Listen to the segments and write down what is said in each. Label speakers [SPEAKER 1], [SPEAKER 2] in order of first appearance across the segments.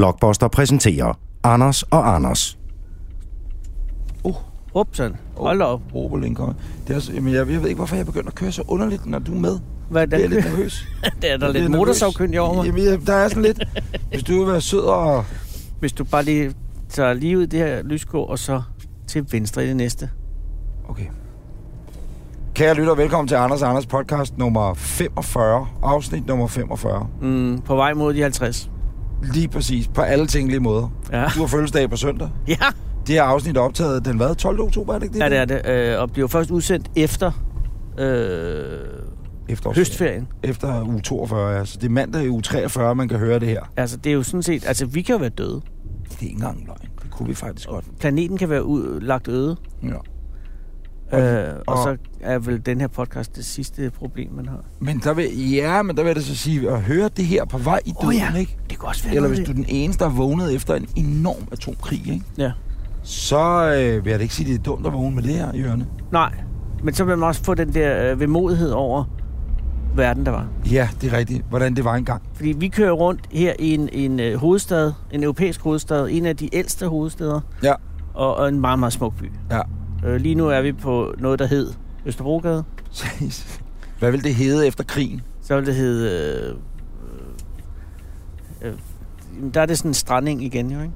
[SPEAKER 1] Blockbuster præsenterer Anders og Anders.
[SPEAKER 2] Upsen. Hold da op.
[SPEAKER 3] Opel Lincoln. Det er også, jamen, jeg, jeg ved ikke, hvorfor jeg begynder at køre så underligt, når du er med.
[SPEAKER 2] Hvad er
[SPEAKER 3] Jeg er lidt
[SPEAKER 2] det?
[SPEAKER 3] nervøs.
[SPEAKER 2] Der er der
[SPEAKER 3] Jeg bliver
[SPEAKER 2] lidt
[SPEAKER 3] nervøs.
[SPEAKER 2] motorsavkyndig over mig.
[SPEAKER 3] Jamen, jeg- der er sådan lidt... Hvis du vil være sød og...
[SPEAKER 2] Hvis du bare lige tager lige ud det her lyskå, og så til venstre i det næste.
[SPEAKER 3] Okay. Kære lytter, velkommen til Anders og Anders podcast nummer 45. Afsnit nummer 45.
[SPEAKER 2] Mm, på vej mod de 50.
[SPEAKER 3] Lige præcis. På alle tænkelige måder.
[SPEAKER 2] Ja,
[SPEAKER 3] Du har fødselsdag på søndag.
[SPEAKER 2] ja.
[SPEAKER 3] Det her afsnit er optaget den hvad? 12. oktober, er det ikke det?
[SPEAKER 2] ja det er det. Øh, og bliver først udsendt efter øh,
[SPEAKER 3] Efter,
[SPEAKER 2] høstferien.
[SPEAKER 3] Efter uge 42, ja. Så det er mandag i uge 43, man kan høre det her.
[SPEAKER 2] Altså, det er jo sådan set... Altså, vi kan jo være døde.
[SPEAKER 3] Det er ikke engang løgn. Det kunne vi faktisk godt.
[SPEAKER 2] Planeten kan være ud, lagt øde.
[SPEAKER 3] Ja.
[SPEAKER 2] Øh, og
[SPEAKER 3] og-
[SPEAKER 2] så er vel den her podcast det sidste problem, man har.
[SPEAKER 3] Men der vil, ja, men der vil jeg da så sige, at høre det her på vej i døden,
[SPEAKER 2] Åh, ja.
[SPEAKER 3] ikke?
[SPEAKER 2] Det kan også være
[SPEAKER 3] Eller
[SPEAKER 2] noget,
[SPEAKER 3] hvis du er den eneste, der er vågnet efter en enorm atomkrig, ikke?
[SPEAKER 2] det- Ja.
[SPEAKER 3] Så øh, vil jeg da ikke sige, at det er dumt at vågne med det her i ørerne.
[SPEAKER 2] Nej, men så vil man også få den der øh, vemodighed over verden, der var.
[SPEAKER 3] Ja, det er rigtigt. Hvordan det var engang.
[SPEAKER 2] Fordi vi kører rundt her i en, en øh, hovedstad, en europæisk hovedstad, en af de ældste hovedsteder,
[SPEAKER 3] Ja.
[SPEAKER 2] og, og en meget, meget smuk by.
[SPEAKER 3] Ja.
[SPEAKER 2] Øh, lige nu er vi på noget, der hed Østerbrogade.
[SPEAKER 3] Præcis. Hvad vil det hedde efter krigen?
[SPEAKER 2] Så vil det hedde... Øh, øh, øh, jamen, der er det sådan en stranding igen, jo, ikke?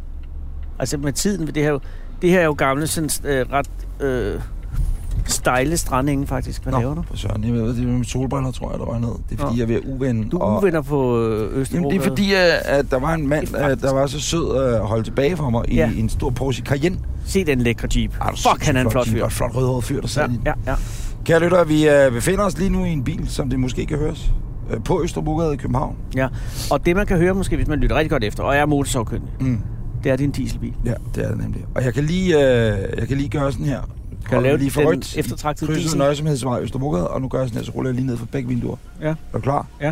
[SPEAKER 2] Altså med tiden ved det her... jo- Det her er jo gamle, sådan øh, ret øh, stejle strandinge, faktisk. Hvad Nå. laver du?
[SPEAKER 3] for Søren, jeg ved, det er med solbriller, tror jeg, der var ned. Det er fordi,
[SPEAKER 2] Nå.
[SPEAKER 3] jeg er ved at uven.
[SPEAKER 2] Du er uvenner på øh,
[SPEAKER 3] Jamen,
[SPEAKER 2] Østerbrogade.
[SPEAKER 3] det er fordi, at, at der var en mand,
[SPEAKER 2] Det er
[SPEAKER 3] øh, der var så sød at holde tilbage for mig i
[SPEAKER 2] Ja.
[SPEAKER 3] en stor Porsche Cayenne.
[SPEAKER 2] Se den lækre Jeep.
[SPEAKER 3] Ej, du
[SPEAKER 2] Fuck, han er en
[SPEAKER 3] sindssygt
[SPEAKER 2] flot
[SPEAKER 3] Jeep,
[SPEAKER 2] fyr.
[SPEAKER 3] Og et flot rødhåret fyr, der sad
[SPEAKER 2] Ja,
[SPEAKER 3] i den.
[SPEAKER 2] ja, ja.
[SPEAKER 3] Kære lytter, vi øh, befinder os lige nu i en bil, som det måske kan høres, øh, på Østerbrogade i København.
[SPEAKER 2] Ja, og det man kan høre måske, hvis man lytter rigtig godt efter, og er motorsavkyndig,
[SPEAKER 3] Mm.
[SPEAKER 2] det er din dieselbil.
[SPEAKER 3] Ja, det er det nemlig. Og jeg kan lige, øh, jeg kan lige gøre sådan her.
[SPEAKER 2] Kan du lave
[SPEAKER 3] lige
[SPEAKER 2] den
[SPEAKER 3] rødt.
[SPEAKER 2] eftertragtede
[SPEAKER 3] Krydset
[SPEAKER 2] diesel?
[SPEAKER 3] nøjesomhedsvej Østerbrogade, og nu gør jeg sådan her, så ruller jeg lige ned for begge vinduer.
[SPEAKER 2] Ja.
[SPEAKER 3] Er du klar?
[SPEAKER 2] Ja.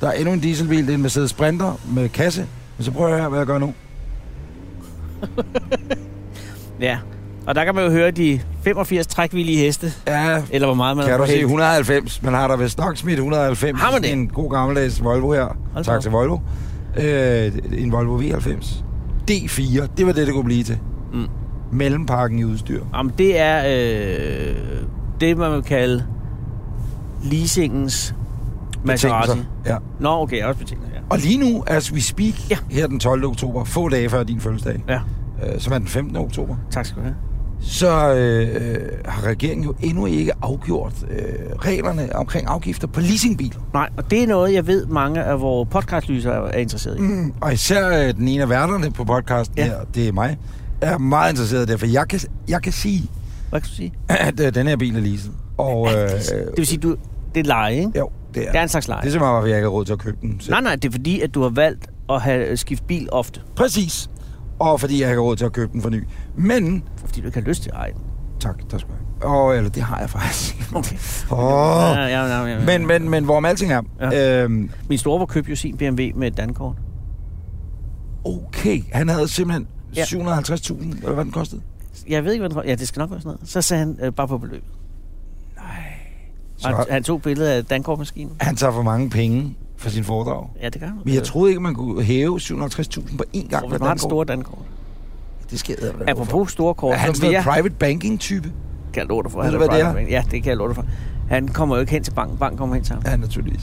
[SPEAKER 3] Der er endnu en dieselbil, det er en Mercedes Sprinter med kasse. Men så prøver jeg her, hvad jeg gør nu.
[SPEAKER 2] Ja, og der kan man jo høre de 85 trækvillige heste,
[SPEAKER 3] Ja,
[SPEAKER 2] eller hvor meget man
[SPEAKER 3] kan
[SPEAKER 2] har
[SPEAKER 3] du
[SPEAKER 2] på
[SPEAKER 3] se
[SPEAKER 2] hest.
[SPEAKER 3] 190? Man har der vist nok smidt 190.
[SPEAKER 2] Har man det?
[SPEAKER 3] En god gammeldags Volvo her.
[SPEAKER 2] Hold da
[SPEAKER 3] tak
[SPEAKER 2] op.
[SPEAKER 3] til Volvo. Øh, en Volvo V90. D4, det var det, det kunne blive til.
[SPEAKER 2] Mm.
[SPEAKER 3] Mellempakken i udstyr.
[SPEAKER 2] Jamen, det er øh, det, man vil kalde leasingens Maserati.
[SPEAKER 3] Betingelser. Ja.
[SPEAKER 2] Nå, okay, også betinget, ja.
[SPEAKER 3] Og lige nu, as we speak,
[SPEAKER 2] Ja.
[SPEAKER 3] ja. her den 12. oktober, få dage før din fødselsdag,
[SPEAKER 2] Ja,
[SPEAKER 3] øh, som er den 15. oktober,
[SPEAKER 2] tak skal du have.
[SPEAKER 3] så øh, øh, har regeringen jo endnu ikke afgjort øh, reglerne omkring afgifter på leasingbiler.
[SPEAKER 2] Nej, og det er noget, jeg ved, mange af vores podcastlyser er interesseret i.
[SPEAKER 3] Mm, og især øh, den ene af værterne på podcasten
[SPEAKER 2] Ja.
[SPEAKER 3] ja. her, det er mig, er meget interesseret i det, for jeg kan, jeg kan sige,
[SPEAKER 2] Hvad kan du sige?
[SPEAKER 3] at øh, den her bil er leaset. Og, øh,
[SPEAKER 2] Det vil sige, du, det er leje, ikke?
[SPEAKER 3] jo, det er.
[SPEAKER 2] Det er en slags leje.
[SPEAKER 3] Det er simpelthen, hvorfor jeg ikke har råd til at købe den. selv.
[SPEAKER 2] Nej, nej, det er fordi, at du har valgt at have skiftet bil ofte,
[SPEAKER 3] Præcis. Og fordi jeg ikke har råd til at købe den for ny. Men,
[SPEAKER 2] fordi du ikke har lyst til at eje den.
[SPEAKER 3] tak, der skal jeg. Og, eller det har jeg faktisk.
[SPEAKER 2] Okay.
[SPEAKER 3] Åh,
[SPEAKER 2] Ja, ja, ja, ja.
[SPEAKER 3] Men, men, men hvorom alting er,
[SPEAKER 2] Ja.
[SPEAKER 3] ja. øhm,
[SPEAKER 2] Min store købte jo sin BMW med et dankort.
[SPEAKER 3] okay, han havde simpelthen
[SPEAKER 2] Ja.
[SPEAKER 3] ja. 750.000, eller hvad den kostede?
[SPEAKER 2] Jeg ved ikke, hvad den Ja, det skal nok være sådan noget. Så sagde han øh, bare på beløbet.
[SPEAKER 3] Så
[SPEAKER 2] Og han, han tog billedet af dankortmaskinen.
[SPEAKER 3] han tager for mange penge for sin foredrag.
[SPEAKER 2] Ja, det gør han.
[SPEAKER 3] Men jeg troede ikke, man kunne hæve 750.000 på én gang.
[SPEAKER 2] Øh. Hvor
[SPEAKER 3] med
[SPEAKER 2] man har det
[SPEAKER 3] Dankort.
[SPEAKER 2] store dankort.
[SPEAKER 3] Det sker jeg da for.
[SPEAKER 2] Apropos store kort,
[SPEAKER 3] Er han
[SPEAKER 2] så
[SPEAKER 3] sådan
[SPEAKER 2] vil
[SPEAKER 3] en
[SPEAKER 2] jeg...
[SPEAKER 3] private banking-type?
[SPEAKER 2] Kan jeg love dig for,
[SPEAKER 3] Ved du,
[SPEAKER 2] han
[SPEAKER 3] hvad det
[SPEAKER 2] private bank. Ja, det kan jeg love dig for. Han kommer jo ikke hen til banken. Banken kommer hen til ham.
[SPEAKER 3] Ja, naturligvis.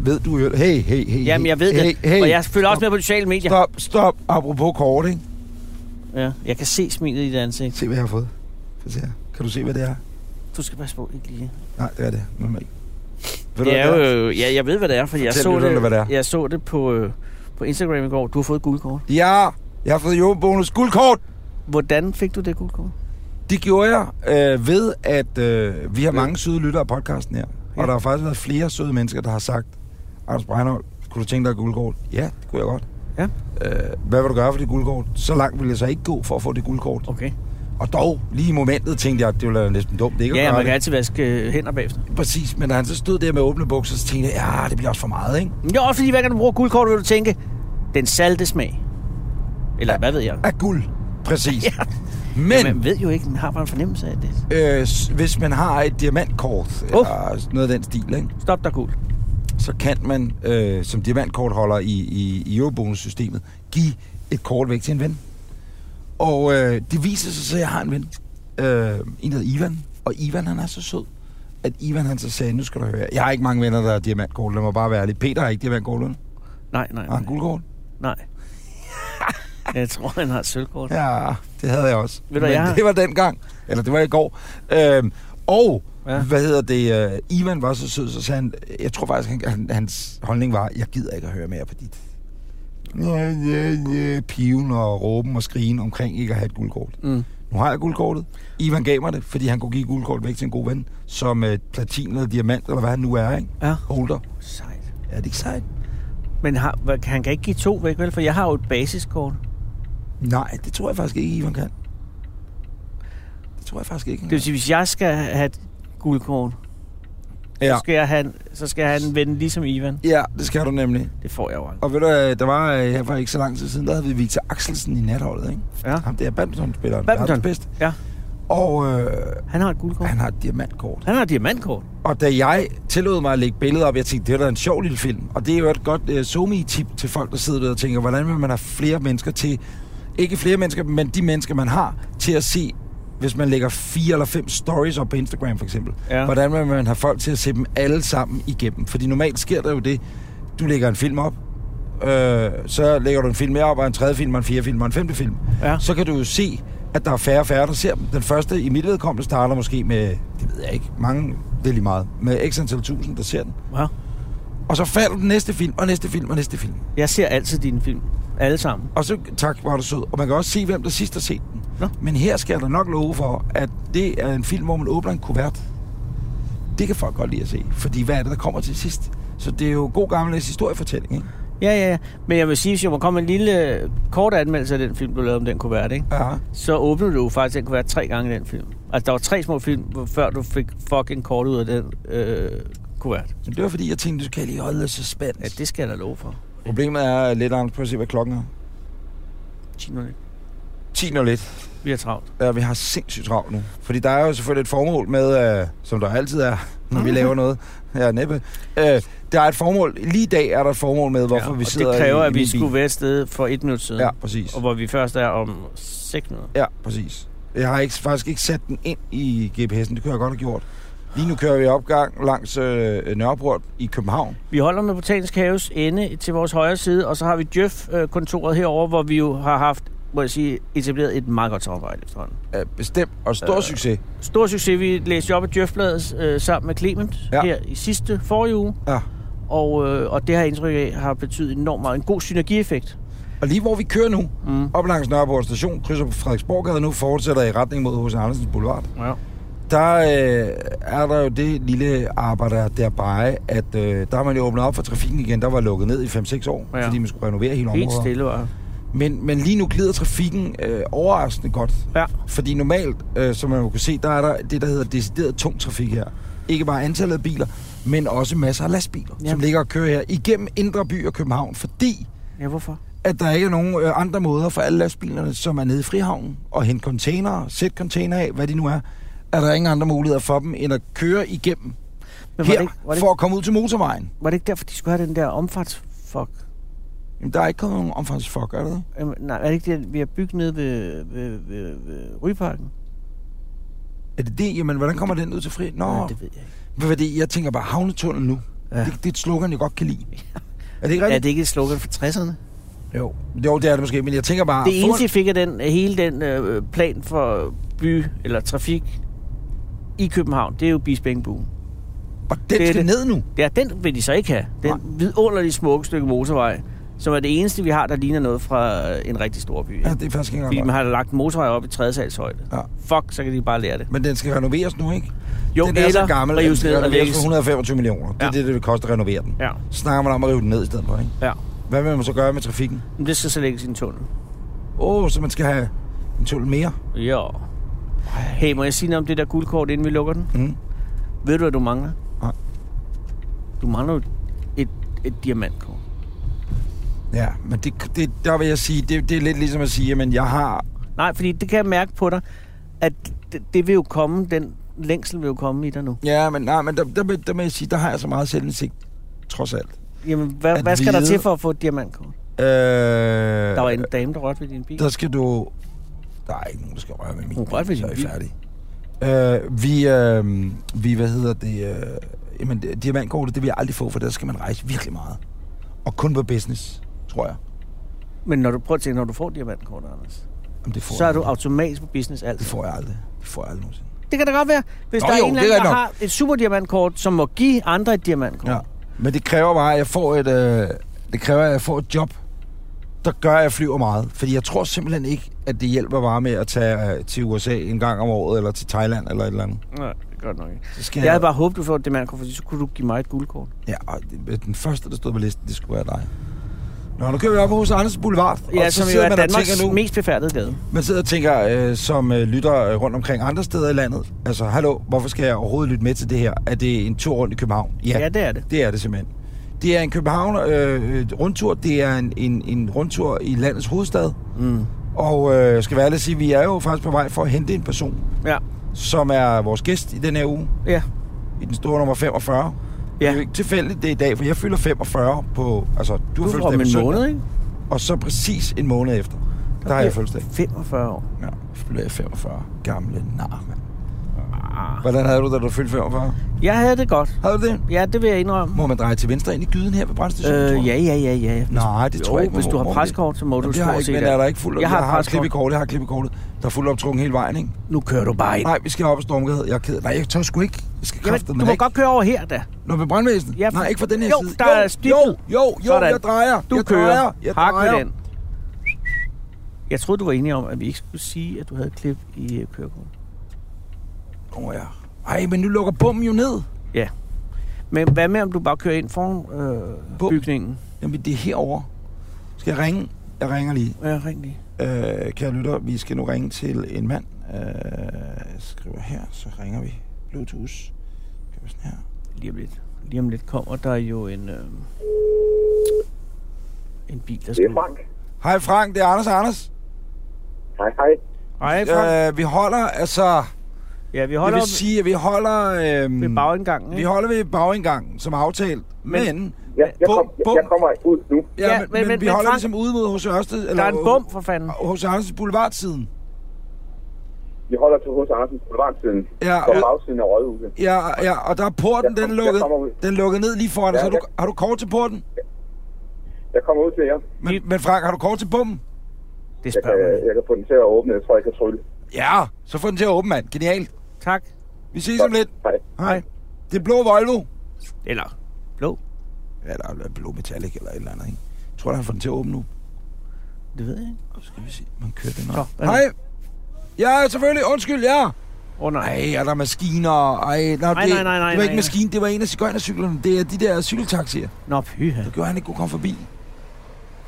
[SPEAKER 3] Ved du jo... Hey, hey, hey.
[SPEAKER 2] Mm. Jamen, jeg ved
[SPEAKER 3] hey,
[SPEAKER 2] det.
[SPEAKER 3] Hey,
[SPEAKER 2] og jeg følger
[SPEAKER 3] stop,
[SPEAKER 2] også med på de sociale medier.
[SPEAKER 3] Stop, stop. Apropos kort, ikke?
[SPEAKER 2] Ja, jeg kan se smilet i dit ansigt.
[SPEAKER 3] Se, hvad jeg har fået. Prøv at se her. Kan du se, hvad det er?
[SPEAKER 2] Du skal passe på, ikke lige.
[SPEAKER 3] Nej, det er det. Normalt. Ved
[SPEAKER 2] Det
[SPEAKER 3] hvad
[SPEAKER 2] er jo, ja, jeg ved, hvad det er, for jeg
[SPEAKER 3] Fortæl
[SPEAKER 2] så
[SPEAKER 3] lytterne,
[SPEAKER 2] det,
[SPEAKER 3] hvad det er.
[SPEAKER 2] jeg så det på, øh, på Instagram i går. Du har fået et guldkort.
[SPEAKER 3] Ja, jeg har fået jordbonus guldkort.
[SPEAKER 2] Hvordan fik du det guldkort?
[SPEAKER 3] Det gjorde jeg øh, ved, at øh, vi har mange søde lyttere af podcasten her. Ja.
[SPEAKER 2] Ja.
[SPEAKER 3] Og der har faktisk været flere søde mennesker, der har sagt, Anders Breinholt, kunne du tænke dig et guldkort? Ja, det kunne jeg godt.
[SPEAKER 2] Ja.
[SPEAKER 3] Øh, hvad vil du gøre for det guldkort? Så langt ville jeg så ikke gå for at få det guldkort.
[SPEAKER 2] Okay.
[SPEAKER 3] Og dog, lige i momentet tænkte jeg, at det ville være næsten dumt ikke at
[SPEAKER 2] Ja,
[SPEAKER 3] gøre
[SPEAKER 2] man
[SPEAKER 3] det.
[SPEAKER 2] kan altid vaske øh, hænder bagefter.
[SPEAKER 3] Præcis, men da han så stod der med åbne bukser, så tænkte jeg, ja, det bliver også for meget, ikke?
[SPEAKER 2] Men det er også fordi, hver gang du bruger guldkort, vil du tænke, den salte smag. Eller ja. hvad ved jeg?
[SPEAKER 3] Af guld. Præcis.
[SPEAKER 2] Ja.
[SPEAKER 3] Men,
[SPEAKER 2] Man ved jo ikke, man har bare en fornemmelse af det.
[SPEAKER 3] øh, s- hvis man har et diamantkort,
[SPEAKER 2] Uf.
[SPEAKER 3] eller noget af den stil, ikke?
[SPEAKER 2] Stop dig, guld.
[SPEAKER 3] så kan man øh, som diamantkortholder i, i, i eurobonussystemet give et kort væk til en ven. Og øh, det viser sig så, at jeg har en ven. Øh, en hedder Ivan. Og Ivan, han er så sød, at Ivan han så sagde, nu skal du høre, jeg har ikke mange venner, der har diamantkort, lad mig bare være ærlig. Peter har ikke diamantkort, vel?
[SPEAKER 2] Nej, nej,
[SPEAKER 3] Har han
[SPEAKER 2] nej.
[SPEAKER 3] guldkort?
[SPEAKER 2] nej. Jeg tror, han har et sølvkort.
[SPEAKER 3] Ja, det havde jeg også.
[SPEAKER 2] Ved du,
[SPEAKER 3] Men
[SPEAKER 2] jeg har-
[SPEAKER 3] det var dengang. Eller det var i går. Øhm, og,
[SPEAKER 2] Ja.
[SPEAKER 3] ja. hvad hedder det, øh, Ivan var så sød, så sagde han, jeg tror faktisk, han, han, hans holdning var, jeg gider ikke at høre mere på dit ja, ja, ja, piven og råben og skrigen omkring ikke at have et guldkort.
[SPEAKER 2] Mm.
[SPEAKER 3] Nu har jeg guldkortet. Ivan gav mig det, fordi han kunne give guldkortet væk til en god ven, som øh, platin eller diamant, eller hvad han nu er, ikke?
[SPEAKER 2] Ja.
[SPEAKER 3] Holder.
[SPEAKER 2] Sejt.
[SPEAKER 3] Er det ikke sejt?
[SPEAKER 2] Men har, hvad- han kan ikke give to væk, vel? For jeg har jo et basiskort.
[SPEAKER 3] Nej, det tror jeg faktisk ikke, Ivan kan. Det tror jeg faktisk ikke. han
[SPEAKER 2] Det vil sige, hvis jeg skal have et guldkort,
[SPEAKER 3] kan.
[SPEAKER 2] så, skal jeg have en, så skal jeg have en ven ligesom Ivan.
[SPEAKER 3] Ja, det skal du nemlig.
[SPEAKER 2] Det får jeg jo aldrig.
[SPEAKER 3] Og ved du, øh, der var øh, her for ikke så lang tid siden, der havde vi Victor Axelsen i natholdet, ikke?
[SPEAKER 2] Ja.
[SPEAKER 3] Ham der badmintonspilleren.
[SPEAKER 2] Badminton.
[SPEAKER 3] verdens bedste.
[SPEAKER 2] Ja.
[SPEAKER 3] Og øh,
[SPEAKER 2] Han har et guldkort.
[SPEAKER 3] han har et diamantkort.
[SPEAKER 2] Han har et diamantkort.
[SPEAKER 3] Og da jeg tillod mig at lægge billeder op, jeg tænkte, det var da en sjov lille film. Og det er jo et godt øh, somi-tip til folk, der sidder der og tænker, hvordan vil man have flere mennesker til, ikke flere mennesker, men de mennesker, man har, til at se, hvis man lægger fire eller fem stories op på Instagram for eksempel.
[SPEAKER 2] Ja.
[SPEAKER 3] Hvordan vil man have folk til at se dem alle sammen igennem? Fordi normalt sker der jo det, du lægger en film op, øh, så lægger du en film mere op, og en tredje film, og en fjerde film, og en femte film.
[SPEAKER 2] Ja.
[SPEAKER 3] Så kan du jo se, at der er færre og færre, der ser dem. Den første i mit vedkommende starter måske med, det ved jeg ikke, mange, det er lige meget, med x antal tusind, der ser den.
[SPEAKER 2] ja.
[SPEAKER 3] Og så falder den næste film, og næste film, og næste film.
[SPEAKER 2] Jeg ser altid dine film. Alle sammen.
[SPEAKER 3] Og så, tak, var du sød. Og man kan også se, hvem der sidst har set den.
[SPEAKER 2] Nå.
[SPEAKER 3] Men her skal jeg da nok love for, at det er en film, hvor man åbner en kuvert. Det kan folk godt lide at se. Fordi hvad er det, der kommer til sidst? Så det er jo god gammeldags historiefortælling, ikke?
[SPEAKER 2] Ja, ja, ja. Men jeg vil sige, hvis jeg må komme med en lille øh, kort anmeldelse af den film, du lavede om den kuvert, ikke?
[SPEAKER 3] Ja.
[SPEAKER 2] så åbnede du jo faktisk den kuvert tre gange den film. Altså, der var tre små film, hvor- før du fik fucking kort ud af den øh, kuvert.
[SPEAKER 3] Men det var fordi, jeg tænkte, du skal lige holde suspens.
[SPEAKER 2] Ja, det skal jeg da love for.
[SPEAKER 3] Problemet er lidt, Anders, prøv at se, hvad klokken er.
[SPEAKER 2] 10 minutter.
[SPEAKER 3] 10.01.
[SPEAKER 2] Vi er travlt.
[SPEAKER 3] Ja, vi har sindssygt travlt nu. Fordi der er jo selvfølgelig et formål med, øh, som der altid er, når vi laver noget. Ja, næppe. Øh, der er et formål. Lige i dag er der et formål med, hvorfor
[SPEAKER 2] ja,
[SPEAKER 3] vi
[SPEAKER 2] og
[SPEAKER 3] sidder
[SPEAKER 2] det kræver,
[SPEAKER 3] i, i
[SPEAKER 2] at vi
[SPEAKER 3] min bil.
[SPEAKER 2] skulle være et sted for et minut siden.
[SPEAKER 3] Ja, præcis.
[SPEAKER 2] Og hvor vi først er om 6 minutter.
[SPEAKER 3] Ja, præcis. Jeg har ikke, faktisk ikke sat den ind i GPS'en. Det kunne jeg godt have gjort. Lige nu kører vi opgang langs øh, Nørreport i København.
[SPEAKER 2] Vi holder med Botanisk Haves ende til vores højre side, og så har vi Djøf-kontoret herover, hvor vi jo har haft, må jeg sige, etableret et meget godt samarbejde efterhånden.
[SPEAKER 3] Øh, bestemt og stor
[SPEAKER 2] Øh.
[SPEAKER 3] øh. succes.
[SPEAKER 2] Stor succes. Vi læste jo op af Djøfbladet øh, sammen med Clement ja.
[SPEAKER 3] Ja.
[SPEAKER 2] her i sidste forrige uge,
[SPEAKER 3] Ja.
[SPEAKER 2] og, øh, og det har jeg indtryk af har betydet enormt meget. En god synergieffekt.
[SPEAKER 3] Og lige hvor vi kører nu,
[SPEAKER 2] Mm.
[SPEAKER 3] op langs Nørreport station, krydser på Frederiksborggade nu, fortsætter i retning mod H.C. Andersens Boulevard.
[SPEAKER 2] Ja.
[SPEAKER 3] der øh, er der jo det lille arbejde derbage, at øh, der har man jo åbnet op for trafikken igen. Der var lukket ned i 5-6 år,
[SPEAKER 2] Ja.
[SPEAKER 3] ja. fordi man skulle renovere hele
[SPEAKER 2] Helt
[SPEAKER 3] området.
[SPEAKER 2] stille og...
[SPEAKER 3] Men, men lige nu glider trafikken øh, overraskende godt.
[SPEAKER 2] Ja.
[SPEAKER 3] Fordi normalt, øh, som man jo kan se, der er der det, der hedder decideret tung trafik her. Ikke bare antallet af biler, men også masser af lastbiler,
[SPEAKER 2] Ja.
[SPEAKER 3] som ligger og kører her igennem Indre By og København, fordi
[SPEAKER 2] ja, hvorfor?
[SPEAKER 3] at der ikke er nogen øh, andre måder for alle lastbilerne, som er nede i Frihavnen, og hente containere, sætte container af, hvad de nu er, er der ingen andre muligheder for dem, end at køre igennem
[SPEAKER 2] Men var,
[SPEAKER 3] her,
[SPEAKER 2] det ikke, var, det
[SPEAKER 3] for
[SPEAKER 2] ikke,
[SPEAKER 3] at komme ud til motorvejen.
[SPEAKER 2] var det ikke derfor, de skulle have den der omfartsfuck?
[SPEAKER 3] Jamen, der er ikke kommet nogen omfangsfuck, er der det?
[SPEAKER 2] Jamen, nej, er det ikke det, vi har bygget nede ved, ved, ved, ved Rygeparken?
[SPEAKER 3] Er det det? Jamen, hvordan kommer den ud til fri? Nå,
[SPEAKER 2] Nej,
[SPEAKER 3] ja,
[SPEAKER 2] det ved jeg ikke.
[SPEAKER 3] det... fordi jeg tænker bare havnetunnel nu.
[SPEAKER 2] Ja.
[SPEAKER 3] Ja. Det, det, er et slogan, jeg godt kan lide. Er det ikke
[SPEAKER 2] Er
[SPEAKER 3] rigtigt?
[SPEAKER 2] det ikke et slogan for 60'erne?
[SPEAKER 3] Jo. jo, det er det måske, men jeg tænker bare...
[SPEAKER 2] Det
[SPEAKER 3] få
[SPEAKER 2] eneste,
[SPEAKER 3] en-
[SPEAKER 2] jeg fik af den, hele den øh, plan for by eller trafik i København, det er jo Bispingbuen.
[SPEAKER 3] Og den
[SPEAKER 2] det er
[SPEAKER 3] skal
[SPEAKER 2] det.
[SPEAKER 3] ned nu.
[SPEAKER 2] Ja, den vil de så ikke have. Den vidunderlige smukke stykke motorvej, som er det eneste, vi har, der ligner noget fra øh, en rigtig stor by.
[SPEAKER 3] Ja,
[SPEAKER 2] Ja,
[SPEAKER 3] det er faktisk ikke
[SPEAKER 2] Fordi
[SPEAKER 3] engang
[SPEAKER 2] man
[SPEAKER 3] løgn.
[SPEAKER 2] har lagt en motorvej op i 3. sals højde.
[SPEAKER 3] Ja.
[SPEAKER 2] Fuck, så kan de bare lære det.
[SPEAKER 3] Men den skal renoveres nu, ikke?
[SPEAKER 2] Jo,
[SPEAKER 3] den er
[SPEAKER 2] eller
[SPEAKER 3] så gammel, at den
[SPEAKER 2] rives
[SPEAKER 3] skal
[SPEAKER 2] ned og
[SPEAKER 3] renoveres
[SPEAKER 2] lægges.
[SPEAKER 3] for 125 millioner. Det er
[SPEAKER 2] Ja.
[SPEAKER 3] det, det vil koste at renovere den.
[SPEAKER 2] Ja,
[SPEAKER 3] Så snakker man om at rive den ned i stedet for, ikke?
[SPEAKER 2] ja.
[SPEAKER 3] Hvad vil man så gøre med trafikken?
[SPEAKER 2] Men det skal så lægges i en tunnel.
[SPEAKER 3] Åh, oh, så man skal have en tunnel mere.
[SPEAKER 2] Ja. Hey, må jeg sige noget om det der guldkort, inden vi lukker den?
[SPEAKER 3] Mm.
[SPEAKER 2] Ved du, hvad du mangler?
[SPEAKER 3] Nej.
[SPEAKER 2] Du mangler jo et, et diamantkort.
[SPEAKER 3] Ja, men det, det, der vil jeg sige, det, det er lidt ligesom at sige, at jeg har...
[SPEAKER 2] Nej, fordi det kan jeg mærke på dig, at det, det vil jo komme, den længsel vil jo komme i dig nu.
[SPEAKER 3] Ja, men, nej, men der, der, vil- der, vil jeg sige, der har jeg så meget selvindsigt trods alt.
[SPEAKER 2] Jamen, hvad,
[SPEAKER 3] At
[SPEAKER 2] hvad skal der
[SPEAKER 3] vide-
[SPEAKER 2] til for at få et diamantkort?
[SPEAKER 3] Øh,
[SPEAKER 2] Der var en dame, der rørte ved din bil.
[SPEAKER 3] Der skal du... Der er ikke nogen, der skal røre ved min
[SPEAKER 2] Hun rørte ved
[SPEAKER 3] så
[SPEAKER 2] din
[SPEAKER 3] er I
[SPEAKER 2] bil.
[SPEAKER 3] færdige. Øh, vi, øh, vi, hvad hedder det... Øh, jamen, det- diamantkortet, det vil jeg aldrig få, for der skal man rejse virkelig meget. Og kun på business, tror jeg.
[SPEAKER 2] Men når du, prøv at tænke, når du får diamantkort, Anders,
[SPEAKER 3] Jamen, det får
[SPEAKER 2] så er
[SPEAKER 3] jeg
[SPEAKER 2] du
[SPEAKER 3] aldrig.
[SPEAKER 2] automatisk på business alt.
[SPEAKER 3] Det får jeg aldrig. Det får jeg aldrig nogensinde.
[SPEAKER 2] Det kan da godt være, hvis
[SPEAKER 3] Nå,
[SPEAKER 2] der er
[SPEAKER 3] jo,
[SPEAKER 2] en eller
[SPEAKER 3] det er
[SPEAKER 2] anden, der
[SPEAKER 3] nok.
[SPEAKER 2] har et superdiamantkort, som må give andre et diamantkort.
[SPEAKER 3] Ja. Men det kræver bare, at jeg får et... Øh, det kræver, at jeg får et job, der gør, at jeg flyver meget. Fordi jeg tror simpelthen ikke, at det hjælper bare med at tage øh, til USA en gang om året, eller til Thailand, eller et eller andet.
[SPEAKER 2] Nej, det er godt nok ikke.
[SPEAKER 3] Så skal
[SPEAKER 2] Jeg havde bare håbet, du får et diamantkort, fordi så kunne du give mig et guldkort.
[SPEAKER 3] Ja, og det- den første, der stod på listen, det skulle være dig. Nå, nu kører vi op på hos Anders Boulevard,
[SPEAKER 2] Ja,
[SPEAKER 3] og så
[SPEAKER 2] som jo
[SPEAKER 3] sidder
[SPEAKER 2] er
[SPEAKER 3] man og
[SPEAKER 2] Danmarks
[SPEAKER 3] tænker nu,
[SPEAKER 2] mest befærdede gade.
[SPEAKER 3] man sidder og tænker, øh, som øh, lytter øh, rundt omkring andre steder i landet, altså, hallo, hvorfor skal jeg overhovedet lytte med til det her? Er det en tur rundt i København? Ja,
[SPEAKER 2] ja det er det.
[SPEAKER 3] det er det simpelthen. Det er en København øh, øh, rundtur, det er en, en, en rundtur i landets hovedstad,
[SPEAKER 2] Mm.
[SPEAKER 3] og øh, skal være ærlig at sige, vi er jo faktisk på vej for at hente en person,
[SPEAKER 2] Ja.
[SPEAKER 3] som er vores gæst i den her uge,
[SPEAKER 2] Ja.
[SPEAKER 3] i den store nummer 45. Ja. Det er jo
[SPEAKER 2] ja.
[SPEAKER 3] ikke tilfældigt, det er i dag, for jeg fylder 45 på... Altså, du
[SPEAKER 2] Du
[SPEAKER 3] har
[SPEAKER 2] får
[SPEAKER 3] fødselsdag
[SPEAKER 2] om
[SPEAKER 3] på
[SPEAKER 2] en
[SPEAKER 3] søndag,
[SPEAKER 2] måned, ikke?
[SPEAKER 3] Og så præcis en måned efter, der har jeg fødselsdag.
[SPEAKER 2] 45 år.
[SPEAKER 3] Ja, så bliver jeg 45. Gamle nar, mand.
[SPEAKER 2] Ah.
[SPEAKER 3] Hvordan havde du, da du fyldte 45?
[SPEAKER 2] Jeg havde det godt.
[SPEAKER 3] Havde du det?
[SPEAKER 2] Ja, det vil jeg indrømme.
[SPEAKER 3] Må man dreje til venstre ind i gyden her ved brændstationen?
[SPEAKER 2] Øh, ja, ja, ja, ja.
[SPEAKER 3] Nej, det tror jeg
[SPEAKER 2] jo,
[SPEAKER 3] ikke.
[SPEAKER 2] hvis
[SPEAKER 3] man
[SPEAKER 2] du
[SPEAKER 3] må.
[SPEAKER 2] har
[SPEAKER 3] Må man
[SPEAKER 2] preskort, så må
[SPEAKER 3] det?
[SPEAKER 2] du
[SPEAKER 3] Jamen, det har jeg
[SPEAKER 2] stort
[SPEAKER 3] ikke,
[SPEAKER 2] set.
[SPEAKER 3] men er der ikke fuld...
[SPEAKER 2] Jeg har et
[SPEAKER 3] jeg har et
[SPEAKER 2] preskort.
[SPEAKER 3] klip i kortet, jeg har et klip i kortet. Der er fuld optrukken hele vejen, ikke?
[SPEAKER 2] Nu kører du bare ind.
[SPEAKER 3] Nej, vi skal op ad Stormgade. Jeg er ked. Nej, jeg tør sgu ikke. Jeg skal
[SPEAKER 2] Jamen,
[SPEAKER 3] kræfte
[SPEAKER 2] du må
[SPEAKER 3] ikke.
[SPEAKER 2] godt køre over her, da.
[SPEAKER 3] Nå, ved brandvæsenet?
[SPEAKER 2] Ja,
[SPEAKER 3] Ja,
[SPEAKER 2] for-
[SPEAKER 3] Nej, ikke fra den her
[SPEAKER 2] Jo,
[SPEAKER 3] side.
[SPEAKER 2] der
[SPEAKER 3] jo,
[SPEAKER 2] er
[SPEAKER 3] jo,
[SPEAKER 2] stikket.
[SPEAKER 3] jo, jo,
[SPEAKER 2] Sådan.
[SPEAKER 3] jeg drejer.
[SPEAKER 2] Du
[SPEAKER 3] jeg
[SPEAKER 2] kører.
[SPEAKER 3] Drejer, jeg
[SPEAKER 2] Hak med
[SPEAKER 3] drejer.
[SPEAKER 2] den. Jeg troede, du var enig om, at vi ikke skulle sige, at du havde et klip i øh, kørekortet.
[SPEAKER 3] Åh oh, ja. Ej, men nu lukker bommen jo ned.
[SPEAKER 2] Men hvad med, om du bare kører ind foran øh,
[SPEAKER 3] Bum.
[SPEAKER 2] bygningen?
[SPEAKER 3] Jamen, det er herover. Skal jeg ringe? Jeg ringer lige.
[SPEAKER 2] Ja, ring lige.
[SPEAKER 3] Øh, kære lytter, vi skal nu ringe til en mand. Øh, jeg skriver her, så ringer vi. Bluetooth. Kan vi sådan her?
[SPEAKER 2] Lige om lidt. Lige om lidt kommer der jo en, øh, en bil, der
[SPEAKER 4] Det er
[SPEAKER 2] skal...
[SPEAKER 4] Frank.
[SPEAKER 3] Hej Frank, det er Anders og Anders.
[SPEAKER 4] Hej, hej.
[SPEAKER 2] Hej, Frank.
[SPEAKER 3] Øh, vi holder, altså...
[SPEAKER 2] Ja, vi
[SPEAKER 3] Hold
[SPEAKER 2] holder
[SPEAKER 3] det vil
[SPEAKER 2] op
[SPEAKER 3] sige, at vi holder... Øh,
[SPEAKER 2] ved bagindgangen.
[SPEAKER 3] vi
[SPEAKER 2] ikke?
[SPEAKER 3] holder ved bagindgangen, som aftalt. Men... men
[SPEAKER 4] Jeg, jeg,
[SPEAKER 3] Bum,
[SPEAKER 4] kom, jeg,
[SPEAKER 3] bum.
[SPEAKER 4] jeg kommer ud nu.
[SPEAKER 3] ja,
[SPEAKER 2] Ja,
[SPEAKER 3] men,
[SPEAKER 2] men-
[SPEAKER 3] men,
[SPEAKER 2] men-
[SPEAKER 3] vi
[SPEAKER 2] men
[SPEAKER 3] holder
[SPEAKER 2] Frank-
[SPEAKER 3] ligesom ude mod hos Ørsted.
[SPEAKER 2] Der
[SPEAKER 3] Eller,
[SPEAKER 2] er en bum, for fanden.
[SPEAKER 3] Hos Anders Boulevardsiden.
[SPEAKER 4] Vi holder til hos Andersen på bagsiden.
[SPEAKER 3] Ja,
[SPEAKER 4] På
[SPEAKER 3] ja.
[SPEAKER 4] bagsiden af Rådhuset.
[SPEAKER 3] Ja, ja, og der er porten,
[SPEAKER 4] Jeg
[SPEAKER 3] den er
[SPEAKER 4] kom- jeg
[SPEAKER 3] lukket,
[SPEAKER 4] kommer ud.
[SPEAKER 3] den er lukket ned lige foran
[SPEAKER 4] Ja,
[SPEAKER 3] os. Har du,
[SPEAKER 4] jeg-
[SPEAKER 3] har du kort til porten?
[SPEAKER 4] Jeg kommer ud til jer.
[SPEAKER 2] Vi-
[SPEAKER 3] Men, men Frank, har du kort til bommen?
[SPEAKER 2] Det
[SPEAKER 4] Jeg kan,
[SPEAKER 2] spørger man. ikke.
[SPEAKER 4] jeg kan få den til at åbne. Jeg tror, jeg kan trylle.
[SPEAKER 3] Ja, så få den til at åbne, mand. Genialt.
[SPEAKER 2] Tak.
[SPEAKER 3] Vi ses om lidt.
[SPEAKER 4] Hej.
[SPEAKER 3] Hej. Det er blå Volvo.
[SPEAKER 2] Eller blå.
[SPEAKER 3] Ja, der er blå metallic eller et eller andet, ikke? Jeg tror, han får den til at åbne nu.
[SPEAKER 2] Det ved jeg ikke.
[SPEAKER 3] Så skal vi se, man kører den op.
[SPEAKER 2] Nå, hvad nu?
[SPEAKER 3] Hej. Ja, selvfølgelig. Undskyld, ja.
[SPEAKER 2] Åh, oh, nej.
[SPEAKER 3] Ej, er der maskiner? Ej, nej, det,
[SPEAKER 2] nej, nej, nej,
[SPEAKER 3] det var ikke
[SPEAKER 2] nej.
[SPEAKER 3] maskine, det var en af cigøjnercyklerne. Det er de der cykeltaxier.
[SPEAKER 2] Nå, pyha.
[SPEAKER 3] Det gjorde han ikke kunne komme forbi.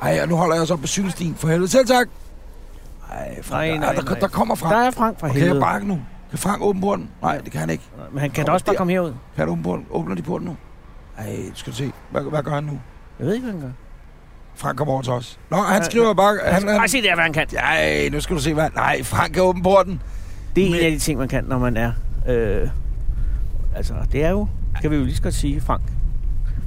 [SPEAKER 3] Ej, og nu holder jeg os op på cykelstien. For helvede. Selv tak. Ej, Frank,
[SPEAKER 2] Nej,
[SPEAKER 3] nej,
[SPEAKER 2] nej,
[SPEAKER 3] nej, der,
[SPEAKER 2] nej.
[SPEAKER 3] der kommer Frank.
[SPEAKER 2] Der er Frank fra
[SPEAKER 3] Og kan jeg
[SPEAKER 2] helvede.
[SPEAKER 3] bakke nu? Kan Frank åbne porten? Nej, det kan han ikke.
[SPEAKER 2] Men han kan da også bare
[SPEAKER 3] Der.
[SPEAKER 2] komme herud.
[SPEAKER 3] Kan han åbne porten? Åbner de porten nu? Ej, skal du se. Hvad, hvad gør han nu?
[SPEAKER 2] Jeg ved ikke, hvad han gør.
[SPEAKER 3] Frank kommer over til os. Nå, han skriver bare... Han,
[SPEAKER 2] Bare
[SPEAKER 3] han,
[SPEAKER 2] se der, hvad han kan.
[SPEAKER 3] ej, nu skal du se, hvad... Nej, Frank kan åbne porten.
[SPEAKER 2] Det er en
[SPEAKER 3] Men-
[SPEAKER 2] af de ting, man kan, når man er... Øh, altså, det er jo... Kan vi jo lige så godt sige, Frank.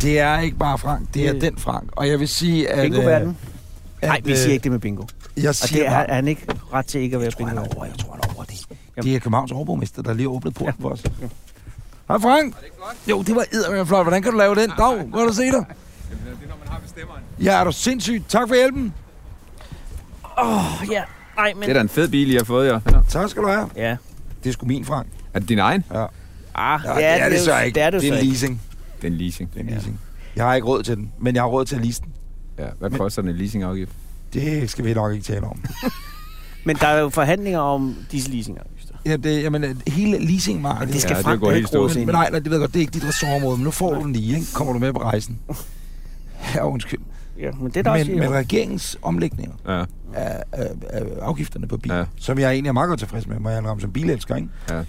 [SPEAKER 3] Det er ikke bare Frank, det er
[SPEAKER 2] Det-
[SPEAKER 3] den Frank. Og jeg vil sige, at...
[SPEAKER 2] bingo verden
[SPEAKER 3] øh,
[SPEAKER 2] Nej,
[SPEAKER 3] at,
[SPEAKER 2] vi siger
[SPEAKER 3] øh,
[SPEAKER 2] ikke det med bingo.
[SPEAKER 3] Jeg
[SPEAKER 2] Og det
[SPEAKER 3] siger
[SPEAKER 2] er,
[SPEAKER 3] bare,
[SPEAKER 2] er han ikke ret til ikke at være
[SPEAKER 3] jeg tror,
[SPEAKER 2] bingo.
[SPEAKER 3] han er over, jeg tror, han er over det. Det er Københavns overborgmester, der lige har åbnet porten
[SPEAKER 2] Ja.
[SPEAKER 3] for os. Hej Frank. Jo, det var eddermame flot. Hvordan kan du lave den? Dag, godt at se dig.
[SPEAKER 5] Det er, når man har bestemmeren.
[SPEAKER 3] Ja, er du sindssyg. Tak for hjælpen.
[SPEAKER 2] Åh, ja. Nej, men...
[SPEAKER 5] Det er da en fed bil, I har fået, ja. ja.
[SPEAKER 3] Tak skal du have.
[SPEAKER 2] Ja.
[SPEAKER 3] Det er sgu min, Frank.
[SPEAKER 5] Er det din egen?
[SPEAKER 2] Ah,
[SPEAKER 3] Ja, det er det,
[SPEAKER 2] jo-
[SPEAKER 3] så ikke.
[SPEAKER 2] Det er det, jo
[SPEAKER 3] en
[SPEAKER 2] så ikke.
[SPEAKER 3] leasing.
[SPEAKER 5] Det er en leasing.
[SPEAKER 3] Det er en leasing. Jeg har ikke råd til den, men jeg har råd til at lease den.
[SPEAKER 5] Ja. Hvad koster den en leasingafgift?
[SPEAKER 3] Det skal vi nok ikke tale om.
[SPEAKER 2] Men der er jo forhandlinger om disse leasingafgifter.
[SPEAKER 3] ja, det, jamen, øh, hele leasingmarkedet...
[SPEAKER 2] Men det skal
[SPEAKER 5] Ja, det
[SPEAKER 2] Frank
[SPEAKER 5] går
[SPEAKER 2] da
[SPEAKER 5] helt
[SPEAKER 2] ikke rode
[SPEAKER 5] stå.
[SPEAKER 2] sig
[SPEAKER 3] men,
[SPEAKER 2] ind.
[SPEAKER 3] men nej, nej, det ved jeg godt, det er ikke dit ressortområde, men nu får du den lige, ikke? Kommer du med på rejsen? Ja, undskyld.
[SPEAKER 2] i. Ja, men det er da også...
[SPEAKER 3] Men
[SPEAKER 2] i-
[SPEAKER 3] med regeringens omlægninger
[SPEAKER 5] Ja,
[SPEAKER 3] af, af, af afgifterne på biler, ja.
[SPEAKER 5] Ja.
[SPEAKER 3] som jeg egentlig er meget godt tilfreds med, må jeg indrømme som bilelsker, ikke?
[SPEAKER 5] ja.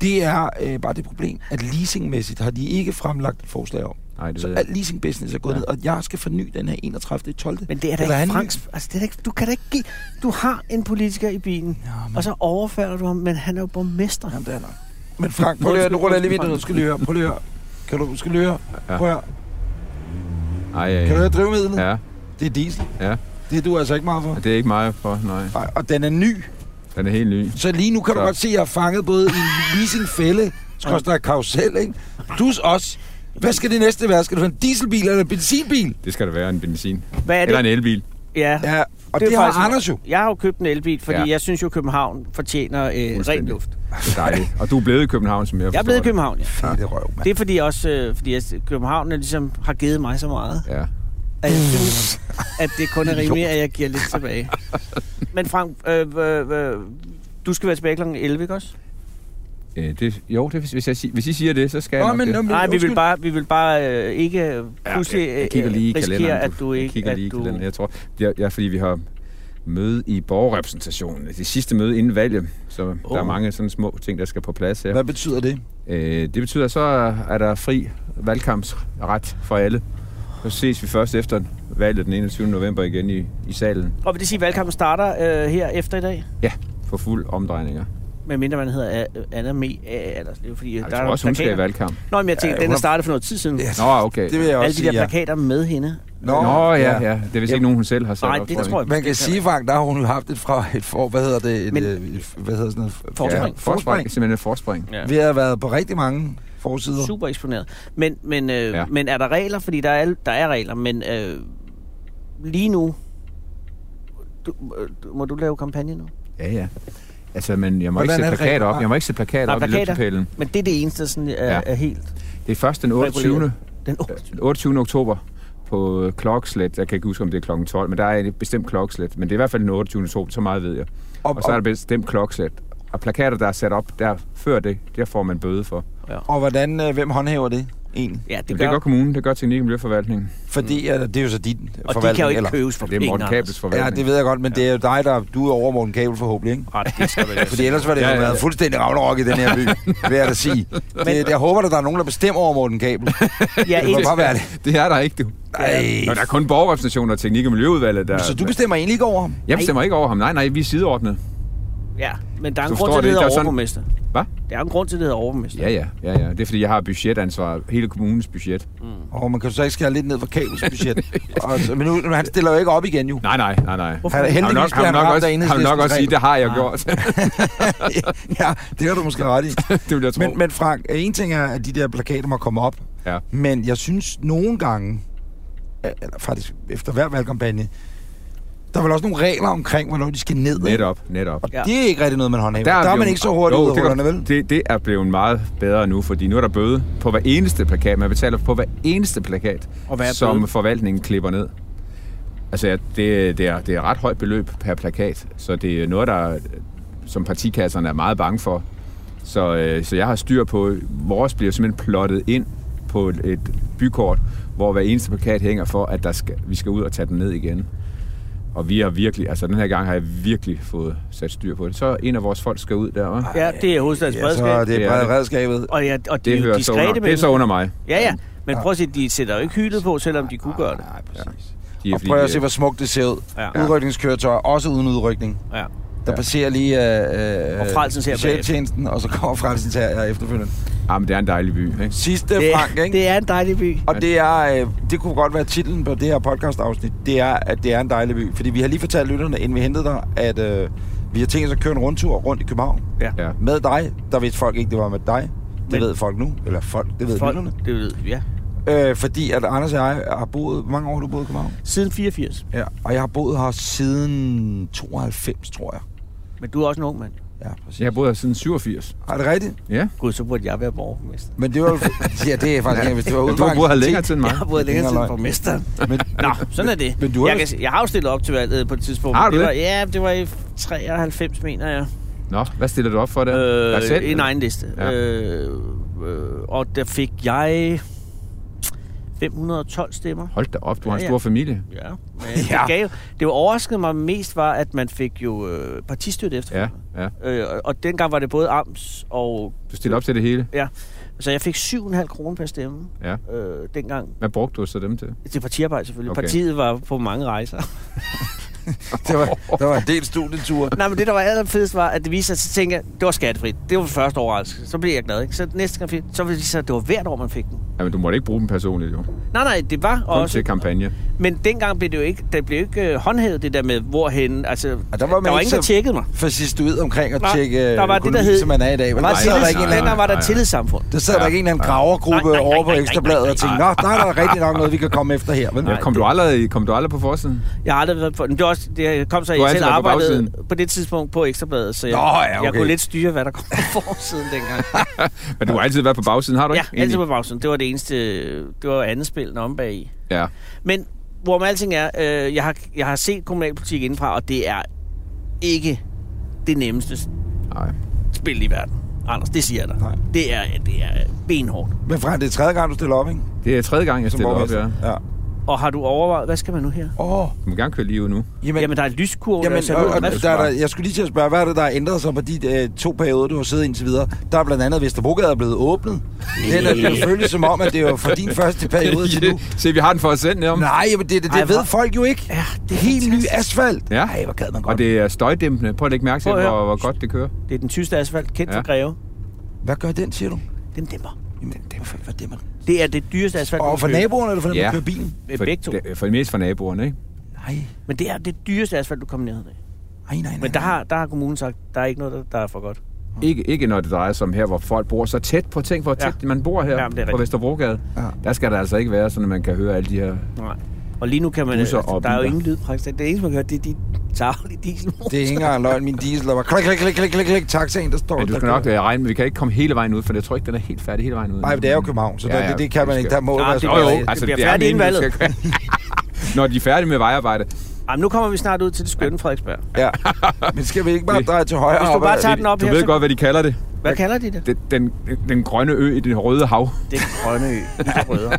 [SPEAKER 3] Det er øh, bare det problem, at leasingmæssigt har de ikke fremlagt et forslag om.
[SPEAKER 5] Nej, det
[SPEAKER 3] Så
[SPEAKER 5] ved
[SPEAKER 3] al
[SPEAKER 5] jeg.
[SPEAKER 3] leasing business er gået
[SPEAKER 5] Ja.
[SPEAKER 3] ned, og jeg skal forny den her 31. 12.
[SPEAKER 2] Men det er da
[SPEAKER 3] Eller
[SPEAKER 2] ikke
[SPEAKER 3] han-
[SPEAKER 2] Franks... Altså, det er da ikke, du kan da ikke give... Du har en politiker i bilen,
[SPEAKER 3] Ja, men-
[SPEAKER 2] og så overfører du ham, men han er jo borgmester.
[SPEAKER 3] Jamen, det er nok. Men Frank, prøv lige at høre, nu ruller jeg lige vinduet, skal lige høre, prøv lige at høre. Kan du, skal lige høre,
[SPEAKER 5] Ja.
[SPEAKER 3] prøv at høre.
[SPEAKER 5] Ej, ja,
[SPEAKER 3] Kan du
[SPEAKER 5] ja.
[SPEAKER 3] høre drivmidlet?
[SPEAKER 5] Ja,
[SPEAKER 3] Det er diesel.
[SPEAKER 5] ja.
[SPEAKER 3] Det er du altså ikke meget for.
[SPEAKER 5] Og det er ikke meget for, nej.
[SPEAKER 3] Nej, Og den er ny.
[SPEAKER 5] Den er helt ny.
[SPEAKER 3] Så lige nu kan du
[SPEAKER 5] Så.
[SPEAKER 3] godt se, at jeg har fanget både i leasingfælde, skorstræk karusel, ikke? Plus os. Hvad skal det næste være? Skal du have en dieselbil eller en benzinbil?
[SPEAKER 5] Det skal der være en benzin.
[SPEAKER 2] Hvad er
[SPEAKER 5] Eller
[SPEAKER 2] det?
[SPEAKER 5] en elbil.
[SPEAKER 2] Ja,
[SPEAKER 3] Ja, og
[SPEAKER 2] er
[SPEAKER 3] det, det har
[SPEAKER 2] faktisk-
[SPEAKER 3] Anders jo.
[SPEAKER 2] Jeg har jo købt en elbil, fordi
[SPEAKER 5] Ja.
[SPEAKER 2] ja. jeg synes jo, at København fortjener øh, ren
[SPEAKER 5] Fuldstændig.
[SPEAKER 2] luft.
[SPEAKER 5] Det er dejligt. Og du er blevet i København, som jeg forstår
[SPEAKER 2] Jeg er blevet i
[SPEAKER 5] det.
[SPEAKER 2] København, ja.
[SPEAKER 3] Ja, det er røv, mand.
[SPEAKER 2] Det er fordi også, øh, fordi jeg, København er ligesom har givet mig så meget,
[SPEAKER 5] Ja.
[SPEAKER 2] at jeg synes,
[SPEAKER 3] Mm.
[SPEAKER 2] at det kun er rimeligt, at jeg giver lidt tilbage. Men Frank, øh, øh, øh, du skal være tilbage kl. 11, ikke også?
[SPEAKER 5] Øh, det, jo, det, hvis, jeg, sig- hvis I siger det, så skal jeg
[SPEAKER 3] Nå,
[SPEAKER 5] nok
[SPEAKER 3] men,
[SPEAKER 5] det.
[SPEAKER 3] nå, men,
[SPEAKER 2] Nej, vi vil
[SPEAKER 3] undskyld.
[SPEAKER 2] bare, vi vil bare øh, ikke øh, pludselig
[SPEAKER 5] jeg, jeg kigger lige i
[SPEAKER 2] øh, risikere,
[SPEAKER 5] kalenderen.
[SPEAKER 2] at du
[SPEAKER 5] jeg
[SPEAKER 2] ikke...
[SPEAKER 5] kigger lige i
[SPEAKER 2] at du...
[SPEAKER 5] kalenderen. Jeg tror, ja, ja, fordi vi har møde i borgerrepræsentationen. Det sidste møde inden valget, så oh. der er mange sådan små ting, der skal på plads her.
[SPEAKER 3] Hvad betyder det?
[SPEAKER 5] Øh, det betyder, at så er der fri valgkampsret for alle. Så ses vi først efter valget den 21. november igen i, i salen
[SPEAKER 2] Og vil det sige, at valgkampen starter øh, her efter i dag?
[SPEAKER 5] for fuld omdrejninger.
[SPEAKER 2] Med mindre man hedder øh, Anna Me... øh, Eller, det er jo fordi,
[SPEAKER 5] Jeg tror også, hun skal i valgkamp.
[SPEAKER 2] Nå, men jeg tænker,
[SPEAKER 3] Ja,
[SPEAKER 2] den
[SPEAKER 3] hun
[SPEAKER 2] er
[SPEAKER 3] har-
[SPEAKER 2] startet for noget tid siden.
[SPEAKER 3] Ja,
[SPEAKER 5] Nå, okay.
[SPEAKER 3] Det vil jeg også
[SPEAKER 2] Alle de
[SPEAKER 3] sige,
[SPEAKER 2] der plakater med hende.
[SPEAKER 5] Nå, Nå ja, ja. Det er vist
[SPEAKER 3] Ja.
[SPEAKER 5] ikke nogen, hun selv har sat
[SPEAKER 2] Nej,
[SPEAKER 5] op,
[SPEAKER 2] det tror jeg
[SPEAKER 3] Man kan
[SPEAKER 2] bestemt
[SPEAKER 3] sige, Frank, der har hun jo haft et fra et for, hvad hedder det? Et,
[SPEAKER 2] Men-
[SPEAKER 3] øh, et, hvad hedder sådan noget?
[SPEAKER 2] Forspring.
[SPEAKER 5] Ja,
[SPEAKER 3] Forspring.
[SPEAKER 5] forspring. Det er Simpelthen et forspring.
[SPEAKER 2] Ja.
[SPEAKER 3] Vi har været på rigtig mange forsider.
[SPEAKER 2] Super eksponeret. Men, men, øh,
[SPEAKER 5] Ja.
[SPEAKER 2] ja. men er der regler? Fordi der er, der er regler, men øh, lige nu... Du, øh, du- må du lave kampagne nu?
[SPEAKER 5] Ja, ja. Altså, men jeg må
[SPEAKER 3] Hvordan
[SPEAKER 5] ikke
[SPEAKER 3] er
[SPEAKER 5] sætte
[SPEAKER 3] det
[SPEAKER 5] plakater
[SPEAKER 3] rent?
[SPEAKER 5] op. Jeg må ikke sætte plakater
[SPEAKER 2] Nej,
[SPEAKER 5] op i
[SPEAKER 2] plakater.
[SPEAKER 5] lygtepælen.
[SPEAKER 2] Men det er det eneste, der sådan, er,
[SPEAKER 5] Ja.
[SPEAKER 2] ja. er helt...
[SPEAKER 5] Det er først den 28.
[SPEAKER 2] Den, oh,
[SPEAKER 5] den 28. oktober på øh, klokkeslæt. Jeg kan ikke huske, om det er klokken 12, men der er et bestemt klokkeslæt. Men det er i hvert fald den 28. oktober, så meget ved jeg.
[SPEAKER 3] Og,
[SPEAKER 5] Og så er der
[SPEAKER 3] og,
[SPEAKER 5] bestemt klokkeslæt. Og plakater, der er sat op der før det, der får man bøde for. Det
[SPEAKER 3] og hvordan, øh, hvem håndhæver det egentlig?
[SPEAKER 2] ja, det
[SPEAKER 5] men det
[SPEAKER 2] gør...
[SPEAKER 5] gør kommunen, det gør Teknik- og Miljøforvaltningen.
[SPEAKER 3] Fordi mm. det er jo så din
[SPEAKER 2] og de
[SPEAKER 3] forvaltning,
[SPEAKER 2] kan jo ikke
[SPEAKER 3] eller?
[SPEAKER 2] købes for
[SPEAKER 5] Det er Morten
[SPEAKER 2] penge,
[SPEAKER 5] Kabels
[SPEAKER 2] Anders.
[SPEAKER 3] Ja,
[SPEAKER 5] forvaltning.
[SPEAKER 3] det ved jeg godt, men det er jo dig, der... Du er over Morten Kabel forhåbentlig, ikke?
[SPEAKER 2] Ej,
[SPEAKER 5] Ah,
[SPEAKER 2] det skal være.
[SPEAKER 3] Fordi ellers var det jo
[SPEAKER 5] altså Ja, ja, ja.
[SPEAKER 3] været fuldstændig ragnarok i den her by, vil jeg da sige. Det, jeg håber, at der er nogen, der bestemmer over Morten Kabel.
[SPEAKER 2] ja,
[SPEAKER 3] Det må bare
[SPEAKER 2] et,
[SPEAKER 3] være det.
[SPEAKER 5] Det er der ikke, du. Nå, der er
[SPEAKER 3] Ej.
[SPEAKER 5] kun borgerrepræsentationer og Teknik- og Miljøudvalget. Der...
[SPEAKER 3] Så du bestemmer egentlig ikke over ham?
[SPEAKER 5] Jeg bestemmer ikke over ham. Nej, nej, vi er sideordnet.
[SPEAKER 2] ja, men der er en
[SPEAKER 5] Så
[SPEAKER 2] grund
[SPEAKER 5] står
[SPEAKER 2] til,
[SPEAKER 5] det
[SPEAKER 2] det
[SPEAKER 5] ikke,
[SPEAKER 2] hedder
[SPEAKER 5] der er sådan-
[SPEAKER 2] overborgmester.
[SPEAKER 5] Hvad?
[SPEAKER 2] Der er en grund til, det hedder overborgmester.
[SPEAKER 5] Ja, ja, ja, ja. Det er, fordi jeg har budgetansvar. Hele kommunens budget.
[SPEAKER 3] Og man kan jo så ikke skære lidt ned for Kabels budget. Og så- Men nu, men han stiller jo ikke op igen, jo.
[SPEAKER 5] Nej, nej, nej,
[SPEAKER 3] Han
[SPEAKER 5] nej.
[SPEAKER 3] er
[SPEAKER 5] Har du nok,
[SPEAKER 3] heldigvis
[SPEAKER 5] har du
[SPEAKER 3] bliver han
[SPEAKER 5] nok
[SPEAKER 3] ramt af
[SPEAKER 5] også, har du nok også sige,
[SPEAKER 3] enhedslisten.
[SPEAKER 5] det har jeg gjort.
[SPEAKER 3] Ja, det har du måske ret i.
[SPEAKER 5] det vil jeg tro.
[SPEAKER 3] Men, men Frank, en ting er, at de der plakater må komme op.
[SPEAKER 5] Ja.
[SPEAKER 3] Men jeg synes nogle gange, eller faktisk efter hver valgkampagne, der er vel også nogle regler omkring, hvornår de skal ned. ikke?
[SPEAKER 5] Netop, netop.
[SPEAKER 2] Ja.
[SPEAKER 3] Det er ikke rigtig noget, man håndhæver. Der er, der er
[SPEAKER 5] blevet-
[SPEAKER 3] man ikke så hurtigt ud af
[SPEAKER 5] det,
[SPEAKER 3] hullerne,
[SPEAKER 5] gør-
[SPEAKER 3] vel?
[SPEAKER 5] Det, det er blevet meget bedre nu, fordi nu er der bøde på hver eneste plakat. Man betaler på hver eneste plakat,
[SPEAKER 2] Og hvad er
[SPEAKER 5] som
[SPEAKER 2] bøden?
[SPEAKER 5] forvaltningen klipper ned. Altså, ja, det, det, er, det er et ret højt beløb per plakat, så det er noget, der, som partikasserne er meget bange for. Så, øh, så jeg har styr på, vores bliver simpelthen plottet ind på et- et bykort, hvor hver eneste plakat hænger for, at der skal, vi skal ud og tage den ned igen. Og vi har virkelig, altså den her gang har jeg virkelig fået sat styr på det. Så en af vores folk skal ud der, hva'?
[SPEAKER 2] Ja, det er hovedstadens
[SPEAKER 3] Ja, så er
[SPEAKER 2] bredskab.
[SPEAKER 5] Det
[SPEAKER 3] det
[SPEAKER 5] er det.
[SPEAKER 3] bredredskabet.
[SPEAKER 2] Og, ja, og de,
[SPEAKER 5] Det,
[SPEAKER 2] er jo
[SPEAKER 5] hører så under,
[SPEAKER 2] diskrete
[SPEAKER 5] det er så
[SPEAKER 2] mennesker.
[SPEAKER 5] under mig.
[SPEAKER 2] Ja, ja. Men prøv at se, de sætter jo ikke hyldet på, selvom de kunne gøre det.
[SPEAKER 3] Nej, præcis.
[SPEAKER 5] De er,
[SPEAKER 3] Og
[SPEAKER 5] fordi, øh,
[SPEAKER 3] prøv at
[SPEAKER 5] de-
[SPEAKER 3] se, hvor smukt det ser ud.
[SPEAKER 2] Ja.
[SPEAKER 3] Udrykningskøretøjer, også uden udrykning.
[SPEAKER 2] Ja.
[SPEAKER 3] Der
[SPEAKER 5] Ja.
[SPEAKER 3] passerer lige øh, øh,
[SPEAKER 2] Og Frelsens her bagefter.
[SPEAKER 3] specialtjenesten, og så kommer Frelsens her øh, efterfølgende.
[SPEAKER 5] Ah, men det er en dejlig by, ikke?
[SPEAKER 3] Sidste,
[SPEAKER 2] Det,
[SPEAKER 3] Frank, ikke?
[SPEAKER 2] det er en dejlig by.
[SPEAKER 3] Og det er, øh, det kunne godt være titlen på det her podcast-afsnit, det er, at det er en dejlig by. Fordi vi har lige fortalt lytterne, inden vi hentede dig, at øh, vi har tænkt os at køre en rundtur rundt i København.
[SPEAKER 2] Ja.
[SPEAKER 5] Ja.
[SPEAKER 3] Med dig, der vidste folk ikke, det var med dig. Det
[SPEAKER 2] Men-
[SPEAKER 3] ved folk nu. Eller folk, det ved folk.
[SPEAKER 2] Folk,
[SPEAKER 3] lytterne.
[SPEAKER 2] det ved vi, ja.
[SPEAKER 3] Øh, fordi at Anders og jeg har boet... Hvor mange år har du boet i København?
[SPEAKER 2] Siden 84.
[SPEAKER 3] Ja. Og jeg har boet her siden 92, tror jeg.
[SPEAKER 2] Men du er også en ung mand.
[SPEAKER 3] Ja, præcis.
[SPEAKER 5] Jeg har boet her siden 87.
[SPEAKER 3] Er det rigtigt?
[SPEAKER 5] Ja.
[SPEAKER 2] Gud, så burde jeg være borgmester.
[SPEAKER 3] Men det var jo... ja, det er faktisk... Ja. Hvis det var
[SPEAKER 5] Du har boet her længere tid end mig.
[SPEAKER 2] Jeg har boet
[SPEAKER 3] Det
[SPEAKER 2] længere
[SPEAKER 3] er
[SPEAKER 2] siden
[SPEAKER 3] løgn.
[SPEAKER 2] borgmesteren.
[SPEAKER 3] Men,
[SPEAKER 2] Nå, sådan er det.
[SPEAKER 3] men du har
[SPEAKER 2] jeg,
[SPEAKER 3] jo-
[SPEAKER 2] kan, se- jeg har jo stillet op til valget på et tidspunkt.
[SPEAKER 5] Har
[SPEAKER 2] men
[SPEAKER 5] du
[SPEAKER 2] det? Var,
[SPEAKER 5] det?
[SPEAKER 2] ja, det var i 93, mener jeg. Øh,
[SPEAKER 5] Nå, hvad stiller du op for der? Dig selv?
[SPEAKER 2] en egen liste.
[SPEAKER 5] Ja.
[SPEAKER 2] Ja. Øh, øh, og der fik jeg 512 stemmer.
[SPEAKER 5] Hold da op, du har en
[SPEAKER 2] Ja, ja.
[SPEAKER 5] stor familie.
[SPEAKER 2] Ja, men ja. Det, gav, jo- det var overraskede mig mest var, at man fik jo øh, partistøtte efter.
[SPEAKER 5] Ja, ja.
[SPEAKER 2] Øh, og- og dengang var det både amts og...
[SPEAKER 5] Du stiller op til det hele.
[SPEAKER 2] Ja, så jeg fik 7,5 kroner per stemme
[SPEAKER 5] Ja.
[SPEAKER 2] øh, dengang.
[SPEAKER 5] Hvad brugte du så dem til?
[SPEAKER 2] Til partiarbejde selvfølgelig.
[SPEAKER 5] Okay.
[SPEAKER 2] Okay. Partiet var på mange rejser.
[SPEAKER 3] der var, der var,
[SPEAKER 6] en del studieture.
[SPEAKER 2] Nej, men det, der var allerfedest, var, at det viste sig, så tænkte jeg, det var skattefrit. Det var første overraskelse. Så blev jeg glad, ikke? Så næste gang fik, så ville det vise sig, at det var hvert år, man fik den.
[SPEAKER 5] Jamen, du måtte ikke bruge dem personligt, jo.
[SPEAKER 2] Nej, nej, det var
[SPEAKER 5] Kun
[SPEAKER 2] også...
[SPEAKER 5] til kampagne.
[SPEAKER 2] Men dengang blev det jo ikke, det blev ikke øh, håndhævet, det der med, hvorhen... Altså,
[SPEAKER 3] der var man
[SPEAKER 2] der var
[SPEAKER 3] ikke
[SPEAKER 2] ingen, der
[SPEAKER 3] så-
[SPEAKER 2] tjekkede mig.
[SPEAKER 3] fascist ud omkring at
[SPEAKER 2] Nej,
[SPEAKER 3] tjekke
[SPEAKER 2] der var det,
[SPEAKER 3] økonomi,
[SPEAKER 2] der hed-
[SPEAKER 3] som man er i dag.
[SPEAKER 2] Der
[SPEAKER 3] vel?
[SPEAKER 2] var,
[SPEAKER 3] Der
[SPEAKER 2] et
[SPEAKER 3] sad der ikke en
[SPEAKER 2] tillids,
[SPEAKER 3] eller
[SPEAKER 2] dengang
[SPEAKER 3] anden,
[SPEAKER 2] var der
[SPEAKER 5] nej,
[SPEAKER 2] et
[SPEAKER 5] nej.
[SPEAKER 2] tillidssamfund.
[SPEAKER 3] der sad der ikke en eller anden gravergruppe
[SPEAKER 2] Nej, nej, nej,
[SPEAKER 3] over på
[SPEAKER 2] nej, nej,
[SPEAKER 3] Ekstrabladet
[SPEAKER 2] nej,
[SPEAKER 3] og tænkte, nå,
[SPEAKER 2] nej.
[SPEAKER 3] der er der rigtig nok noget, vi kan komme efter her. Vel?
[SPEAKER 5] Ja, kom, du aldrig, kom du aldrig på forsiden?
[SPEAKER 2] Jeg har aldrig været på... Men det, var også, det kom så, at
[SPEAKER 5] Du har
[SPEAKER 2] jeg selv
[SPEAKER 5] altid været på
[SPEAKER 2] arbejdede på,
[SPEAKER 5] bagsiden.
[SPEAKER 2] på det tidspunkt på Ekstrabladet, så jeg,
[SPEAKER 3] Nå, ja,
[SPEAKER 2] jeg
[SPEAKER 3] okay.
[SPEAKER 2] kunne lidt styre, hvad der kom på forsiden dengang.
[SPEAKER 5] Men du har altid været på bagsiden, har du
[SPEAKER 2] ja,
[SPEAKER 5] ikke?
[SPEAKER 2] altid
[SPEAKER 5] Egentlig?
[SPEAKER 2] på bagsiden. Det var det eneste... Det var andet spil, når om bag i.
[SPEAKER 5] Ja.
[SPEAKER 2] Men hvor med alting er, øh, jeg, har, jeg har set kommunalpolitik indenfra, og det er ikke det nemmeste
[SPEAKER 5] Nej.
[SPEAKER 2] spil i verden. Anders, det siger jeg dig.
[SPEAKER 3] Nej.
[SPEAKER 2] Det er, det er benhårdt.
[SPEAKER 3] Men Frank, det er tredje gang, du stiller op, ikke?
[SPEAKER 5] Det er tredje gang, jeg stiller op, ja.
[SPEAKER 3] borgmester. ja.
[SPEAKER 2] Og har du overvejet, hvad skal man nu her?
[SPEAKER 3] Åh, oh,
[SPEAKER 5] Du må gerne køre lige ud nu.
[SPEAKER 2] Men,
[SPEAKER 3] jamen,
[SPEAKER 2] Jamen, der er lyskurve, der er
[SPEAKER 3] jamen
[SPEAKER 2] sat
[SPEAKER 3] og,
[SPEAKER 2] ud af
[SPEAKER 3] og,
[SPEAKER 2] drift.
[SPEAKER 3] der, er der, jeg skulle lige til at spørge, hvad er det, der har ændret sig på de øh, to perioder, du har siddet indtil videre? Der er blandt andet, at Vesterbrogade er blevet åbnet. Den er blevet følt som om, at det var fra din første periode til nu.
[SPEAKER 5] Se, vi har den for os selv, om.
[SPEAKER 3] Nej, men det, det, det
[SPEAKER 2] Ej,
[SPEAKER 3] Ej, ved
[SPEAKER 2] hvor-
[SPEAKER 3] folk jo ikke.
[SPEAKER 2] Ja, det er
[SPEAKER 3] Helt ny
[SPEAKER 2] fantastisk.
[SPEAKER 3] asfalt.
[SPEAKER 5] Ja.
[SPEAKER 3] Ej, hvor gad man godt.
[SPEAKER 5] Og det er støjdæmpende. Prøv at lægge mærke til,
[SPEAKER 2] Prøv at høre.
[SPEAKER 5] hvor, hvor godt det kører.
[SPEAKER 2] Det er den tyske asfalt, kendt ja.
[SPEAKER 5] Ja.
[SPEAKER 2] for Greve.
[SPEAKER 3] Hvad gør den, siger du?
[SPEAKER 2] Den dæmmer.
[SPEAKER 3] Jamen, det er hvad det man.
[SPEAKER 2] Det er det dyreste asfalt, man
[SPEAKER 3] Og
[SPEAKER 2] kan
[SPEAKER 3] for
[SPEAKER 2] købe.
[SPEAKER 3] naboerne, eller for dem, der
[SPEAKER 5] Ja.
[SPEAKER 3] kører bilen?
[SPEAKER 2] Med
[SPEAKER 5] For,
[SPEAKER 2] begge to.
[SPEAKER 5] det- for det mest for naboerne, ikke?
[SPEAKER 3] Nej,
[SPEAKER 2] Men det er det dyreste asfalt, du kommer ned i.
[SPEAKER 3] nej, nej. nej.
[SPEAKER 2] Men der har, der har kommunen sagt, der er ikke noget, der, der er for godt.
[SPEAKER 3] Mm.
[SPEAKER 5] Ikke, ikke når det drejer sig om her, hvor folk bor så tæt på. Tænk, hvor
[SPEAKER 2] Ja.
[SPEAKER 5] tæt man bor her
[SPEAKER 2] Jamen, det er
[SPEAKER 5] på
[SPEAKER 2] rigtigt.
[SPEAKER 5] Vesterbrogade.
[SPEAKER 3] Ja.
[SPEAKER 5] Der skal der altså ikke være, sådan at man kan høre alle de her...
[SPEAKER 2] Nej. Og lige nu kan man...
[SPEAKER 5] Busser
[SPEAKER 2] altså,
[SPEAKER 5] og
[SPEAKER 2] der er jo
[SPEAKER 5] biler.
[SPEAKER 2] ingen lyd praktisk. talt. Det eneste, man kan høre, det er de tavlige dieselmotorer.
[SPEAKER 3] Det er ikke engang løgn, min diesel, der var klik, klik, klik, klik, klik, klik, taxaen, der står.
[SPEAKER 5] Men du
[SPEAKER 3] der
[SPEAKER 5] skal nok
[SPEAKER 3] kører.
[SPEAKER 5] øh, regne med, vi kan ikke komme hele vejen ud, for jeg tror ikke, den er helt færdig hele vejen ud.
[SPEAKER 3] Nej, men det er jo København, så ja, ja, det, det, kan man ikke. Der må
[SPEAKER 2] Ja,
[SPEAKER 3] være
[SPEAKER 2] det
[SPEAKER 5] Jo,
[SPEAKER 3] sådan
[SPEAKER 5] jo,
[SPEAKER 3] noget.
[SPEAKER 2] Det
[SPEAKER 5] altså,
[SPEAKER 2] bliver
[SPEAKER 5] det er
[SPEAKER 2] færdigt
[SPEAKER 5] meningen,
[SPEAKER 2] inden
[SPEAKER 5] det skal køre. Når de er færdige med vejarbejde.
[SPEAKER 2] Jamen, nu kommer vi snart ud til det skønne Frederiksberg.
[SPEAKER 3] Ja. Men skal vi ikke bare dreje til højre?
[SPEAKER 2] Hvis du
[SPEAKER 3] op
[SPEAKER 2] bare
[SPEAKER 3] ad-
[SPEAKER 2] tager den op
[SPEAKER 5] Du
[SPEAKER 2] her,
[SPEAKER 5] ved
[SPEAKER 2] så-
[SPEAKER 5] godt, hvad de kalder det.
[SPEAKER 2] Hvad kalder de det?
[SPEAKER 5] Den, den, den grønne ø i det røde hav.
[SPEAKER 2] Det er Grønne Ø. Lille Rødder.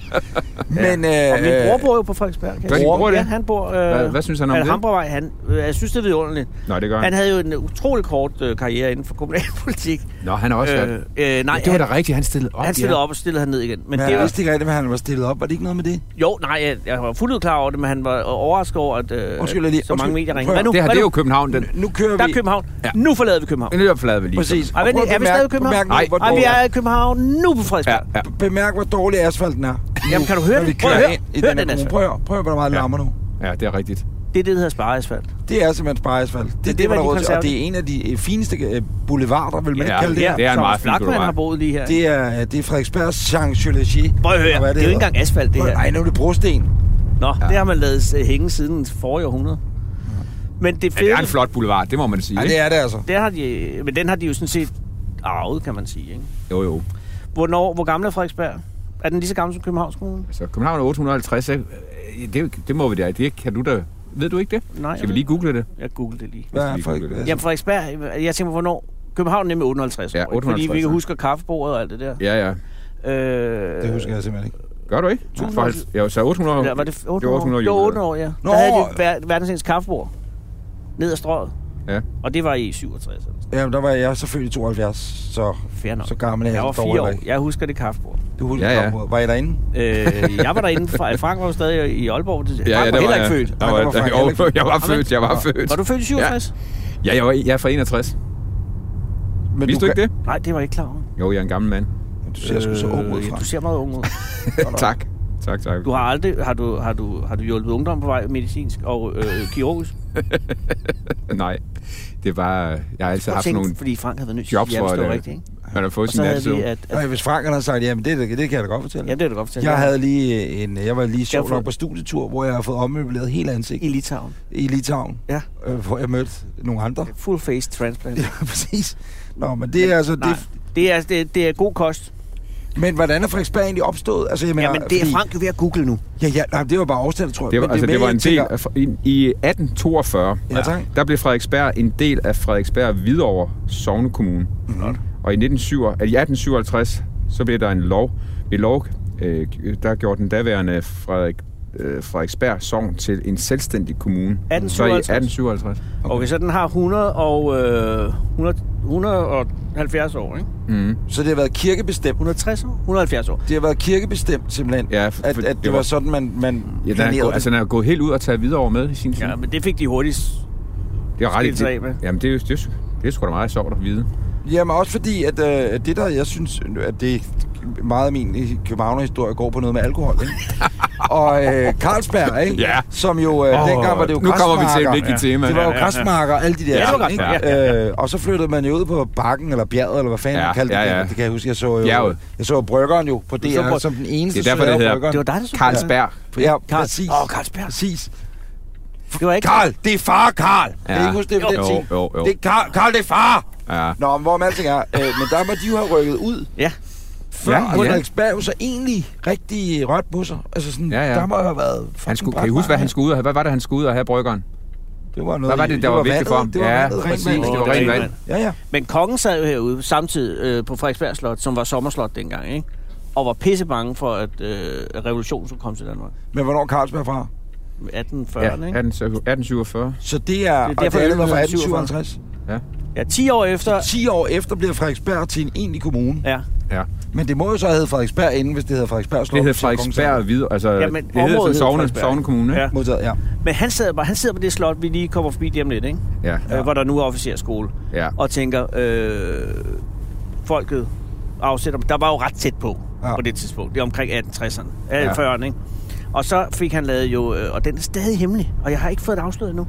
[SPEAKER 3] Men,
[SPEAKER 2] Og min bror
[SPEAKER 3] øh,
[SPEAKER 2] bor jo på Frederiksberg. Kan jeg
[SPEAKER 5] Gør din
[SPEAKER 2] sige.
[SPEAKER 5] bror det?
[SPEAKER 2] Ja, han bor... Øh,
[SPEAKER 5] Hvad- hvad synes han om
[SPEAKER 2] altså,
[SPEAKER 5] det?
[SPEAKER 2] Hamborgvej, han, øh, jeg synes, det er vidunderligt.
[SPEAKER 5] Nå, det gør
[SPEAKER 2] Han
[SPEAKER 5] han.
[SPEAKER 2] havde jo en utrolig kort øh, karriere inden for kommunalpolitik.
[SPEAKER 5] Nå, han er også øh,
[SPEAKER 2] øh, øh, nej,
[SPEAKER 5] Nej, det var
[SPEAKER 2] han,
[SPEAKER 5] da rigtigt, han stillede op.
[SPEAKER 2] han stillede
[SPEAKER 5] ja.
[SPEAKER 2] op og stillede han ned igen. Men
[SPEAKER 3] men
[SPEAKER 2] det er
[SPEAKER 3] jeg
[SPEAKER 2] jo,
[SPEAKER 3] vidste ikke rigtigt, hvad han var stillet op. Var det ikke noget med det?
[SPEAKER 2] jo, nej, jeg, jeg var fuldt ud klar over det, men han var overrasket over, at øh,
[SPEAKER 3] Undskyld, jeg lige-
[SPEAKER 2] så mange
[SPEAKER 3] undskyld.
[SPEAKER 2] medier
[SPEAKER 3] Prøv
[SPEAKER 2] ringede.
[SPEAKER 3] at-
[SPEAKER 2] Hvad nu?
[SPEAKER 5] Det her,
[SPEAKER 2] Hvad
[SPEAKER 5] det er
[SPEAKER 2] nu?
[SPEAKER 5] jo København. Den,
[SPEAKER 3] Nu kører
[SPEAKER 2] Der er
[SPEAKER 3] vi...
[SPEAKER 2] København.
[SPEAKER 5] Ja.
[SPEAKER 2] Nu forlader vi København.
[SPEAKER 5] en løbflade ved lige.
[SPEAKER 3] Præcis.
[SPEAKER 2] Ej, vent
[SPEAKER 3] prøv at
[SPEAKER 2] lige, er vi
[SPEAKER 3] bemærke-
[SPEAKER 2] stadig i København?
[SPEAKER 3] Bemærk, nu,
[SPEAKER 5] Nej.
[SPEAKER 3] hvor
[SPEAKER 2] Ej, vi
[SPEAKER 3] dårlig-
[SPEAKER 2] er i København nu på
[SPEAKER 5] Ja,
[SPEAKER 2] Frederiksberg.
[SPEAKER 5] ja.
[SPEAKER 3] Bemærk, hvor dårlig asfalten er.
[SPEAKER 2] Jamen, kan du høre
[SPEAKER 3] Når vi
[SPEAKER 2] det? Prøv at
[SPEAKER 3] kører
[SPEAKER 2] høre.
[SPEAKER 3] ind i
[SPEAKER 2] Hør
[SPEAKER 3] den her
[SPEAKER 2] den
[SPEAKER 3] kommune.
[SPEAKER 2] asfalt.
[SPEAKER 3] Prøv at høre, prør, hvor der meget
[SPEAKER 5] Ja.
[SPEAKER 3] larmer nu.
[SPEAKER 5] ja, det er rigtigt.
[SPEAKER 2] Det er det, der hedder spareasfalt.
[SPEAKER 3] Det er simpelthen bare asfalt. Det, det, det
[SPEAKER 2] var
[SPEAKER 3] var der
[SPEAKER 2] de
[SPEAKER 3] råd til, og det
[SPEAKER 2] konservative.
[SPEAKER 3] er en af de øh, fineste øh, boulevarder, vil man
[SPEAKER 5] Ja,
[SPEAKER 3] ikke kalde det
[SPEAKER 5] ja.
[SPEAKER 3] her.
[SPEAKER 5] det er en meget fin
[SPEAKER 2] Flakman
[SPEAKER 5] boulevard.
[SPEAKER 2] har boet lige her.
[SPEAKER 3] Det er, øh, det er Frederiksberg Jean-Jules
[SPEAKER 2] Prøv at høre, det er jo ikke engang asfalt, det her.
[SPEAKER 3] Nej, nu er det brosten.
[SPEAKER 2] Nå, ja. det har man lavet øh, hænge siden forrige århundrede. Men det
[SPEAKER 5] Ja, det
[SPEAKER 2] fede,
[SPEAKER 5] er en flot boulevard, det må man sige.
[SPEAKER 3] Ja,
[SPEAKER 5] ikke?
[SPEAKER 3] det er det altså.
[SPEAKER 2] det har de, men den har de jo sådan set arvet, kan man sige. Ikke?
[SPEAKER 5] Jo, jo.
[SPEAKER 2] Hvornår, hvor gammel er Frederiksberg? Er den lige så gammel som Københavns Kommune?
[SPEAKER 5] Altså, København er 850, ikke? Øh, det, det må vi da. Det kan du da. Ved du ikke det?
[SPEAKER 2] Nej, jeg
[SPEAKER 5] Skal vi
[SPEAKER 2] ved
[SPEAKER 5] lige google det?
[SPEAKER 2] Jeg googlede det lige.
[SPEAKER 3] Hvad
[SPEAKER 5] skal
[SPEAKER 3] er
[SPEAKER 5] lige google
[SPEAKER 3] Frederik?
[SPEAKER 5] det.
[SPEAKER 3] Altså,
[SPEAKER 2] Jamen Frederiksberg, jeg tænker, hvornår? København er nemlig 58
[SPEAKER 5] Ja,
[SPEAKER 2] år, ikke?
[SPEAKER 5] 58,
[SPEAKER 2] fordi vi kan
[SPEAKER 5] ja.
[SPEAKER 2] huske kaffebordet og alt det der.
[SPEAKER 5] Ja, ja.
[SPEAKER 2] Øh,
[SPEAKER 3] det husker jeg simpelthen ikke.
[SPEAKER 5] Gør du ikke?
[SPEAKER 2] Nej.
[SPEAKER 5] For, ja, så 800...
[SPEAKER 2] Eller var det 800?
[SPEAKER 5] Det var 800
[SPEAKER 2] Det var
[SPEAKER 5] jubilæet.
[SPEAKER 2] 800 år, ja.
[SPEAKER 3] Nå!
[SPEAKER 2] Der havde de ver- verdens eneste kaffebord ned ad strøget.
[SPEAKER 5] Ja.
[SPEAKER 2] Og det var i altså. 67. eller sådan.
[SPEAKER 3] Jamen, der var jeg selvfølgelig 72, så,
[SPEAKER 2] Fair nok.
[SPEAKER 3] så gammel er jeg.
[SPEAKER 2] Jeg var
[SPEAKER 3] dog
[SPEAKER 2] fire
[SPEAKER 3] heller
[SPEAKER 2] år.
[SPEAKER 3] ikke.
[SPEAKER 2] Jeg husker det kaffebord.
[SPEAKER 3] Du husker
[SPEAKER 5] Ja,
[SPEAKER 3] ja,
[SPEAKER 5] ja.
[SPEAKER 3] ja. Var I derinde?
[SPEAKER 2] Øh, jeg var derinde. Fra, Frank var jo stadig i Aalborg. Det, Frank var
[SPEAKER 5] der
[SPEAKER 2] heller
[SPEAKER 5] jeg.
[SPEAKER 2] ikke født.
[SPEAKER 5] Der
[SPEAKER 3] Nej,
[SPEAKER 5] var,
[SPEAKER 3] der var Frank
[SPEAKER 5] jo,
[SPEAKER 3] heller ikke
[SPEAKER 5] jeg var
[SPEAKER 2] født.
[SPEAKER 5] født, jeg var
[SPEAKER 3] Amen.
[SPEAKER 5] født.
[SPEAKER 2] Var du født i 67?
[SPEAKER 5] Ja, jeg, var, jeg er fra 61.
[SPEAKER 3] Men
[SPEAKER 5] Vidste du ikke det?
[SPEAKER 2] Nej, det var jeg ikke klar over.
[SPEAKER 5] Jo, jeg er en gammel mand.
[SPEAKER 3] det? Du ser sgu så ung ud,
[SPEAKER 2] Øh, ja,
[SPEAKER 3] Frank.
[SPEAKER 2] du ser meget ung ud.
[SPEAKER 5] tak. Tak, tak.
[SPEAKER 2] Du har aldrig... Har du, har du, har du hjulpet ungdom på vej medicinsk og øh, kirurgisk?
[SPEAKER 5] Nej, det var... Jeg har altid
[SPEAKER 2] Jeg
[SPEAKER 5] haft
[SPEAKER 2] tænkte,
[SPEAKER 5] nogle
[SPEAKER 2] fordi Frank havde været nødt til
[SPEAKER 5] jobs,
[SPEAKER 2] at
[SPEAKER 5] hvor
[SPEAKER 2] det var
[SPEAKER 5] øh,
[SPEAKER 2] rigtigt, ikke?
[SPEAKER 5] man har fået
[SPEAKER 2] Og så
[SPEAKER 5] sin
[SPEAKER 2] havde vi, øh,
[SPEAKER 5] nattesøvn.
[SPEAKER 2] at... at
[SPEAKER 3] Nej, hvis Frank han havde sagt, jamen det, det, det kan jeg da godt fortælle.
[SPEAKER 2] ja, det er du godt fortalt.
[SPEAKER 3] Jeg havde lige øh, en, jeg var lige sjovt
[SPEAKER 2] Jeg har
[SPEAKER 3] nok på studietur, hvor jeg har fået ommøbleret hele
[SPEAKER 2] I
[SPEAKER 3] ansigtet
[SPEAKER 2] Litauen.
[SPEAKER 3] i Litauen,
[SPEAKER 2] Ja.
[SPEAKER 3] øh, hvor jeg mødte nogle andre.
[SPEAKER 2] Full face transplant.
[SPEAKER 3] Ja, præcis. Nå, men det er altså...
[SPEAKER 2] Nej,
[SPEAKER 3] Det,
[SPEAKER 2] det er, det, det er god kost.
[SPEAKER 3] men hvordan er Frederiksberg egentlig opstået? Altså, jeg mener,
[SPEAKER 2] Jamen, det er
[SPEAKER 3] fordi-
[SPEAKER 2] Frank jo ved at google nu.
[SPEAKER 3] Ja, ja, nej, det var bare afstand, tror jeg.
[SPEAKER 5] Det var,
[SPEAKER 3] Men
[SPEAKER 5] altså,
[SPEAKER 3] er
[SPEAKER 5] det
[SPEAKER 3] med,
[SPEAKER 5] var en
[SPEAKER 3] jeg
[SPEAKER 5] del
[SPEAKER 3] tænker-
[SPEAKER 5] af, i, i 1842,
[SPEAKER 3] Ja, tak.
[SPEAKER 5] der blev Frederiksberg en del af Frederiksberg Hvidovre Sognekommune. Mm-hmm. Og i, 1907, eller i 1857, så blev der en lov, ved lov, øh, der gjorde den daværende Frederik øh, Frederiksberg Sogn til en selvstændig kommune.
[SPEAKER 2] 1857.
[SPEAKER 5] Så i 1857.
[SPEAKER 2] Okay. okay, så den har 100 og, øh, 100, 170 år, ikke?
[SPEAKER 5] Mm.
[SPEAKER 3] Så det har været kirkebestemt.
[SPEAKER 2] 160 år? 170 år.
[SPEAKER 3] Det har været kirkebestemt simpelthen,
[SPEAKER 5] Ja,
[SPEAKER 3] at,
[SPEAKER 5] for-
[SPEAKER 3] at det,
[SPEAKER 5] det
[SPEAKER 3] var
[SPEAKER 5] var-
[SPEAKER 3] sådan, man, man
[SPEAKER 5] Ja, den er,
[SPEAKER 3] planerede
[SPEAKER 5] gået, altså,
[SPEAKER 3] det.
[SPEAKER 5] den er gået helt ud og taget videre over med i sin tid.
[SPEAKER 2] Ja, men det fik de hurtigt
[SPEAKER 5] det er
[SPEAKER 2] skilt sig af med.
[SPEAKER 5] det, jamen, det, er jo- det, er jo- det er sgu da meget sjovt at vide.
[SPEAKER 3] Jamen også fordi, at øh, det der, jeg synes, at det meget af min i- københavnerhistorie går på noget med alkohol, ikke? og øh, Carlsberg, ikke?
[SPEAKER 5] Ja.
[SPEAKER 3] Som jo, øh,
[SPEAKER 5] Åh,
[SPEAKER 3] oh, dengang var det jo
[SPEAKER 5] nu kommer vi til et
[SPEAKER 3] græsmarker.
[SPEAKER 5] vigtigt tema.
[SPEAKER 3] Det var jo
[SPEAKER 5] Ja, ja,
[SPEAKER 2] ja.
[SPEAKER 3] græsmarker og alle de der.
[SPEAKER 2] Ja, det var
[SPEAKER 3] ting,
[SPEAKER 2] græsmarker,
[SPEAKER 3] ikke? Øh, og så flyttede man jo ud på bakken, eller bjerget, eller hvad fanden
[SPEAKER 5] Ja,
[SPEAKER 3] man kaldte
[SPEAKER 5] ja,
[SPEAKER 3] det.
[SPEAKER 5] ja.
[SPEAKER 3] Det kan jeg huske, jeg så jo,
[SPEAKER 5] Bjerget.
[SPEAKER 3] jeg så jo bryggeren jo på
[SPEAKER 2] så
[SPEAKER 3] DR,
[SPEAKER 2] bryg-
[SPEAKER 3] som den eneste
[SPEAKER 5] Det er derfor,
[SPEAKER 3] så jeg
[SPEAKER 5] det hedder-
[SPEAKER 3] Bryggeren.
[SPEAKER 2] Det var dig, der så
[SPEAKER 5] Carlsberg.
[SPEAKER 3] Ja,
[SPEAKER 2] Carl.
[SPEAKER 3] præcis.
[SPEAKER 2] Åh, Carlsberg.
[SPEAKER 3] Præcis.
[SPEAKER 2] Det var ikke...
[SPEAKER 3] Karl, det er far, Karl. Ja.
[SPEAKER 5] Ja.
[SPEAKER 3] Kan I ikke huske det på den
[SPEAKER 5] Jo,
[SPEAKER 3] tid?
[SPEAKER 5] jo, jo.
[SPEAKER 3] Det er Karl, Karl, det er far.
[SPEAKER 5] Ja.
[SPEAKER 3] Nå, men hvor med alting er. Øh, men der må de jo have rykket ud,
[SPEAKER 2] Ja.
[SPEAKER 3] før
[SPEAKER 5] Ja,
[SPEAKER 3] ja,
[SPEAKER 5] ja.
[SPEAKER 3] Frederiksberg jo så egentlig rigtig rødt på sig. Altså sådan, ja,
[SPEAKER 5] Ja,
[SPEAKER 3] ja.
[SPEAKER 5] ja.
[SPEAKER 3] der må have været fucking
[SPEAKER 5] Han skulle, kan I huske, hvad han skulle ud og have? Hvad var det, han skulle ud og have, bryggeren?
[SPEAKER 3] skulle? Det var noget,
[SPEAKER 5] Hvad var det, der var, var vigtigt for ham?
[SPEAKER 3] Det var
[SPEAKER 5] ja,
[SPEAKER 3] vandet,
[SPEAKER 5] præcis.
[SPEAKER 3] rent vand.
[SPEAKER 5] Det
[SPEAKER 2] Åh,
[SPEAKER 5] var rent vand.
[SPEAKER 3] Ja, ja.
[SPEAKER 2] Men kongen sad jo herude samtidig øh, på Frederiksberg Slot, som var sommerslot dengang, ikke? Og var pisse bange for, at øh, at revolutionen skulle komme til Danmark.
[SPEAKER 3] Men hvornår er Carlsberg fra?
[SPEAKER 2] 1840'erne,
[SPEAKER 5] Ja,
[SPEAKER 2] ikke?
[SPEAKER 5] 18, 1847.
[SPEAKER 3] Så det er, det er
[SPEAKER 2] derfor,
[SPEAKER 3] og det er
[SPEAKER 2] øl var
[SPEAKER 3] fra
[SPEAKER 2] fra
[SPEAKER 3] 1857.
[SPEAKER 2] Ja, 10 år efter...
[SPEAKER 3] 10 år efter bliver Frederiksberg til en egentlig kommune.
[SPEAKER 2] Ja,
[SPEAKER 5] Ja.
[SPEAKER 3] Men det må jo så have heddet Frederiksberg inden, hvis det hedder Frederiksberg Slot.
[SPEAKER 5] Det hed Frederiksberg og Hvid, altså
[SPEAKER 2] Ja,
[SPEAKER 5] ja,
[SPEAKER 2] men
[SPEAKER 5] men det hed
[SPEAKER 2] området
[SPEAKER 5] sådan
[SPEAKER 2] hed
[SPEAKER 5] Sovne,
[SPEAKER 2] Frederiksberg.
[SPEAKER 5] Sovne Kommune, ikke?
[SPEAKER 2] Ja.
[SPEAKER 3] Modtaget, ja.
[SPEAKER 2] men han sidder, bare, han sidder på det slot, vi lige kommer forbi lige om lidt, ikke?
[SPEAKER 5] Ja.
[SPEAKER 2] Ja. Øh, hvor der nu er officerskole.
[SPEAKER 5] ja.
[SPEAKER 2] og tænker, øh, folket afsætter Der var jo ret tæt på
[SPEAKER 3] Ja.
[SPEAKER 2] ja. på det tidspunkt. Det er omkring 1860'erne.
[SPEAKER 5] Ja.
[SPEAKER 2] Ja. 40'erne, ikke? Og så fik han lavet jo, øh, og den er stadig hemmelig, og jeg har ikke fået det afsløret endnu,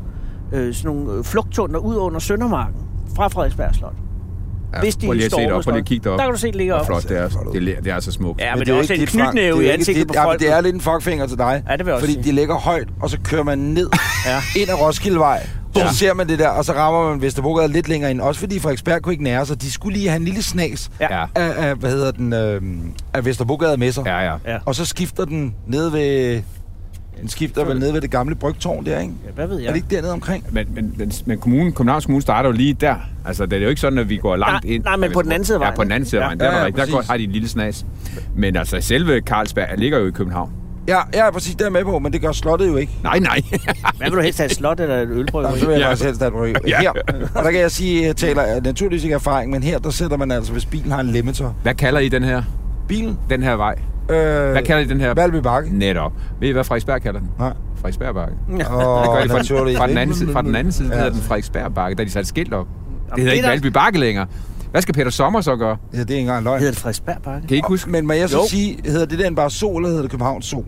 [SPEAKER 2] øh, sådan nogle øh, flugttunder ud under Søndermarken fra Frederiksberg Slot.
[SPEAKER 5] ja.
[SPEAKER 2] hvis de
[SPEAKER 5] prøv lige at
[SPEAKER 2] står
[SPEAKER 5] se det op,
[SPEAKER 2] med
[SPEAKER 5] prøv lige at
[SPEAKER 2] slot.
[SPEAKER 5] kigge derop.
[SPEAKER 2] Der kan du se, det ligger
[SPEAKER 5] Hvor
[SPEAKER 2] op.
[SPEAKER 5] Flot, det er, det, er, det er så smukt.
[SPEAKER 2] Ja,
[SPEAKER 5] Ja.
[SPEAKER 2] men,
[SPEAKER 3] Men
[SPEAKER 2] det er
[SPEAKER 3] jo
[SPEAKER 2] også en
[SPEAKER 3] dit frank.
[SPEAKER 2] knytnæve
[SPEAKER 3] Det er
[SPEAKER 2] i
[SPEAKER 3] ikke
[SPEAKER 2] ansigtet
[SPEAKER 3] dit-
[SPEAKER 2] på
[SPEAKER 3] Jamen,
[SPEAKER 2] folk.
[SPEAKER 3] det er lidt en fuckfinger til dig.
[SPEAKER 2] Ja, det vil jeg også
[SPEAKER 3] Fordi
[SPEAKER 2] sige.
[SPEAKER 3] det ligger højt, og så kører man ned
[SPEAKER 2] Ja.
[SPEAKER 3] ind ad Roskildevej. Så ja. ser man det der, og så rammer man Vesterbrogade lidt længere ind. Også fordi Frederiksberg kunne ikke nære sig. De skulle lige have en lille snas
[SPEAKER 5] Ja.
[SPEAKER 3] af, af, hvad hedder den, øh, af Vesterbrogade med sig.
[SPEAKER 5] Ja, ja.
[SPEAKER 2] Ja.
[SPEAKER 3] Og så skifter den ned ved... Den skifter vel ned ved det gamle brygtårn der, ikke?
[SPEAKER 2] ja. Hvad ved
[SPEAKER 3] Ja.
[SPEAKER 2] jeg?
[SPEAKER 3] Er det ikke dernede omkring?
[SPEAKER 5] Men, men, men, men kommunen, Københavns Kommune starter jo lige der. Altså, det er jo ikke sådan, at vi går langt
[SPEAKER 2] Nej,
[SPEAKER 5] ind.
[SPEAKER 2] nej, men på den anden side af
[SPEAKER 5] Ja,
[SPEAKER 2] vejen,
[SPEAKER 5] på den anden side af
[SPEAKER 2] ikke?
[SPEAKER 5] vejen.
[SPEAKER 3] Ja.
[SPEAKER 5] Der, er
[SPEAKER 3] Ja,
[SPEAKER 5] der
[SPEAKER 3] ja,
[SPEAKER 5] ikke- der går,
[SPEAKER 3] præcis.
[SPEAKER 5] har de en lille snas. Men altså, selve Carlsberg ligger jo i København.
[SPEAKER 3] Ja, ja, præcis, der er jeg med på, men det gør slottet jo ikke.
[SPEAKER 5] Nej, nej.
[SPEAKER 2] Hvad vil du helst have, et slot eller et
[SPEAKER 3] Jamen,
[SPEAKER 2] ølbryggeri?
[SPEAKER 3] så vil jeg
[SPEAKER 5] Ja.
[SPEAKER 3] faktisk helst have et røg.
[SPEAKER 5] Ja.
[SPEAKER 3] Her. Og der kan jeg sige, at jeg taler naturligvis ikke erfaring, men her der sætter man altså, hvis bilen har en limiter.
[SPEAKER 5] Hvad kalder I den her?
[SPEAKER 3] Bilen?
[SPEAKER 5] Den her vej?
[SPEAKER 3] Øh,
[SPEAKER 5] Hvad kalder I den her?
[SPEAKER 3] Valby Bakke.
[SPEAKER 5] Netop. Ved I, hvad Frederiksberg kalder den?
[SPEAKER 3] Nej.
[SPEAKER 5] Frederiksbergbakke.
[SPEAKER 3] Og
[SPEAKER 5] Gør det fra, den- fra, den anden side, fra den anden side ja. hedder den Frederiksbergbakke, da de satte skilt op. Det hedder
[SPEAKER 2] det
[SPEAKER 5] ikke
[SPEAKER 2] er
[SPEAKER 5] Valby Bakke længere. Hvad skal Peter Sommer så gøre?
[SPEAKER 3] Ja, det er ikke engang løgn.
[SPEAKER 2] Hedder det Frederiksberg Bakke?
[SPEAKER 5] Kan I ikke huske?
[SPEAKER 3] Men må jeg så
[SPEAKER 2] Jo.
[SPEAKER 3] sige, hedder det den bare sol, eller hedder det Københavns Zoo?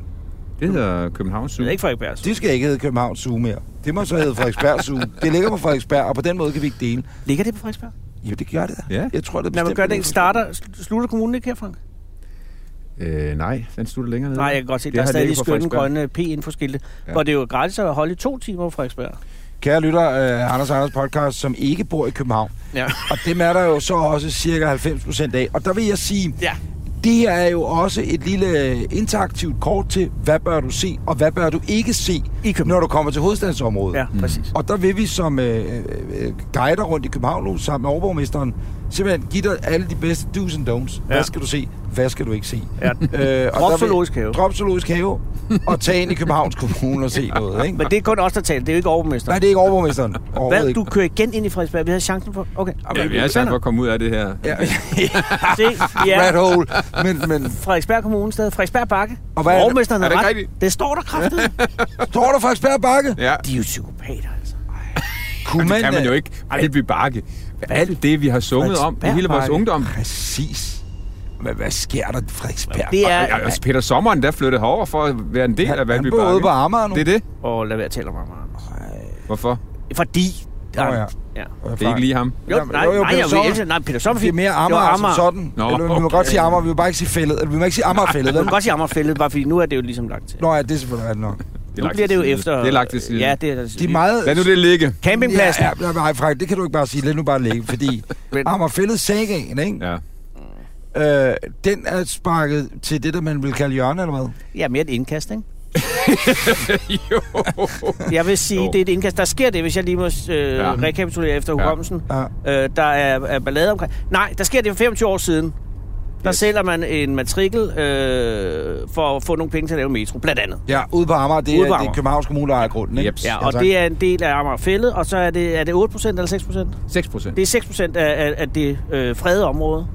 [SPEAKER 5] Det hedder Københavns
[SPEAKER 2] Det
[SPEAKER 5] Zoo.
[SPEAKER 2] er ikke Frederiksberg. Slot.
[SPEAKER 3] Det skal ikke hedde Københavns Zoo mere. Det må så hedde Frederiksberg Zoo. Det ligger på Frederiksberg, og på den måde kan vi ikke dele.
[SPEAKER 2] Ligger det på Frederiksberg?
[SPEAKER 3] Jo, det gør det da.
[SPEAKER 5] Ja.
[SPEAKER 3] Jeg tror, det er
[SPEAKER 2] Når man
[SPEAKER 3] bestemt
[SPEAKER 2] gør det,
[SPEAKER 3] ligger
[SPEAKER 2] ikke
[SPEAKER 3] på
[SPEAKER 2] starter, sl- slutter kommunen ikke her, Frank?
[SPEAKER 5] Øh, nej, den slutter længere
[SPEAKER 3] Mm.
[SPEAKER 5] ned.
[SPEAKER 2] Nej, jeg kan godt se,
[SPEAKER 5] Det
[SPEAKER 2] der er
[SPEAKER 5] har
[SPEAKER 2] stadig
[SPEAKER 5] ligget på
[SPEAKER 2] skønne
[SPEAKER 5] Frederiksberg.
[SPEAKER 2] grønne p-infoskilte, ja.
[SPEAKER 5] Ja.
[SPEAKER 2] hvor det er jo gratis at holde i to timer på Frederiksberg.
[SPEAKER 3] Frederiksberg. Kære lytter, uh, Anders og Anders podcast, som ikke bor i København.
[SPEAKER 2] Ja.
[SPEAKER 3] Og dem er der jo så også cirka 90 procent af. Og der vil jeg sige,
[SPEAKER 2] Ja.
[SPEAKER 3] det her er jo også et lille øh, interaktivt kort til, hvad bør du se, og hvad bør du ikke se,
[SPEAKER 2] I København.
[SPEAKER 3] når du kommer til hovedstadsområdet.
[SPEAKER 2] Ja, præcis.
[SPEAKER 3] Og der vil vi som øh, øh, øh, guider rundt i København nu, sammen med overborgmesteren, simpelthen give dig alle de bedste do's and don'ts. Ja. Hvad
[SPEAKER 2] Ja.
[SPEAKER 3] skal du se? Hvad skal du ikke se?
[SPEAKER 2] Ja.
[SPEAKER 3] Øh, og
[SPEAKER 2] Drop
[SPEAKER 3] der vil-
[SPEAKER 2] zoologisk have.
[SPEAKER 3] Drop zoologisk have. Og tage ind i Københavns Kommune og se noget, ikke?
[SPEAKER 2] Men det er kun os, der taler. Det er jo ikke
[SPEAKER 3] Nej,
[SPEAKER 2] overmesteren.
[SPEAKER 3] det er ikke overborgmesteren. Overhovedet
[SPEAKER 2] Hvad?
[SPEAKER 3] ikke.
[SPEAKER 2] Du kører igen ind i Frederiksberg. Vi havde chancen for... Okay.
[SPEAKER 5] Ja, Ah, vi er sat for at komme ud af det her.
[SPEAKER 3] Ja,
[SPEAKER 2] Se,
[SPEAKER 3] rat
[SPEAKER 2] ja.
[SPEAKER 3] hole. Men, men
[SPEAKER 2] Frederiksberg Kommune stadig. Frederiksberg Bakke.
[SPEAKER 3] Og hvad er det-
[SPEAKER 2] Overmesteren
[SPEAKER 5] er det
[SPEAKER 2] har
[SPEAKER 5] ikke
[SPEAKER 2] ret.
[SPEAKER 5] rigtigt?
[SPEAKER 2] Det står der kraftigt.
[SPEAKER 3] tror du faktisk Spær Bakke?
[SPEAKER 5] Ja,
[SPEAKER 2] De er jo psykopater, altså.
[SPEAKER 3] Kunne
[SPEAKER 5] det kan man jo
[SPEAKER 3] øh,
[SPEAKER 5] ikke. Valby Bakke. Alt det, vi har sunget om i hele vores
[SPEAKER 2] Frederiksberg.
[SPEAKER 5] ungdom.
[SPEAKER 3] Præcis. Hvad, hvad sker der, Frederiksberg?
[SPEAKER 2] Det
[SPEAKER 5] Ja,
[SPEAKER 2] er...
[SPEAKER 5] altså Peter Sommeren, der flyttede herover for at være en del
[SPEAKER 3] Han-
[SPEAKER 5] af Valby
[SPEAKER 3] han bor
[SPEAKER 5] Bakke.
[SPEAKER 3] ude på Amager nu.
[SPEAKER 5] Det er det.
[SPEAKER 2] Åh, lad være at tale om ham.
[SPEAKER 5] Hvorfor?
[SPEAKER 2] Fordi...
[SPEAKER 3] Nå, ja.
[SPEAKER 2] ja.
[SPEAKER 5] Det er ikke lige ham.
[SPEAKER 2] Jo,
[SPEAKER 3] Jamen,
[SPEAKER 2] nej,
[SPEAKER 3] jo, jo,
[SPEAKER 2] jo, jo, nej,
[SPEAKER 3] Peter
[SPEAKER 2] jeg vil
[SPEAKER 3] Sommer.
[SPEAKER 2] elske- Nej, Peter Sommerfilm.
[SPEAKER 3] Det er mere Amager, som sådan.
[SPEAKER 5] Nå,
[SPEAKER 3] Nå, Eller, vi må
[SPEAKER 5] okay.
[SPEAKER 3] godt sige Amager, vi vil bare ikke sige fældet. Eller vi må ikke sige Amagerfældet.
[SPEAKER 2] Du
[SPEAKER 3] vel?
[SPEAKER 2] kan godt sige Amagerfældet, bare fordi nu er det jo ligesom lagt til.
[SPEAKER 3] Nå ja, det er selvfølgelig rigtigt nok.
[SPEAKER 5] Det er
[SPEAKER 2] Nu
[SPEAKER 5] lagt
[SPEAKER 2] bliver det
[SPEAKER 5] til
[SPEAKER 2] jo
[SPEAKER 5] side.
[SPEAKER 2] efter...
[SPEAKER 5] Det er lagt til side.
[SPEAKER 2] Ja, det er...
[SPEAKER 3] De er meget...
[SPEAKER 5] Lad nu det ligge.
[SPEAKER 2] Campingpladsen.
[SPEAKER 3] Ja, ja, nej, Frank, det kan du ikke bare sige. Lad nu bare ligge, fordi
[SPEAKER 2] Men-
[SPEAKER 3] Amagerfællet sagaen, ikke?
[SPEAKER 5] Ja.
[SPEAKER 3] Ja. Øh, den er sparket til det, der man vil kalde hjørne, eller hvad?
[SPEAKER 2] Ja, mere et indkast, ikke?
[SPEAKER 5] jo.
[SPEAKER 2] Jeg vil sige,
[SPEAKER 5] Jo.
[SPEAKER 2] det er et indkast. Der sker det, hvis jeg lige må øh,
[SPEAKER 5] Ja.
[SPEAKER 2] rekapitulere efter hukommelsen.
[SPEAKER 3] Ja.
[SPEAKER 2] Øh, der er, er ballade omkring. Nej, der sker det for 25 år siden. Der
[SPEAKER 5] Yes.
[SPEAKER 2] sælger man en matrikel øh, for at få nogle penge til at lave metro, blandt andet.
[SPEAKER 3] Ja, ude på Amager, det,
[SPEAKER 2] Ude
[SPEAKER 3] er,
[SPEAKER 2] på
[SPEAKER 3] det er
[SPEAKER 2] Amager.
[SPEAKER 3] Københavns Kommune, der ejer grunden, ikke?
[SPEAKER 5] Yep.
[SPEAKER 2] Ja,
[SPEAKER 3] Ja,
[SPEAKER 2] og
[SPEAKER 3] tak.
[SPEAKER 2] det er en del af Amager Fællet, og så er det, er det 8% eller 6%?
[SPEAKER 5] 6 procent.
[SPEAKER 2] Det er 6% af, af, af det øh, fredede område.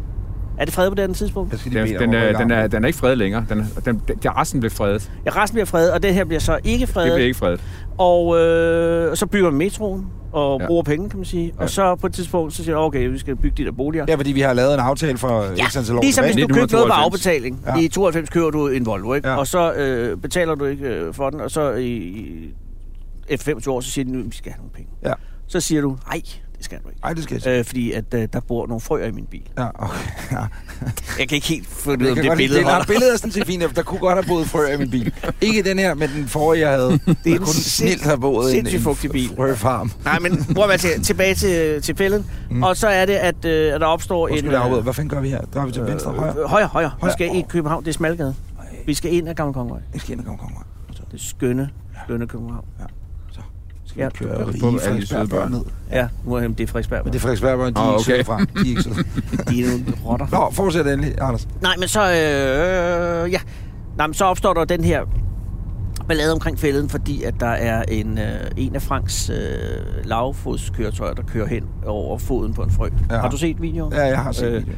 [SPEAKER 2] Er det fredet på det andet tidspunkt?
[SPEAKER 3] Jeg skal lige
[SPEAKER 5] Den,
[SPEAKER 3] bede
[SPEAKER 5] den,
[SPEAKER 3] dig om at
[SPEAKER 5] er,
[SPEAKER 3] rykke
[SPEAKER 5] den, er,
[SPEAKER 3] armen.
[SPEAKER 5] den er ikke fredet længere. Den, er- den, den, den, resten blev fredet. Det
[SPEAKER 2] Ja, resten bliver fredet, og det her bliver så ikke fredet.
[SPEAKER 5] blev ikke fredet.
[SPEAKER 2] Og øh, så bygger man metroen og
[SPEAKER 5] Ja.
[SPEAKER 2] ja. bruger penge, kan man sige. Ja.
[SPEAKER 5] Ja.
[SPEAKER 2] Og så på et tidspunkt, så siger jeg, okay, vi skal bygge de der boliger.
[SPEAKER 3] Ja, fordi vi har lavet en aftale for ja, ekstra antal år
[SPEAKER 2] Ligesom hvis
[SPEAKER 3] tilbage.
[SPEAKER 2] du købte noget på
[SPEAKER 5] 1992.
[SPEAKER 2] afbetaling.
[SPEAKER 3] Ja.
[SPEAKER 2] Ja. I 92 kører du en Volvo, ikke?
[SPEAKER 3] Ja.
[SPEAKER 2] Ja. Og så øh, betaler du ikke øh, for den, og så i, i efter 25 år, så siger de, nu, vi skal have nogle penge.
[SPEAKER 3] Ja.
[SPEAKER 2] Så siger du, nej, det skal du ikke.
[SPEAKER 3] Ej, det skal jeg sige.
[SPEAKER 2] Øh, fordi at øh, der bor nogle frøer i min bil.
[SPEAKER 3] Ja, okay. Ja.
[SPEAKER 2] Jeg kan ikke helt få
[SPEAKER 3] Jeg
[SPEAKER 2] ud om
[SPEAKER 3] kan
[SPEAKER 2] det
[SPEAKER 3] godt lide
[SPEAKER 2] billede
[SPEAKER 3] det. Nej,
[SPEAKER 2] holder.
[SPEAKER 3] billedet er sådan set fint. Der kunne godt have boet frø i min bil. Ikke den her, men den forrige, jeg havde. Det er
[SPEAKER 2] en
[SPEAKER 3] kunne snilt have boet en,
[SPEAKER 2] sindssygt
[SPEAKER 3] en
[SPEAKER 2] fugtig bil.
[SPEAKER 3] frøfarm.
[SPEAKER 2] Nej, men prøv at være til, tilbage til, til fælden. Mm. Og så er det, at, øh, at der opstår
[SPEAKER 3] Undskyld,
[SPEAKER 2] en...
[SPEAKER 3] jeg afbryder. Hvad fanden gør vi her? Drejer vi til venstre og højre?
[SPEAKER 2] øh, højre, højre. Vi
[SPEAKER 3] Højre.
[SPEAKER 2] skal i København. Det er Smalgade.
[SPEAKER 3] Ej.
[SPEAKER 2] Vi skal ind af Gamle Kongevej.
[SPEAKER 3] Jeg skal ind og komme kommer.
[SPEAKER 2] Det er skønne, skønne København.
[SPEAKER 3] Skal
[SPEAKER 2] Ja.
[SPEAKER 3] vi køre
[SPEAKER 5] Pas
[SPEAKER 3] rige
[SPEAKER 5] på med alle de søde
[SPEAKER 3] Frederiksberg
[SPEAKER 5] børn.
[SPEAKER 3] ned?
[SPEAKER 2] Ja, nu er det er Frederiksberg.
[SPEAKER 3] Men
[SPEAKER 2] Men
[SPEAKER 3] det
[SPEAKER 2] det
[SPEAKER 3] er Frederiksberg, de er
[SPEAKER 5] Ah,
[SPEAKER 3] ikke søde
[SPEAKER 5] okay.
[SPEAKER 3] fra. De er ikke søde.
[SPEAKER 2] de er nogle rotter.
[SPEAKER 3] Nå, fortsæt endelig, Anders.
[SPEAKER 2] Nej, men så... Øh, ja. Nej, men så opstår der den her ballade omkring fælden, fordi at der er en, øh, en af Franks øh, lavfodskøretøjer, der kører hen over foden på en frø.
[SPEAKER 3] Ja.
[SPEAKER 2] Ja. Har du set videoen?
[SPEAKER 3] Ja, jeg har set
[SPEAKER 2] Øh.
[SPEAKER 3] øh. det.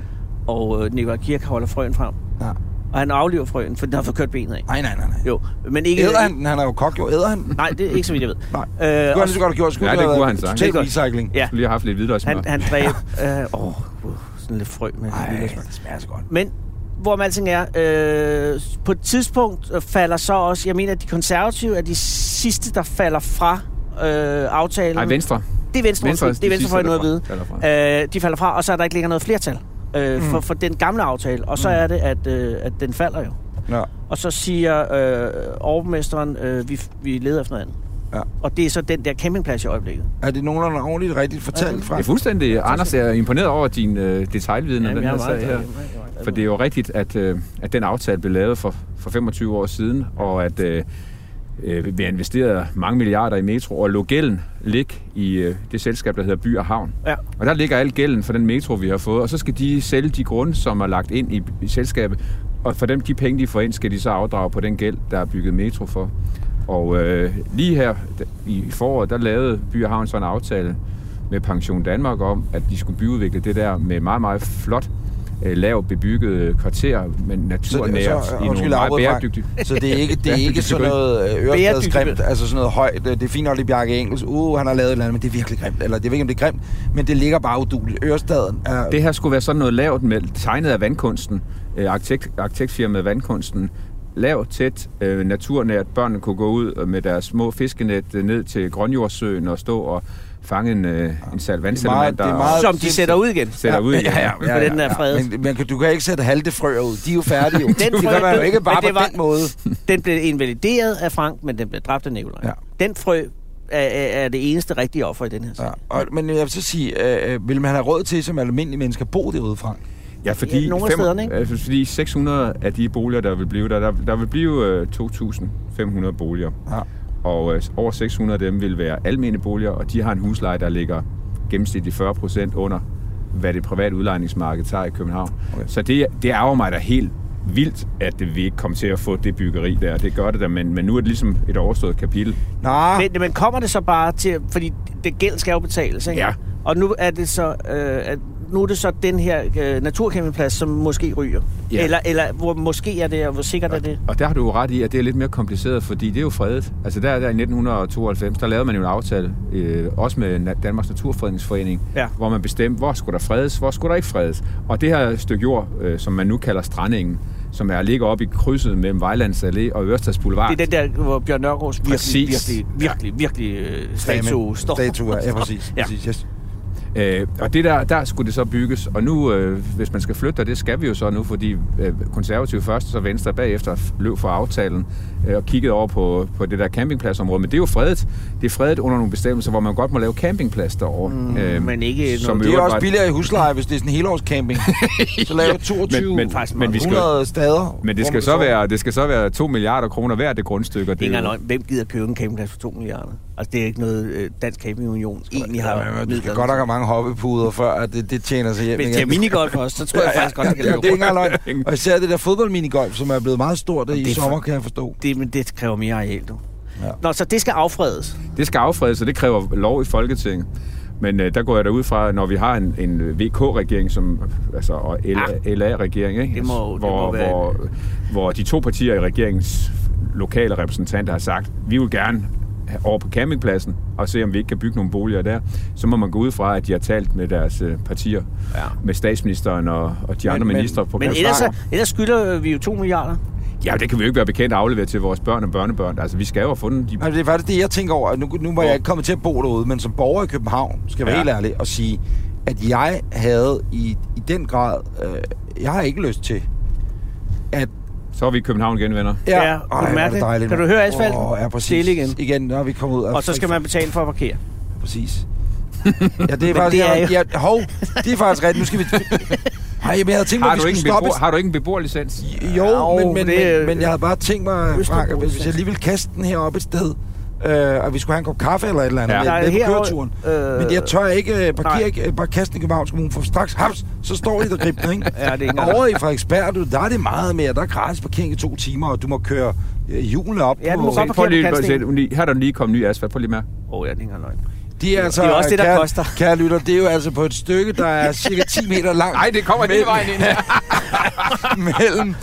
[SPEAKER 2] Og øh, Nikolaj Kirk holder frøen frem.
[SPEAKER 3] Ja.
[SPEAKER 2] Og han aflever frøen, for den har fået kørt benet af.
[SPEAKER 3] Nej, nej, nej, nej.
[SPEAKER 2] Jo, men ikke...
[SPEAKER 3] Æder han den? Han er jo kok, jo. Æder han den?
[SPEAKER 2] Nej, det er ikke så vidt, jeg ved.
[SPEAKER 3] Nej.
[SPEAKER 2] Øh,
[SPEAKER 3] Det kunne
[SPEAKER 2] og,
[SPEAKER 3] han lige så godt have gjort. Skulle
[SPEAKER 5] Ja,
[SPEAKER 3] det
[SPEAKER 5] det
[SPEAKER 3] have
[SPEAKER 5] kunne
[SPEAKER 3] været
[SPEAKER 5] han
[SPEAKER 2] sagtens.
[SPEAKER 3] Total recycling.
[SPEAKER 5] Ja.
[SPEAKER 2] ja,
[SPEAKER 5] Skulle lige have haft lidt hvidløgsmør.
[SPEAKER 2] han, han dræb... øh, Åh, øh, sådan lidt frø med...
[SPEAKER 3] Ej,
[SPEAKER 2] lille-
[SPEAKER 3] det smager så godt.
[SPEAKER 2] Men hvorom alting er, øh, på et tidspunkt øh, falder så også, jeg mener, at de konservative er de sidste, der falder fra øh, aftalen.
[SPEAKER 5] Nej, Venstre.
[SPEAKER 2] Det er venstre, venstre
[SPEAKER 5] Venstre er
[SPEAKER 2] det er
[SPEAKER 5] de
[SPEAKER 2] venstre for
[SPEAKER 5] sidste,
[SPEAKER 2] noget at vide.
[SPEAKER 5] der falder
[SPEAKER 2] Øh, de falder fra, og så er der ikke længere noget flertal
[SPEAKER 3] Mm.
[SPEAKER 2] øh, for, for den gamle aftale. Og så er det, at, øh, at den falder jo.
[SPEAKER 3] Ja.
[SPEAKER 2] Og så siger øh, overmesteren, øh, vi, vi leder efter noget andet.
[SPEAKER 3] Ja.
[SPEAKER 2] Og det er så den der campingplads i øjeblikket.
[SPEAKER 3] Er det nogenlunde ordentligt rigtigt fortalt fra?
[SPEAKER 5] Det er fuldstændig. Anders er imponeret over din øh, detaljviden om den her sag her. For det er jo rigtigt, at, øh, at den aftale blev lavet for, for 25 år siden, og at øh, øh, vi har investeret mange milliarder i metro, og lå gælden ligge i øh, det selskab, der hedder By og Havn.
[SPEAKER 2] Ja.
[SPEAKER 5] Og der ligger al gælden for den metro, vi har fået, og så skal de sælge de grunde, som er lagt ind i, i selskabet, og for dem, de penge, de får ind, skal de så afdrage på den gæld, der er bygget metro for. Og øh, lige her da- i foråret, der lavede By og Havn så en aftale med Pension Danmark om, at de skulle byudvikle det der med meget, meget flot, øh, lav bebygget kvarter, men naturnært i nogle
[SPEAKER 3] undskyld, jeg
[SPEAKER 5] meget
[SPEAKER 3] afbryder, Frank.
[SPEAKER 5] bæredygtige...
[SPEAKER 3] Så det er ikke, det er ikke
[SPEAKER 5] Bæredygtigt
[SPEAKER 3] sådan noget øh,
[SPEAKER 2] Bæredygtigt.
[SPEAKER 3] ørestadsgrimt, altså sådan noget højt. øh, Det er fint nok, det er Bjarke Engels. Uh, han har lavet et eller andet, men det er virkelig grimt. Eller det er ikke, om det er grimt, men det ligger bare uduligt. Ørestaden er...
[SPEAKER 5] Det her skulle være sådan noget lavt, med, tegnet af vandkunsten, øh, arkitekt, arkitektfirmaet Vandkunsten. Lavt, tæt, øh, naturnært. Børnene kunne gå ud øh, med deres små fiskenet øh, ned til Grønjordsøen og stå og fange en, øh, en sal vandsalamander.
[SPEAKER 3] det er
[SPEAKER 5] og
[SPEAKER 3] meget-
[SPEAKER 2] Som de sætter ud igen.
[SPEAKER 5] sætter ud igen.
[SPEAKER 2] for den er fredet.
[SPEAKER 3] Men, men du kan ikke sætte halte frøer ud. De er jo færdige. Jo. den det
[SPEAKER 2] frø
[SPEAKER 3] gør man jo
[SPEAKER 2] død,
[SPEAKER 3] ikke bare
[SPEAKER 2] men det
[SPEAKER 3] på
[SPEAKER 2] var-
[SPEAKER 3] den måde.
[SPEAKER 2] Den blev invalideret af Frank, men den blev dræbt af Nikolaj.
[SPEAKER 3] Ja.
[SPEAKER 2] Ja. Den frø er, er, er det eneste rigtige offer i den her sag.
[SPEAKER 3] Ja,
[SPEAKER 2] Ja.
[SPEAKER 3] og, men jeg vil så sige, øh, øh, vil man have råd til som almindelige mennesker at bo derude, Frank?
[SPEAKER 5] Ja, fordi,
[SPEAKER 2] Ja, nogle af stederne, ikke?
[SPEAKER 5] øh, fordi 600 af de boliger, der vil blive der, der, der vil blive øh, 2.500 boliger.
[SPEAKER 3] Ja.
[SPEAKER 5] Og øh, over 600 af dem vil være almene boliger, og de har en husleje, der ligger gennemsnitligt 40 procent under, hvad det private udlejningsmarked tager i København.
[SPEAKER 3] Okay.
[SPEAKER 5] Okay. Så det, det ærger mig da helt vildt, at det, vi ikke kom til at få det byggeri der. Det gør det da, men, men nu er det ligesom et overstået kapitel.
[SPEAKER 3] Nå,
[SPEAKER 2] Men, men kommer det så bare til... Fordi det gæld skal jo betales, ikke?
[SPEAKER 5] Ja.
[SPEAKER 2] Og nu er det så, øh, at nu er det så den her øh, naturcampingplads, som måske ryger.
[SPEAKER 5] Ja.
[SPEAKER 2] Ja. Eller, eller hvor måske er det, og hvor sikkert er det.
[SPEAKER 5] Og der har du jo ret i, at det er lidt mere kompliceret, fordi det er jo fredet. Altså der, der i 1992, der lavede man jo en aftale, øh, også med Na- Danmarks Naturfredningsforening,
[SPEAKER 2] Ja.
[SPEAKER 5] hvor man bestemte, hvor skulle der fredes, hvor skulle der ikke fredes. Og det her stykke jord, øh, som man nu kalder Strandingen, som er ligger oppe i krydset mellem Vejlands Allé og Ørestads Boulevard.
[SPEAKER 2] Det er den der, hvor Bjørn Nørgaards virkelig,
[SPEAKER 5] Præcis.
[SPEAKER 2] virkelig, virkelig, virkelig, øh, statue står.
[SPEAKER 3] Statuer, ja præcis.
[SPEAKER 2] Ja.
[SPEAKER 3] præcis yes.
[SPEAKER 5] Øh, og det der, der skulle det så bygges, og nu, øh, hvis man skal flytte, og det skal vi jo så nu, fordi øh, konservative først, så venstre bagefter løb fra aftalen øh, og kiggede over på, på det der campingpladsområde. Men det er jo fredet. Det er fredet under nogle bestemmelser, hvor man godt må lave campingplads derovre. Mm, øh,
[SPEAKER 2] men ikke noget-
[SPEAKER 5] i
[SPEAKER 3] Det er
[SPEAKER 5] øvrigt
[SPEAKER 3] også
[SPEAKER 5] var-
[SPEAKER 3] billigere i husleje, hvis det er sådan en helårscamping. Så laver 22
[SPEAKER 5] men- men vi skal-
[SPEAKER 3] 100 stader.
[SPEAKER 5] Men det skal, så være, det skal så være 2 milliarder kroner hver det grundstykke. og
[SPEAKER 2] Det er ikke
[SPEAKER 5] jo-
[SPEAKER 2] engang løgn. Hvem gider købe en campingplads for 2 milliarder? Altså, det er ikke noget, øh, Dansk Camping Union egentlig har
[SPEAKER 3] Ja, men du skal
[SPEAKER 2] midler
[SPEAKER 3] godt nok
[SPEAKER 2] til.
[SPEAKER 3] have mange hoppepuder, før at det, det tjener sig hjem
[SPEAKER 2] Hvis det er
[SPEAKER 3] igen.
[SPEAKER 2] minigolf også, så tror jeg faktisk godt, det kan
[SPEAKER 3] Ja, det er
[SPEAKER 2] løbe.
[SPEAKER 3] ikke engang løgn. Og især det der fodboldminigolf, som er blevet meget stort
[SPEAKER 2] det
[SPEAKER 3] i
[SPEAKER 2] er for-
[SPEAKER 3] sommer, kan jeg forstå.
[SPEAKER 2] Det, men det kræver mere areal, du.
[SPEAKER 3] Ja.
[SPEAKER 2] Nå, så det skal affredes.
[SPEAKER 5] Det skal affredes, og det kræver lov i Folketinget. Men øh, der går jeg derud fra, når vi har en, en øh, VK-regering som, altså, og
[SPEAKER 2] Ah.
[SPEAKER 5] LA-regering, ikke?
[SPEAKER 2] Det må- det
[SPEAKER 5] hvor,
[SPEAKER 2] må være
[SPEAKER 5] hvor, hvor de to partier i regeringens lokale repræsentanter har sagt, vi vil gerne over på campingpladsen og se, om vi ikke kan bygge nogle boliger der, så må man gå ud fra, at de har talt med deres øh, partier,
[SPEAKER 2] Ja.
[SPEAKER 5] med statsministeren og, og de
[SPEAKER 3] Men-
[SPEAKER 5] andre
[SPEAKER 3] men-
[SPEAKER 5] ministre. på
[SPEAKER 2] Men
[SPEAKER 5] Christiansborg.
[SPEAKER 2] ellers, så, ellers skylder vi jo 2 milliarder.
[SPEAKER 5] Ja, det kan vi jo ikke være bekendt at aflevere til vores børn og børnebørn. Altså, vi skal jo have fundet de...
[SPEAKER 3] Altså, det er faktisk det, jeg tænker over. Nu, nu var
[SPEAKER 5] Hvor-
[SPEAKER 3] jeg ikke kommet til at bo derude, men som borger i København, skal jeg være
[SPEAKER 5] Ja.
[SPEAKER 3] ja. helt ærlig og sige, at jeg havde i, i den grad, øh, jeg har ikke lyst til, at...
[SPEAKER 5] Så er vi i København igen, venner.
[SPEAKER 2] Ja, kunne du
[SPEAKER 3] hvor er
[SPEAKER 2] mærke det? Kan
[SPEAKER 3] mand.
[SPEAKER 2] du høre asfalten?
[SPEAKER 3] Åh, ja, præcis.
[SPEAKER 2] Stille igen.
[SPEAKER 3] Igen, når vi kommer ud. af-
[SPEAKER 2] Og så skal man betale for at parkere.
[SPEAKER 3] Præcis. Ja, det er faktisk...
[SPEAKER 2] det er
[SPEAKER 3] Det
[SPEAKER 2] jo-
[SPEAKER 3] er ja, hov, det er faktisk rigtigt. Nu skal vi... Ej, men jeg havde tænkt mig, at vi
[SPEAKER 5] Har du,
[SPEAKER 3] skulle
[SPEAKER 5] ikke en
[SPEAKER 3] stoppe...
[SPEAKER 5] beboer, har du ikke en beboerlicens?
[SPEAKER 3] Jo,
[SPEAKER 2] Jo,
[SPEAKER 3] men, men,
[SPEAKER 2] det-
[SPEAKER 3] men, men jeg havde bare tænkt mig,
[SPEAKER 2] Østerbro,
[SPEAKER 3] Frank, at hvis,
[SPEAKER 2] så.
[SPEAKER 3] hvis jeg lige ville kaste den heroppe et sted, øh, og vi skulle have en kop kaffe eller et eller andet
[SPEAKER 5] Ja.
[SPEAKER 3] ja.
[SPEAKER 2] Nej,
[SPEAKER 3] med, med på
[SPEAKER 2] herovre,
[SPEAKER 3] køreturen.
[SPEAKER 2] øh,
[SPEAKER 3] Øh, men jeg tør ikke øh,
[SPEAKER 2] nej.
[SPEAKER 3] parkere ikke, øh, bare kaste den i Københavns Kommune, for straks, haps, så står de der gribende, ikke?
[SPEAKER 2] Ja, det er ikke engang-
[SPEAKER 3] Og Over i Frederiksberg, du, der er det meget mere. Der er gratis parkering i to timer, og du må køre øh, hjulene op
[SPEAKER 2] Ja, du
[SPEAKER 3] på...
[SPEAKER 2] må godt
[SPEAKER 5] Prøv lige,
[SPEAKER 2] Parkere på
[SPEAKER 5] prøv
[SPEAKER 2] kantstenen.
[SPEAKER 5] lige- lige- her er der lige kommet ny asfalt. Prøv lige med.
[SPEAKER 2] Åh, oh, ja, det er ikke engang løgn.
[SPEAKER 3] De er altså,
[SPEAKER 2] Det er også det, der
[SPEAKER 3] kære,
[SPEAKER 2] koster.
[SPEAKER 3] Kære lytter, det er jo altså på et stykke, der er cirka 10 meter langt
[SPEAKER 5] Nej, det kommer hele vejen ind.
[SPEAKER 3] mellem.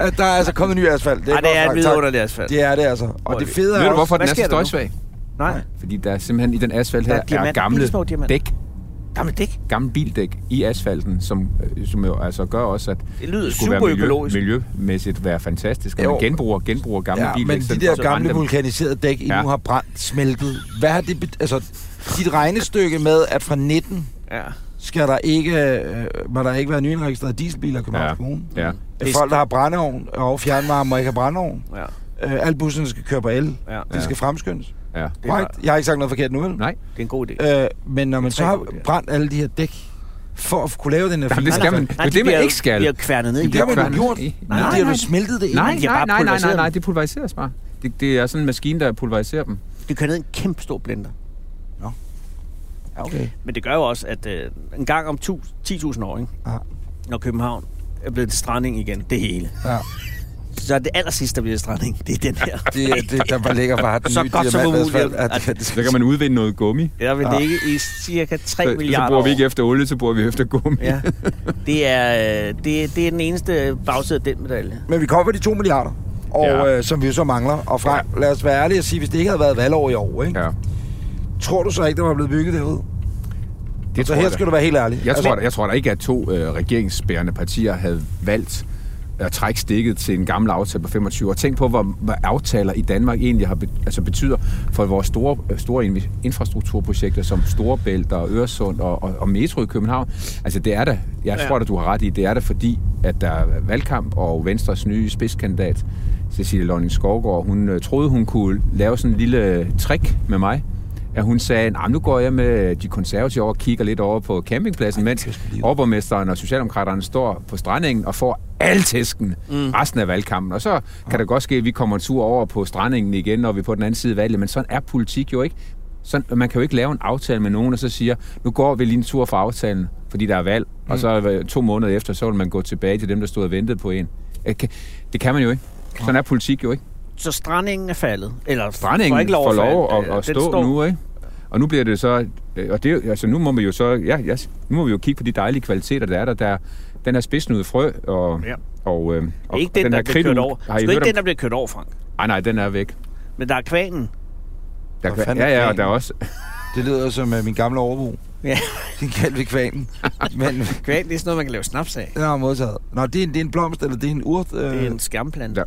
[SPEAKER 3] At der er altså kommet ny
[SPEAKER 2] Nej,
[SPEAKER 3] asfalt.
[SPEAKER 2] det
[SPEAKER 3] godt,
[SPEAKER 2] er et
[SPEAKER 3] Frank. Tak.
[SPEAKER 2] vidunderligt asfalt.
[SPEAKER 3] Det er det altså.
[SPEAKER 2] Hvor
[SPEAKER 3] Og det
[SPEAKER 2] vi-
[SPEAKER 3] fede er
[SPEAKER 5] Ved du,
[SPEAKER 3] også-
[SPEAKER 5] hvorfor
[SPEAKER 2] Hvad
[SPEAKER 5] den er så
[SPEAKER 2] sker der nu?
[SPEAKER 5] støjsvag?
[SPEAKER 2] Nej,
[SPEAKER 5] Fordi der er simpelthen i den asfalt
[SPEAKER 2] Der er
[SPEAKER 5] her er,
[SPEAKER 2] diamant-
[SPEAKER 5] gamle
[SPEAKER 2] bittesmå diamanter.
[SPEAKER 5] dæk.
[SPEAKER 2] gammel dæk.
[SPEAKER 5] Gamle bildæk i asfalten, som, øh, som jo altså gør også, at
[SPEAKER 2] Det lyder
[SPEAKER 5] skulle
[SPEAKER 2] super økologisk.
[SPEAKER 5] miljø, miljømæssigt være fantastisk. Og
[SPEAKER 3] Jo.
[SPEAKER 5] man genbruger, genbruger gamle
[SPEAKER 3] Ja,
[SPEAKER 5] bildæk.
[SPEAKER 3] men
[SPEAKER 5] sådan
[SPEAKER 3] de
[SPEAKER 5] for
[SPEAKER 2] Altså,
[SPEAKER 3] der
[SPEAKER 5] at brænde
[SPEAKER 3] gamle
[SPEAKER 5] dem.
[SPEAKER 3] vulkaniserede dæk, I
[SPEAKER 5] Ja.
[SPEAKER 3] nu har brændt, smeltet. Hvad har det bet- Altså, dit regnestykke med, at fra 19
[SPEAKER 2] Ja.
[SPEAKER 3] skal der ikke, øh, må der ikke være nyindregistrerede dieselbiler i Københavns Kommune.
[SPEAKER 5] Ja, ja.
[SPEAKER 3] Øh, Folk, der har brændeovn og fjernvarme, må ikke have brændeovn.
[SPEAKER 2] Ja.
[SPEAKER 3] Øh, alle busserne skal køre på el.
[SPEAKER 2] Ja.
[SPEAKER 3] Det skal fremskyndes.
[SPEAKER 5] ja.
[SPEAKER 2] er
[SPEAKER 3] Right? Jeg har ikke sagt noget forkert nu, vel?
[SPEAKER 5] Nej,
[SPEAKER 2] Det er en god idé.
[SPEAKER 3] Øh, men når man så
[SPEAKER 2] tre
[SPEAKER 3] har
[SPEAKER 2] gode idéer.
[SPEAKER 3] brændt alle de her dæk, for at kunne lave den her
[SPEAKER 5] Jamen, det
[SPEAKER 3] film-
[SPEAKER 5] skal man.
[SPEAKER 2] Nej,
[SPEAKER 5] Det er
[SPEAKER 2] de
[SPEAKER 5] det, man
[SPEAKER 2] bliver-
[SPEAKER 5] ikke skal.
[SPEAKER 2] De er kværnet ned. i
[SPEAKER 3] Det har man
[SPEAKER 2] jorden.
[SPEAKER 3] jo gjort.
[SPEAKER 5] Nej,
[SPEAKER 3] Nej, nej,
[SPEAKER 5] nej,
[SPEAKER 3] de har
[SPEAKER 5] nej.
[SPEAKER 3] jo smeltet det ind.
[SPEAKER 5] Nej,
[SPEAKER 2] de har bare
[SPEAKER 5] nej, nej, nej,
[SPEAKER 2] pulveriseret
[SPEAKER 5] nej,
[SPEAKER 2] dem.
[SPEAKER 5] nej, det pulveriseres bare. Det, det er sådan en maskine, der pulveriserer dem.
[SPEAKER 2] Det kører ned i en kæmpe stor blender.
[SPEAKER 3] Ja, okay.
[SPEAKER 2] Men det gør jo også, at øh, en gang om tu- 10.000 år, ikke?
[SPEAKER 3] Ja.
[SPEAKER 2] når København er blevet til stranding igen, det hele.
[SPEAKER 3] Ja.
[SPEAKER 2] Så det aller sidste, der bliver til stranding, det er den her.
[SPEAKER 3] Det, det, der bare ligger bare den
[SPEAKER 2] Så
[SPEAKER 3] nye
[SPEAKER 2] godt som
[SPEAKER 3] diamantasfalt,
[SPEAKER 2] muligt.
[SPEAKER 3] at- at- at-
[SPEAKER 5] Så kan man udvinde noget gummi.
[SPEAKER 2] Der vil ligge i cirka 3
[SPEAKER 5] Så, så
[SPEAKER 2] milliarder
[SPEAKER 5] bruger vi
[SPEAKER 2] år.
[SPEAKER 5] ikke efter olie, så bruger vi efter gummi.
[SPEAKER 2] Ja. Det er, øh, det, det er den eneste bagside af den medalje.
[SPEAKER 3] Men vi kommer de 2 milliarder, og,
[SPEAKER 5] Ja.
[SPEAKER 3] ja. øh, som vi jo så mangler. Og fra, ja. lad os være ærlige og sige, hvis det ikke havde været valgår i år, ikke? Ja.
[SPEAKER 5] ja.
[SPEAKER 3] tror du så ikke, der var blevet bygget derude?
[SPEAKER 5] Det
[SPEAKER 3] Så
[SPEAKER 5] tror
[SPEAKER 3] her
[SPEAKER 5] jeg da.
[SPEAKER 3] skal du være helt ærlig. Altså,
[SPEAKER 5] Jeg tror, da- jeg tror da ikke, at to øh, regeringsbærende partier havde valgt at trække stikket til en gammel aftale på 25 år. Tænk på, hvor, hvad aftaler i Danmark egentlig har be, altså betyder for vores store, øh, store invi- infrastrukturprojekter som Storebælt og Øresund og, og, og Metro i København. Altså det er da, jeg
[SPEAKER 2] Ja.
[SPEAKER 5] tror da, du har ret i, det er da fordi, at der er valgkamp, og Venstres nye spidskandidat, Cecilie Lønning Skovgaard, hun øh, troede, hun kunne lave sådan en lille øh, trick med mig, at hun sagde, "Nå, men nu går jeg med de konservative over og kigger lidt over på campingpladsen, mens overborgmesteren og Socialdemokraterne står på strandingen og får al tæsken mm. resten af valgkampen. Og så kan det godt ske, at vi kommer en tur over på strandingen igen, når vi er på den anden side af valget, men sådan er politik jo ikke. Sådan, man kan jo ikke lave en aftale med nogen, og så siger, nu går vi lige en tur for aftalen, fordi der er valg, mm. og så øh, to måneder efter, så vil man gå tilbage til dem, der stod og ventede på en. Øh, kan- Det kan man jo ikke. Sådan er politik jo ikke.
[SPEAKER 2] Så strandingen er faldet. Eller
[SPEAKER 5] Brændingen
[SPEAKER 2] får ikke lov at, falde.
[SPEAKER 5] lov
[SPEAKER 2] Øh,
[SPEAKER 5] at, at
[SPEAKER 2] den
[SPEAKER 5] stå
[SPEAKER 2] står-
[SPEAKER 5] nu, ikke? Og nu bliver det så... øh, Og det, altså nu må vi jo så... Ja, ja, nu må vi jo kigge på de dejlige kvaliteter, der er der. der er den her spidsnudede frø, og...
[SPEAKER 2] Ja.
[SPEAKER 5] og, øh, og
[SPEAKER 2] Ikke den,
[SPEAKER 5] her
[SPEAKER 2] der bliver kørt
[SPEAKER 5] kridtug,
[SPEAKER 2] over.
[SPEAKER 5] Har
[SPEAKER 2] Det
[SPEAKER 5] I
[SPEAKER 2] er
[SPEAKER 5] hørt
[SPEAKER 2] ikke den,
[SPEAKER 5] den,
[SPEAKER 2] der bliver kørt over, Frank.
[SPEAKER 5] Nej, nej, den er væk.
[SPEAKER 2] Men der er kvanen.
[SPEAKER 5] Der,
[SPEAKER 3] Hvor fanden
[SPEAKER 5] ja,
[SPEAKER 3] er
[SPEAKER 5] ja, og
[SPEAKER 3] planen?
[SPEAKER 5] der er også...
[SPEAKER 3] Det lyder som uh, min gamle overbo.
[SPEAKER 2] Ja,
[SPEAKER 3] Den kaldte vi kvanen. Men
[SPEAKER 2] kvanen det er sådan noget, man kan lave snaps af.
[SPEAKER 3] den har jeg modtaget. Nå, det er, en, det er en blomst, eller det er en urt. Øh,
[SPEAKER 2] Det er en skærmplante.
[SPEAKER 5] Der,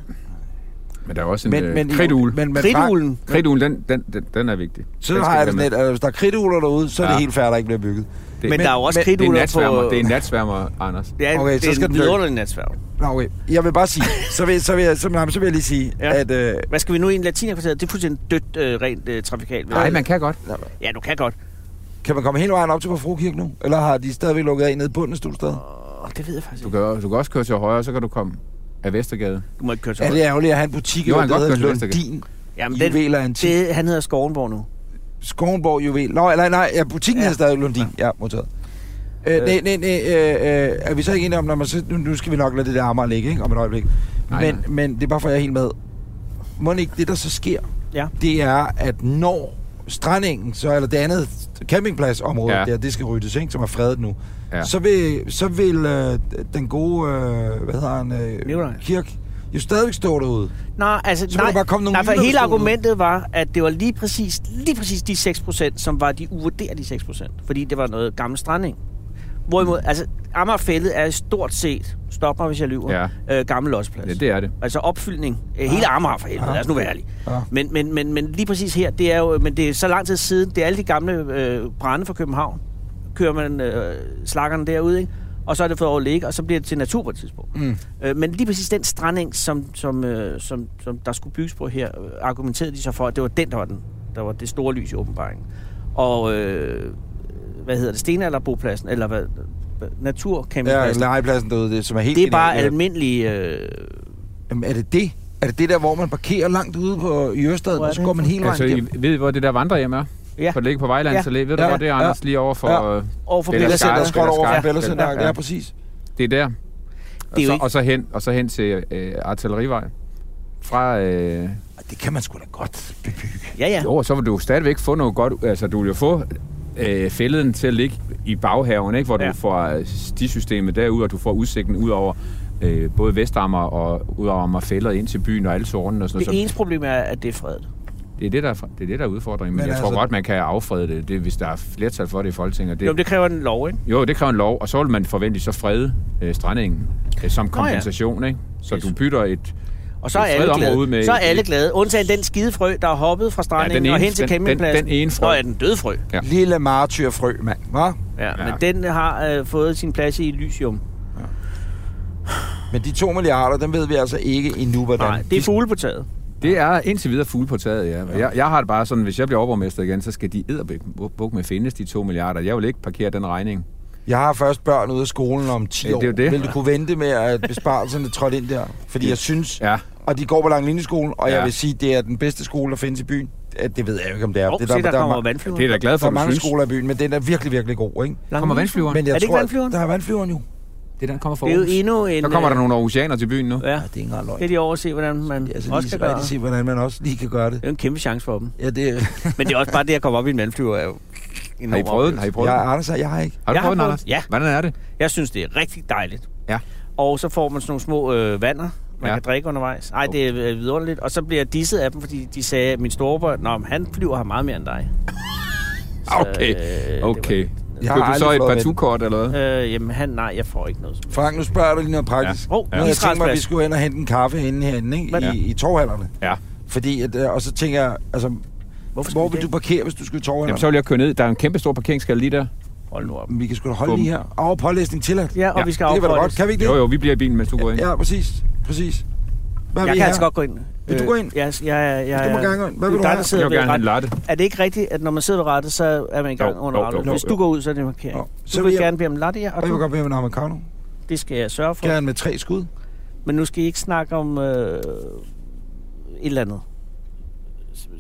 [SPEAKER 5] men der er også en
[SPEAKER 3] men, men,
[SPEAKER 5] øh, kridtul.
[SPEAKER 3] Men, men, Frank,
[SPEAKER 2] Kridtuglen.
[SPEAKER 5] Kridtuglen, den, den, den, den er vigtig.
[SPEAKER 3] så
[SPEAKER 5] Den
[SPEAKER 3] har
[SPEAKER 5] skal
[SPEAKER 3] jeg det
[SPEAKER 5] være
[SPEAKER 3] sådan lidt, at hvis der er kridtugler derude, så er
[SPEAKER 5] Ja.
[SPEAKER 3] det helt færdigt, der ikke bliver bygget.
[SPEAKER 5] Det-
[SPEAKER 2] Men der er jo også
[SPEAKER 3] men-
[SPEAKER 5] med. Det er
[SPEAKER 2] kridtugler
[SPEAKER 5] natsværmer.
[SPEAKER 2] på...
[SPEAKER 5] Det er en natsværmer, Anders.
[SPEAKER 2] Ja,
[SPEAKER 3] Okay,
[SPEAKER 2] det
[SPEAKER 3] så
[SPEAKER 2] er
[SPEAKER 3] skal
[SPEAKER 2] en
[SPEAKER 3] den dø.
[SPEAKER 2] vidunderlig natsværm.
[SPEAKER 3] Nå, okay. Jeg vil bare sige, så vil, så vil, jeg, så, nej, men så vil jeg lige sige,
[SPEAKER 2] Ja.
[SPEAKER 3] ja. at... Øh,
[SPEAKER 2] Hvad skal vi nu i en latinerkvarteret? Det er fuldstændig dødt, øh, rent øh, trafikalt.
[SPEAKER 5] Nej, man kan godt.
[SPEAKER 2] Ja, du kan godt.
[SPEAKER 3] kan man komme hele vejen op til på Frokirke nu? Eller har de stadigvæk lukket af nede i bunden af studiestedet?
[SPEAKER 2] Åh, det ved jeg faktisk
[SPEAKER 5] Du
[SPEAKER 2] ikke.
[SPEAKER 5] kan, du kan også køre til højre, og så kan du komme af Vestergade.
[SPEAKER 2] Du må ikke køre til
[SPEAKER 3] Er
[SPEAKER 2] højre.
[SPEAKER 3] det ærgerligt at have en butik,
[SPEAKER 5] Jo,
[SPEAKER 3] jo,
[SPEAKER 5] han
[SPEAKER 3] der
[SPEAKER 5] kan godt
[SPEAKER 3] hedder
[SPEAKER 5] køre til
[SPEAKER 3] Lundin?
[SPEAKER 2] Jamen,
[SPEAKER 3] Juveler
[SPEAKER 2] den,
[SPEAKER 3] Antik?
[SPEAKER 2] det, han hedder Skovenborg nu.
[SPEAKER 3] Skovnborg Juvel. Nå, nej, nej, ja, butikken ja.
[SPEAKER 2] Ja.
[SPEAKER 3] hedder stadig Lundin. Ja, modtaget. Øh, nej, nej, nej, øh, øh, er vi så ikke enige om, når man så, nu, nu skal vi nok lade det der Amager ligge, ikke? Om et øjeblik.
[SPEAKER 5] Nej,
[SPEAKER 3] men,
[SPEAKER 5] nej.
[SPEAKER 3] men det er bare for, at jeg er helt med. Må ikke det, der så sker,
[SPEAKER 2] Ja.
[SPEAKER 3] det er, at når strandingen, så, eller det andet campingpladsområde ja.
[SPEAKER 5] Ja.
[SPEAKER 3] der, det skal ryddes, ikke? Som er fredet nu. Ja.
[SPEAKER 5] Ja.
[SPEAKER 3] Så vil, så vil øh, den gode, øh, hvad hedder han, øh,
[SPEAKER 2] Nikolaj.
[SPEAKER 3] Kirk, jo stadigvæk stå derude.
[SPEAKER 2] Nej, altså,
[SPEAKER 3] Så må
[SPEAKER 2] nej,
[SPEAKER 3] der bare komme nogle
[SPEAKER 2] nej, for
[SPEAKER 3] nye, der
[SPEAKER 2] hele
[SPEAKER 3] består ud.
[SPEAKER 2] argumentet var, at det var lige præcis, lige præcis de 6%, som var de uvurderlige 6%, fordi det var noget gammel stranding. Hvorimod, mm. altså, Amager Fællet er stort set, stop mig, hvis jeg lyver, ja. øh, gammel losplads.
[SPEAKER 5] Ja, det er det.
[SPEAKER 2] Altså opfyldning. Øh, Hele Amager for helvede,
[SPEAKER 3] Ja.
[SPEAKER 2] lad os nu være ærlige.
[SPEAKER 3] Ja.
[SPEAKER 2] Men, men, men, men lige præcis her, det er jo men det er så lang tid siden, det er alle de gamle øh, brænde fra København. Kører man øh, slakkerne derud, ikke? Og så er det fået over at ligge, og så bliver det til natur på et tidspunkt.
[SPEAKER 3] Mm.
[SPEAKER 2] Øh, men lige præcis den stranding, som, som, øh, som, som der skulle bygges på her, øh, argumenterede de så for, at det var den, der var, den, der var det store lys i åbenbaringen. Og, øh, hvad hedder det, stenalderbopladsen, eller hvad,
[SPEAKER 3] Ja,
[SPEAKER 2] naturcampingpladsen, ja,
[SPEAKER 3] legepladsen derude, det, som er helt
[SPEAKER 2] det er bare
[SPEAKER 3] genialt.
[SPEAKER 2] almindelige... Øh,
[SPEAKER 3] Jamen, er det det? Er det det der, hvor man parkerer langt ude på i Ørestaden,
[SPEAKER 2] Hvor er
[SPEAKER 3] og så
[SPEAKER 2] det
[SPEAKER 3] går man hele vejen
[SPEAKER 5] Altså,
[SPEAKER 3] altså,
[SPEAKER 5] I ved, hvor det der vandrehjem er?
[SPEAKER 2] ja.
[SPEAKER 5] For det ligger på Vejlands
[SPEAKER 2] Ja.
[SPEAKER 5] ja. Allé. Ved du,
[SPEAKER 3] Ja.
[SPEAKER 5] hvor det er, Anders? Lige over for... øh,
[SPEAKER 3] Ja.
[SPEAKER 5] Ja.
[SPEAKER 2] Over for
[SPEAKER 5] Det er altså
[SPEAKER 2] Bella
[SPEAKER 5] der
[SPEAKER 3] Center,
[SPEAKER 5] Skarpe,
[SPEAKER 3] der
[SPEAKER 2] Center.
[SPEAKER 5] Skarpe.
[SPEAKER 3] skråt
[SPEAKER 5] Bella
[SPEAKER 3] over for
[SPEAKER 5] Skarpe.
[SPEAKER 3] Bella Center.
[SPEAKER 5] Ja.
[SPEAKER 3] Ja, præcis.
[SPEAKER 5] Det er der.
[SPEAKER 2] Det
[SPEAKER 5] Og,
[SPEAKER 2] er jo
[SPEAKER 5] så,
[SPEAKER 2] ikke-
[SPEAKER 5] og så hen, og så hen til øh, Artillerivej. Fra... Øh,
[SPEAKER 3] Og det kan man sgu da godt bebygge.
[SPEAKER 2] Ja, ja.
[SPEAKER 5] jo, og så vil du jo stadigvæk få noget godt... Altså, du vil jo få øh, fælleden til at ligge i baghaven, ikke? Hvor ja.
[SPEAKER 2] Ja.
[SPEAKER 5] du får øh, stisystemet derud, og du får udsigten ud over øh, både Vestammer og ud over Ammerfællet ind til byen og alle tårnene og sådan
[SPEAKER 2] Det
[SPEAKER 5] noget.
[SPEAKER 2] eneste problem er, at det er fredet.
[SPEAKER 5] Så altså- det er det, der, er- det er det, der er udfordringen. Men,
[SPEAKER 3] Men
[SPEAKER 5] Men jeg altså,
[SPEAKER 3] altså-
[SPEAKER 5] tror godt, man kan affrede det, det, hvis der er flertal for det i Folketinget. og
[SPEAKER 2] Det... Jo, men det kræver en lov, ikke?
[SPEAKER 5] Jo, det kræver en lov, og så vil man forvente så frede øh, strandingen øh, som
[SPEAKER 2] ja.
[SPEAKER 5] kompensation, ikke? Så du bytter et...
[SPEAKER 2] Og så er
[SPEAKER 5] Det er fredet
[SPEAKER 2] alle glade.
[SPEAKER 5] område med-
[SPEAKER 2] så er alle glade. Undtagen den skide frø, der er hoppet fra
[SPEAKER 5] Ja, den
[SPEAKER 2] stranden ja,
[SPEAKER 5] ene-
[SPEAKER 2] og hen til
[SPEAKER 5] den- den-
[SPEAKER 2] campingpladsen.
[SPEAKER 5] den ene frø.
[SPEAKER 2] Nå, ja, den døde frø.
[SPEAKER 5] Ja.
[SPEAKER 3] Lille martyrfrø, mand. Hva?
[SPEAKER 2] Ja, ja.
[SPEAKER 5] Ja.
[SPEAKER 2] men den har øh, fået sin plads i Elysium.
[SPEAKER 3] Men de to milliarder, dem ved vi altså ikke endnu, hvordan.
[SPEAKER 2] Nej, det er fugle på taget.
[SPEAKER 5] Det er indtil videre fugle på taget, ja. Og Jeg, jeg har det bare sådan, hvis jeg bliver overborgmester igen, så skal de edderbuk med findes, de to milliarder. Jeg vil ikke parkere den regning.
[SPEAKER 3] Jeg har først børn ude af skolen om 10
[SPEAKER 5] Ja,
[SPEAKER 3] år.
[SPEAKER 5] det er jo det.
[SPEAKER 3] Vil du kunne vente med, at besparelserne trådte ind der? Fordi jeg synes,
[SPEAKER 5] Ja.
[SPEAKER 3] og de går på Langlinjeskolen, og ja. jeg
[SPEAKER 5] Ja.
[SPEAKER 3] vil sige, det er den bedste skole, der findes i byen. Ja, Det ved jeg jo ikke, om det er.
[SPEAKER 2] Åh,
[SPEAKER 3] det
[SPEAKER 2] se, der,
[SPEAKER 3] er,
[SPEAKER 2] kommer
[SPEAKER 3] ma-
[SPEAKER 2] vandflyver.
[SPEAKER 5] Det er da glad
[SPEAKER 3] der er
[SPEAKER 5] for, at du
[SPEAKER 3] mange
[SPEAKER 5] synes.
[SPEAKER 3] skoler i byen, men den er virkelig, virkelig god, ikke?
[SPEAKER 5] Kommer vandflyveren?
[SPEAKER 3] Men jeg
[SPEAKER 2] Er det ikke
[SPEAKER 3] tror, at-
[SPEAKER 2] vandflyveren?
[SPEAKER 3] Der er vandflyveren jo.
[SPEAKER 5] Det er den, der kommer fra
[SPEAKER 2] Det er jo
[SPEAKER 5] Aarhus.
[SPEAKER 2] endnu en...
[SPEAKER 5] Så kommer der
[SPEAKER 2] øh,
[SPEAKER 5] nogle aarhusianer til byen nu.
[SPEAKER 2] Ja,
[SPEAKER 3] det er ikke engang løgn.
[SPEAKER 2] det er de over at se, hvordan man
[SPEAKER 3] Altså
[SPEAKER 2] også
[SPEAKER 3] lige
[SPEAKER 2] kan
[SPEAKER 3] så
[SPEAKER 2] gøre.
[SPEAKER 3] rigtig se, hvordan man også lige kan gøre det.
[SPEAKER 2] Det er jo en kæmpe chance for dem.
[SPEAKER 3] Ja, det
[SPEAKER 2] Men det er også bare det at komme op i en vandflyver. Er jo en
[SPEAKER 5] Har I
[SPEAKER 2] enorm
[SPEAKER 5] prøvet
[SPEAKER 2] oplevelse.
[SPEAKER 5] den? Har I prøvet
[SPEAKER 3] jeg,
[SPEAKER 5] den?
[SPEAKER 3] Anders, jeg har ikke.
[SPEAKER 5] Har du
[SPEAKER 2] Jeg har
[SPEAKER 5] prøvet den,
[SPEAKER 2] prøvet
[SPEAKER 5] Anders?
[SPEAKER 2] den, ja.
[SPEAKER 5] Hvordan er det?
[SPEAKER 2] Jeg synes, det er rigtig dejligt.
[SPEAKER 5] Ja.
[SPEAKER 2] Og så får man sådan nogle små øh, vander, man
[SPEAKER 5] Ja.
[SPEAKER 2] ja. kan drikke undervejs. Ej, det er øh, vidunderligt. Og så bliver jeg disset af dem, fordi de sagde, at min storebror, Nå, men han flyver her meget mere end dig.
[SPEAKER 5] Okay,
[SPEAKER 2] det var-
[SPEAKER 5] okay.
[SPEAKER 3] Jeg har
[SPEAKER 5] Købte du
[SPEAKER 3] aldrig
[SPEAKER 5] så et
[SPEAKER 3] flået med den.
[SPEAKER 5] partout-kort eller hvad?
[SPEAKER 2] Øh, jamen, han, nej, jeg får ikke noget.
[SPEAKER 3] Frank, nu spørger du lige noget praktisk.
[SPEAKER 2] Ja. Hov,
[SPEAKER 3] Nu har jeg tænkt mig, at vi
[SPEAKER 2] Israelsplads.
[SPEAKER 3] skulle hen og hente en kaffe inde herinde, ikke? I, i torvhallerne.
[SPEAKER 5] Ja.
[SPEAKER 3] Fordi, at, øh, og så tænker jeg, altså, Hvorfor
[SPEAKER 2] skal
[SPEAKER 3] hvor
[SPEAKER 2] vi
[SPEAKER 3] vil
[SPEAKER 2] det?
[SPEAKER 3] du parkere, hvis du skulle i
[SPEAKER 5] Jamen,
[SPEAKER 3] torvhallerne?
[SPEAKER 5] så vil jeg køre ned. Der er en kæmpe stor parkeringsskade lige der.
[SPEAKER 2] Hold nu op.
[SPEAKER 3] Vi kan sgu da holde
[SPEAKER 5] Bum.
[SPEAKER 3] lige her. Og pålæsning tilladt.
[SPEAKER 2] Ja, og
[SPEAKER 5] Ja,
[SPEAKER 2] vi skal
[SPEAKER 3] det kan vi da
[SPEAKER 2] afprøve
[SPEAKER 3] godt. Kan vi ikke det?
[SPEAKER 5] Jo, jo, vi bliver i bilen, mens du går ind.
[SPEAKER 3] Ja, præcis. Præcis. Hvad
[SPEAKER 2] Jeg
[SPEAKER 3] vil I
[SPEAKER 2] kan
[SPEAKER 3] have?
[SPEAKER 2] altså godt gå ind.
[SPEAKER 3] Vil du
[SPEAKER 2] Øh,
[SPEAKER 3] gå ind?
[SPEAKER 2] Ja, ja, ja, ja,
[SPEAKER 3] Du må gerne gå ind. Hvad vil
[SPEAKER 2] Det
[SPEAKER 3] du
[SPEAKER 2] er dig,
[SPEAKER 3] have?
[SPEAKER 2] der
[SPEAKER 5] Jeg
[SPEAKER 2] sidder
[SPEAKER 5] vil
[SPEAKER 2] ved
[SPEAKER 5] gerne have en
[SPEAKER 2] rattet.
[SPEAKER 5] latte.
[SPEAKER 2] Er det ikke rigtigt, at når man sidder ved rettet, så er man i gang
[SPEAKER 5] Jo,
[SPEAKER 2] under
[SPEAKER 5] jo,
[SPEAKER 2] rattet?
[SPEAKER 5] jo,
[SPEAKER 2] Hvis
[SPEAKER 5] jo,
[SPEAKER 2] du
[SPEAKER 5] jo.
[SPEAKER 2] går ud, så er det en markering.
[SPEAKER 3] Jo, så
[SPEAKER 2] så
[SPEAKER 3] vil
[SPEAKER 2] vil jeg
[SPEAKER 3] jeg-
[SPEAKER 2] gerne bede om latte, ja, og
[SPEAKER 3] Jeg vil
[SPEAKER 2] du,
[SPEAKER 3] godt være med en americano.
[SPEAKER 2] det skal jeg sørge for.
[SPEAKER 3] Gerne med tre skud.
[SPEAKER 2] Men nu skal I ikke snakke om øh, et eller andet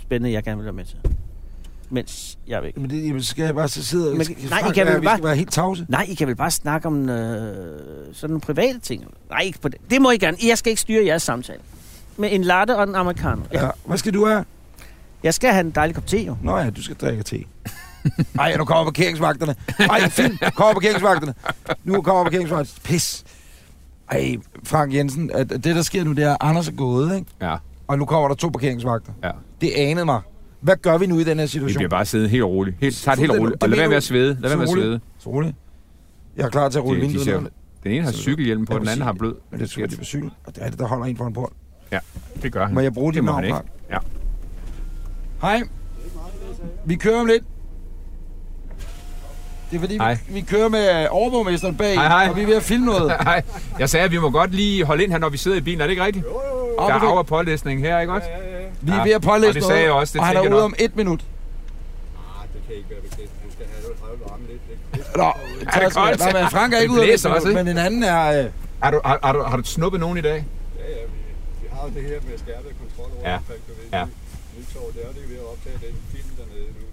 [SPEAKER 2] spændende, jeg gerne vil være med til. Mens jeg er væk.
[SPEAKER 3] Jamen, det, jamen, så skal jeg bare så sidde og...
[SPEAKER 2] Men-
[SPEAKER 3] skal-
[SPEAKER 2] nej, I
[SPEAKER 3] Frank,
[SPEAKER 2] kan
[SPEAKER 3] ja,
[SPEAKER 2] vel
[SPEAKER 3] Vi skal
[SPEAKER 2] bare-
[SPEAKER 3] være helt tavse.
[SPEAKER 2] Nej, I kan vel bare snakke om øh, sådan nogle private ting? Nej, ikke på det. Det må I gerne. Jeg skal ikke styre jeres samtale. Med en latte og en americano. Ja.
[SPEAKER 3] Ja. Hvad skal du have?
[SPEAKER 2] Jeg skal have en dejlig kop te, jo.
[SPEAKER 3] Nå ja, du skal drikke te. Ej, nu kommer parkeringsvagterne. Ej, fint, kommer parkeringsvagterne. Nu kommer parkeringsvagterne. Pis. Ej, Frank Jensen, at det der sker nu, det er, at Anders er gået, ikke?
[SPEAKER 5] Ja,
[SPEAKER 3] Og nu kommer der to parkeringsvagter.
[SPEAKER 5] ja.
[SPEAKER 3] Det anede mig. Hvad gør vi nu i den her
[SPEAKER 5] Vi
[SPEAKER 3] situation?
[SPEAKER 5] bliver bare siddende helt roligt. Helt, tager det helt roligt. Og lad være med at svede. Lad være med at svede.
[SPEAKER 3] Så roligt. Jeg er klar til at rulle
[SPEAKER 5] De, de
[SPEAKER 3] vinduet
[SPEAKER 5] ser,
[SPEAKER 3] ned.
[SPEAKER 5] den ene har
[SPEAKER 3] Så-
[SPEAKER 5] cykelhjelm på,
[SPEAKER 3] Jeg
[SPEAKER 5] den
[SPEAKER 3] vil
[SPEAKER 5] anden
[SPEAKER 3] sige,
[SPEAKER 5] har blød.
[SPEAKER 3] Men det er sgu, de på cykel. Og det er det, der holder en foran port.
[SPEAKER 5] Ja, det gør han.
[SPEAKER 3] Må jeg bruge
[SPEAKER 5] det
[SPEAKER 3] dit
[SPEAKER 5] må han
[SPEAKER 3] navn,
[SPEAKER 5] ikke.
[SPEAKER 3] Frank?
[SPEAKER 5] Ja.
[SPEAKER 3] Hej. Vi kører om lidt. Det er fordi,
[SPEAKER 5] Hej.
[SPEAKER 3] vi, vi kører med øh, overborgmesteren bag,
[SPEAKER 5] Hej, hej.
[SPEAKER 3] og vi er ved at filme noget.
[SPEAKER 5] Nej, jeg sagde, at vi må godt lige holde ind her, når vi sidder i bilen. Er det ikke rigtigt? Der er
[SPEAKER 3] Ah, perfekt.
[SPEAKER 5] af- og pålæsning her, ikke også?
[SPEAKER 3] Vi er
[SPEAKER 5] Ja,
[SPEAKER 3] ved at pålæse
[SPEAKER 5] og det sagde
[SPEAKER 3] noget,
[SPEAKER 5] jeg også, det
[SPEAKER 3] og han er
[SPEAKER 5] tænker jeg
[SPEAKER 3] ude
[SPEAKER 5] nok.
[SPEAKER 3] om et minut. Nå, det
[SPEAKER 5] Er det koldt?
[SPEAKER 3] Nej, men Frank er ikke ude
[SPEAKER 5] Det
[SPEAKER 3] om et
[SPEAKER 5] blæser også,
[SPEAKER 3] minut,
[SPEAKER 5] ikke?
[SPEAKER 3] men en anden er... Øh,
[SPEAKER 5] Har du, har, har, du, har du snuppet nogen i dag?
[SPEAKER 6] Ja, ja, vi, vi har jo det her med skærpet kontrol over,
[SPEAKER 5] Ja,
[SPEAKER 6] omkring, du ved,
[SPEAKER 5] ja.
[SPEAKER 6] Nytorv, det er det, vi er ved at optage den film dernede nu.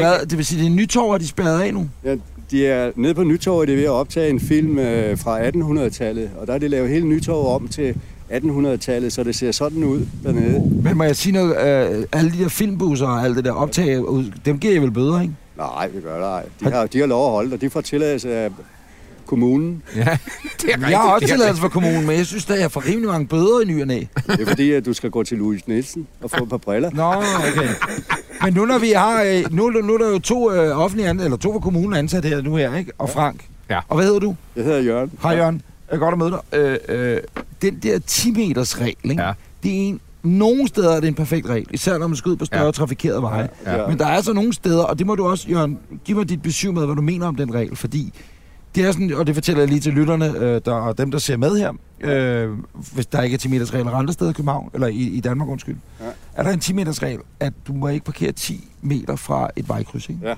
[SPEAKER 3] Er der hvad? Det vil sige, det er Nytorv, og de spærret af nu?
[SPEAKER 6] Ja, de er nede på Nytorvet, det er ved at optage en film øh, fra 1800-tallet, og der er det lavet hele Nytorvet om til 1800-tallet, så det ser sådan ud dernede.
[SPEAKER 3] Men må jeg sige noget? Øh, alle de der filmbusser og alt det der optag, ud- dem giver jeg vel bøder, ikke?
[SPEAKER 6] Nej, det gør det ej. De har, de har lov at holde det, og de får tilladelse af kommunen.
[SPEAKER 5] Det er rigtigt.
[SPEAKER 3] Jeg har også
[SPEAKER 5] det er
[SPEAKER 3] tilladelse fra kommunen, men jeg synes da, jeg får rimelig mange bøder i ny og næ.
[SPEAKER 6] Det er fordi, at du skal gå til Louis Nielsen og få et par briller.
[SPEAKER 3] Nå, okay. Men nu, når vi har, øh, nu, nu er der jo to øh, offentlige ansatte, eller to fra kommunen ansat her nu her, ikke? Og Frank.
[SPEAKER 5] Ja.
[SPEAKER 3] Og hvad hedder du?
[SPEAKER 6] Jeg hedder Jørgen.
[SPEAKER 3] Hej Jørgen. Jeg er godt at møde dig. Øh, øh, den der 10 meters regel, ikke?
[SPEAKER 5] Ja.
[SPEAKER 3] det er en, nogle steder er det en perfekt regel, især når man skal ud på større ja.
[SPEAKER 5] Ja.
[SPEAKER 3] trafikerede veje.
[SPEAKER 5] Ja.
[SPEAKER 3] Men der er så nogle steder, og det må du også, Jørgen, giv mig dit besøg med, hvad du mener om den regel, fordi det er sådan, og det fortæller jeg lige til lytterne øh, der, og dem, der ser med her, øh, hvis der ikke er 10 meters regel andre steder i København, eller i, i Danmark, undskyld, ja.
[SPEAKER 6] Ja.
[SPEAKER 3] er der en 10 meters regel, at du må ikke parkere 10 meter fra et vejkryds, ikke?
[SPEAKER 6] Ja.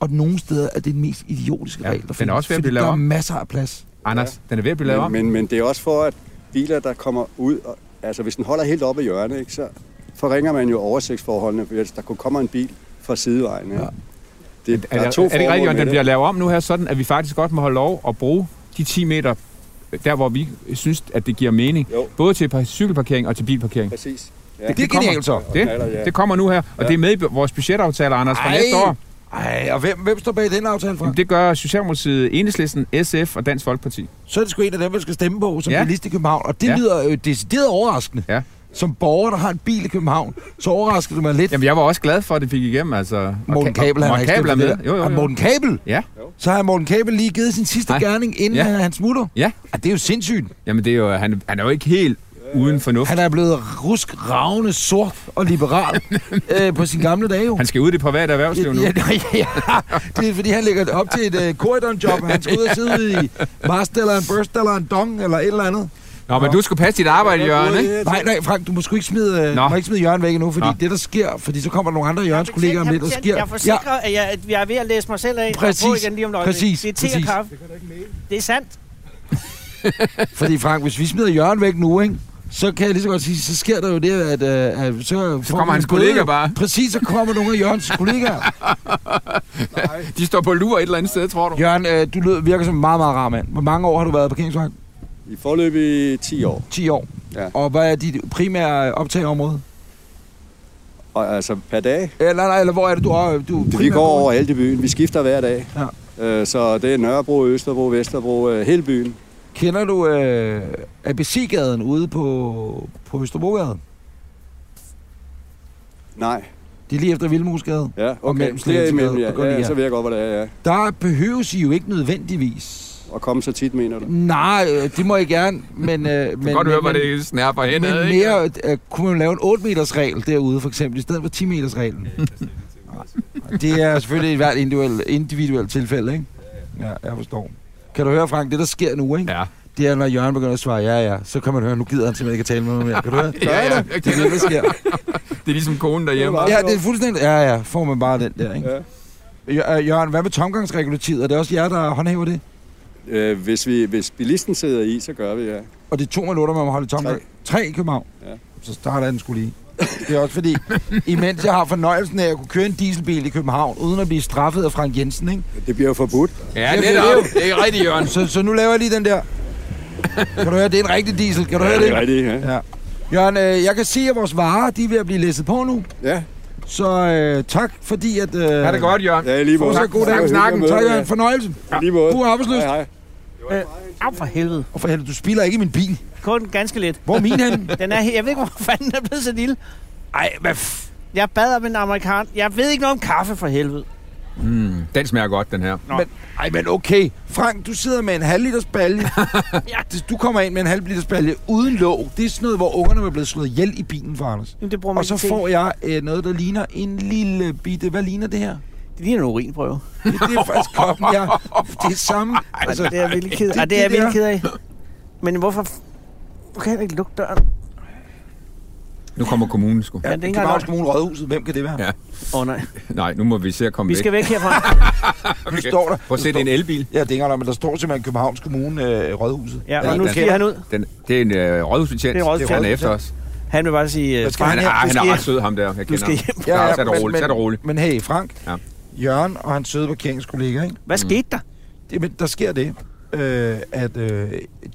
[SPEAKER 3] Og nogle steder er det den mest idiotiske
[SPEAKER 5] Ja,
[SPEAKER 3] regel, der
[SPEAKER 5] den er
[SPEAKER 3] findes,
[SPEAKER 5] også ved at
[SPEAKER 3] fordi
[SPEAKER 5] blive lavet
[SPEAKER 3] der er
[SPEAKER 5] om.
[SPEAKER 3] masser af plads.
[SPEAKER 5] Anders, den er ved at blive lavet om.
[SPEAKER 6] Men, men, men det er også for, at biler, der kommer ud, og, altså hvis den holder helt oppe i hjørnet, ikke, så forringer man jo oversigtsforholdene, hvis der kunne komme en bil fra sidevejen. Ikke? Ja. Det,
[SPEAKER 5] Er, det, er det ikke rigtigt, at den bliver lavet om nu her, sådan at vi faktisk godt må holde lov at bruge de 10 meter, der hvor vi synes, at det giver mening,
[SPEAKER 6] Jo.
[SPEAKER 5] både til par- cykelparkering og til bilparkering.
[SPEAKER 6] Præcis. Ja.
[SPEAKER 3] Det er
[SPEAKER 5] kommer.
[SPEAKER 3] genialt så.
[SPEAKER 5] Det,
[SPEAKER 6] knaller, ja.
[SPEAKER 5] det kommer nu her, og
[SPEAKER 6] Ja.
[SPEAKER 5] det er med i vores budgetaftaler, Anders, fra
[SPEAKER 3] Ej.
[SPEAKER 5] næste år.
[SPEAKER 3] Ej, og hvem, hvem står bag den aftale fra?
[SPEAKER 5] Jamen, det gør Socialdemokratiet, Enhedslisten, SF og Dansk Folkeparti.
[SPEAKER 3] så er det sgu en af dem, man skal stemme på som ja.
[SPEAKER 5] Ja.
[SPEAKER 3] bilist i København. Og det ja.
[SPEAKER 5] Ja.
[SPEAKER 3] lyder jo decideret overraskende.
[SPEAKER 5] Ja.
[SPEAKER 3] Som borger, der har en bil i København, så overrasker det mig lidt.
[SPEAKER 5] Jamen, jeg var også glad for, at det fik igennem, altså. og
[SPEAKER 3] Morten
[SPEAKER 5] Ka- og
[SPEAKER 3] Kabel, han har
[SPEAKER 5] Morten
[SPEAKER 3] ikke
[SPEAKER 5] Kabel er
[SPEAKER 3] stemt for
[SPEAKER 5] med.
[SPEAKER 3] det der.
[SPEAKER 5] Jo, jo,
[SPEAKER 3] Ah,
[SPEAKER 5] jo.
[SPEAKER 3] Morten Kabel?
[SPEAKER 5] Ja,
[SPEAKER 3] Så har Morten Kabel lige givet sin sidste
[SPEAKER 5] Nej.
[SPEAKER 3] gerning, inden ja.
[SPEAKER 5] Ja.
[SPEAKER 3] han smutter.
[SPEAKER 5] ja.
[SPEAKER 3] Ah, det er jo sindssygt.
[SPEAKER 5] Jamen, det er jo, han, han er jo ikke helt uden fornuft.
[SPEAKER 3] Han er blevet rusk, ravne, sort og liberal øh, på sin gamle dage jo.
[SPEAKER 5] Han skal ud i det private erhvervsliv nu.
[SPEAKER 3] Ja, ja, ja, det er fordi, han lægger op til et øh, korridorjob, og han skal ud og sidde ude i Master eller en Burst eller en Dong eller et eller andet.
[SPEAKER 5] Nå, men du skulle passe dit arbejde, Jørgen, ikke?
[SPEAKER 3] Nej, nej, Frank, du må sgu ikke smide, øh,
[SPEAKER 5] Nå.
[SPEAKER 3] du må ikke smide Jørgen væk endnu, fordi Nå.
[SPEAKER 5] Nå.
[SPEAKER 3] det, der sker, fordi så kommer der nogle andre af Jørgens kolleger om lidt, der sker.
[SPEAKER 2] Jeg forsikrer, ja. at, jeg, at jeg er ved at læse mig selv af. og
[SPEAKER 3] Præcis,
[SPEAKER 2] På igen lige om et øjeblik.
[SPEAKER 3] præcis,
[SPEAKER 2] Det er te
[SPEAKER 3] præcis.
[SPEAKER 2] og kaffe. Det er sandt.
[SPEAKER 3] fordi Frank, hvis vi smider Jørgen væk nu, ikke? Så kan jeg lige så godt sige, så sker der jo det, at... Øh, at så, så
[SPEAKER 5] kommer hans kollegaer bare.
[SPEAKER 3] Præcis, så kommer nogle af Jørgens kollegaer.
[SPEAKER 5] De står på lur et eller andet sted, tror du?
[SPEAKER 3] Jørgen, øh, du lyder, virker som en meget, meget rar mand. Hvor mange år har du været parkeringsvagt?
[SPEAKER 6] I forløb i 10 år.
[SPEAKER 3] 10 år.
[SPEAKER 6] Ja.
[SPEAKER 3] Og hvad er dit primære øh, optageområde?
[SPEAKER 6] Og, altså per dag.
[SPEAKER 3] Eller, Øh, nej, eller hvor er det, du er? Du,
[SPEAKER 6] Vi
[SPEAKER 3] primært
[SPEAKER 6] går
[SPEAKER 3] bor i?
[SPEAKER 6] over alt i byen. Vi skifter hver dag.
[SPEAKER 3] Ja.
[SPEAKER 6] Øh, så det er Nørrebro, Østerbro, Vesterbro, øh, hele byen.
[SPEAKER 3] Kender du øh, ABC-gaden ude på, på Østerbrogade?
[SPEAKER 6] Nej.
[SPEAKER 3] Det er lige efter Vildmusgade.
[SPEAKER 6] Ja,
[SPEAKER 3] Og
[SPEAKER 6] okay.
[SPEAKER 3] mellem
[SPEAKER 6] Det er imellem,
[SPEAKER 3] Slagelsesgade og
[SPEAKER 6] ja.
[SPEAKER 3] Gulli,
[SPEAKER 6] ja.
[SPEAKER 3] ja.
[SPEAKER 6] Så ved jeg godt, hvor det er, ja.
[SPEAKER 3] Der behøves I jo ikke nødvendigvis.
[SPEAKER 6] Og komme så tit, mener du?
[SPEAKER 3] Nej, øh, det må jeg gerne, men... Øh,
[SPEAKER 5] Du
[SPEAKER 3] men
[SPEAKER 5] kan godt
[SPEAKER 3] men,
[SPEAKER 5] høre, hvor
[SPEAKER 3] men-
[SPEAKER 5] det snærper
[SPEAKER 3] men
[SPEAKER 5] henad, ikke?
[SPEAKER 3] mere, øh, kunne man lave en 8 meters regel derude, for eksempel, i stedet for 10 meters reglen. det er selvfølgelig et hvert individuelt individuel tilfælde, ikke? Ja, jeg forstår. Kan du høre, Frank, det der sker nu, ikke?
[SPEAKER 5] Ja.
[SPEAKER 3] Det er, når Jørgen begynder at svare, ja, ja, så kan man høre, nu gider han simpelthen ikke at tale med mig mere. Kan du høre?
[SPEAKER 5] Ja, ja.
[SPEAKER 3] Det er det, der sker.
[SPEAKER 5] Det er ligesom konen derhjemme.
[SPEAKER 6] Det
[SPEAKER 3] Ja, det er fuldstændig... Ja, ja, får man bare den der, ikke?
[SPEAKER 6] Ja.
[SPEAKER 3] Ja. Jørgen, hvad med tomgangsregulativet? Er det også jer, der håndhæver det?
[SPEAKER 6] Øh, hvis, vi, hvis bilisten sidder i, så gør vi, ja.
[SPEAKER 3] Og det er to minutter, man må holde tomgang. Tre.
[SPEAKER 6] Tre.
[SPEAKER 3] Tre i København. Ja.
[SPEAKER 6] Ja.
[SPEAKER 3] Så starter den skulle lige. Det er også fordi, imens jeg har fornøjelsen af at kunne køre en dieselbil i København, uden at blive straffet af Frank Jensen, ikke?
[SPEAKER 6] Det bliver jo forbudt.
[SPEAKER 5] Ja,
[SPEAKER 3] det
[SPEAKER 5] det
[SPEAKER 3] er
[SPEAKER 5] er
[SPEAKER 3] det jo.
[SPEAKER 5] det. Det er ikke rigtigt, Jørgen.
[SPEAKER 3] Så, så nu laver jeg lige den der. Kan du høre, det er en rigtig diesel. Kan du høre
[SPEAKER 6] Ja, det er
[SPEAKER 3] det?
[SPEAKER 6] rigtigt, ja.
[SPEAKER 3] Ja. Jørgen, øh, jeg kan se, at vores varer, de er ved at blive læsset på nu.
[SPEAKER 6] Ja,
[SPEAKER 3] Så øh, tak fordi, at... Øh,
[SPEAKER 5] Er det godt, Jørgen?
[SPEAKER 6] ja i lige måde.
[SPEAKER 3] Fortsat god
[SPEAKER 6] Det var
[SPEAKER 3] dag.
[SPEAKER 6] hyggeligt at
[SPEAKER 3] Snakken.
[SPEAKER 6] møde
[SPEAKER 3] Tak,
[SPEAKER 6] dig,
[SPEAKER 3] Jørgen. Fornøjelsen.
[SPEAKER 6] Ja. I lige måde.
[SPEAKER 3] Du er arbejdsløs.
[SPEAKER 6] Hej, hej.
[SPEAKER 2] Øh, af for helvede.
[SPEAKER 3] Og for helvede, du spiller ikke i min bil.
[SPEAKER 2] Kun ganske lidt.
[SPEAKER 3] Hvor er min henne?
[SPEAKER 2] Den er, he- jeg ved ikke, hvor fanden den er blevet så lille.
[SPEAKER 3] Ej, hvad f...
[SPEAKER 2] Jeg bad om en amerikan. Jeg ved ikke noget om kaffe for helvede.
[SPEAKER 5] Den smager godt, den her.
[SPEAKER 3] Men, ej, men okay. Frank, du sidder med en halv liters balje.
[SPEAKER 2] Ja.
[SPEAKER 3] Det- Du kommer ind med en halv liters balje uden låg. Det er sådan noget, hvor ungerne er blevet slået ihjel i bilen for Anders.
[SPEAKER 2] Jamen, det bruger man
[SPEAKER 3] Og så
[SPEAKER 2] ikke til.
[SPEAKER 3] får jeg øh, noget, der ligner en lille bitte... Hvad ligner det her?
[SPEAKER 2] Det ligner en urinprøve.
[SPEAKER 3] Det, det er faktisk koppen, jeg... Det er samme...
[SPEAKER 2] Altså, det er jeg virkelig ked,
[SPEAKER 3] det-
[SPEAKER 2] Ej, det er jeg
[SPEAKER 3] det
[SPEAKER 2] virkelig ked af. Men hvorfor... f- Du kan heller ikke lukke døren. Åh
[SPEAKER 5] Nu kommer kommunen sgu.
[SPEAKER 3] Ja,
[SPEAKER 2] det er ikke
[SPEAKER 3] det er
[SPEAKER 2] engang
[SPEAKER 3] Københavns
[SPEAKER 2] løgn.
[SPEAKER 3] Kommune Rådhuset. Hvem kan det være?
[SPEAKER 5] Ja.
[SPEAKER 2] oh, nej.
[SPEAKER 5] Nej, nu må vi se at komme
[SPEAKER 2] Vi skal væk herfra.
[SPEAKER 3] Nu står der...
[SPEAKER 5] Prøv at se, det er en elbil.
[SPEAKER 3] Ja, det er ikke engang løgn, men der står simpelthen Københavns Kommune øh, Rådhuset.
[SPEAKER 2] Ja, og
[SPEAKER 5] Ja,
[SPEAKER 2] nu
[SPEAKER 5] den-
[SPEAKER 2] skal han ud.
[SPEAKER 5] Den, det er en øh, rådhusbetjent.
[SPEAKER 2] Det er
[SPEAKER 5] Det er
[SPEAKER 2] rådhusbetjent,
[SPEAKER 5] han er efter os.
[SPEAKER 2] Han vil bare sige... øh,
[SPEAKER 3] Hvad skal
[SPEAKER 5] Han
[SPEAKER 2] Frank,
[SPEAKER 3] her-
[SPEAKER 5] er,
[SPEAKER 2] du
[SPEAKER 5] ah, han
[SPEAKER 2] skal-
[SPEAKER 5] er ret sød, ham der. Jeg
[SPEAKER 2] Du
[SPEAKER 5] kender
[SPEAKER 2] skal
[SPEAKER 5] ham.
[SPEAKER 2] hjem.
[SPEAKER 5] Ja, tag det roligt, tag det roligt.
[SPEAKER 3] Men hey, Frank, ja.
[SPEAKER 5] Ja.
[SPEAKER 3] Jørgen og hans søde parkeringskollega, ikke?
[SPEAKER 2] Hvad skete der?
[SPEAKER 3] Det, men der sker det, øh, at øh,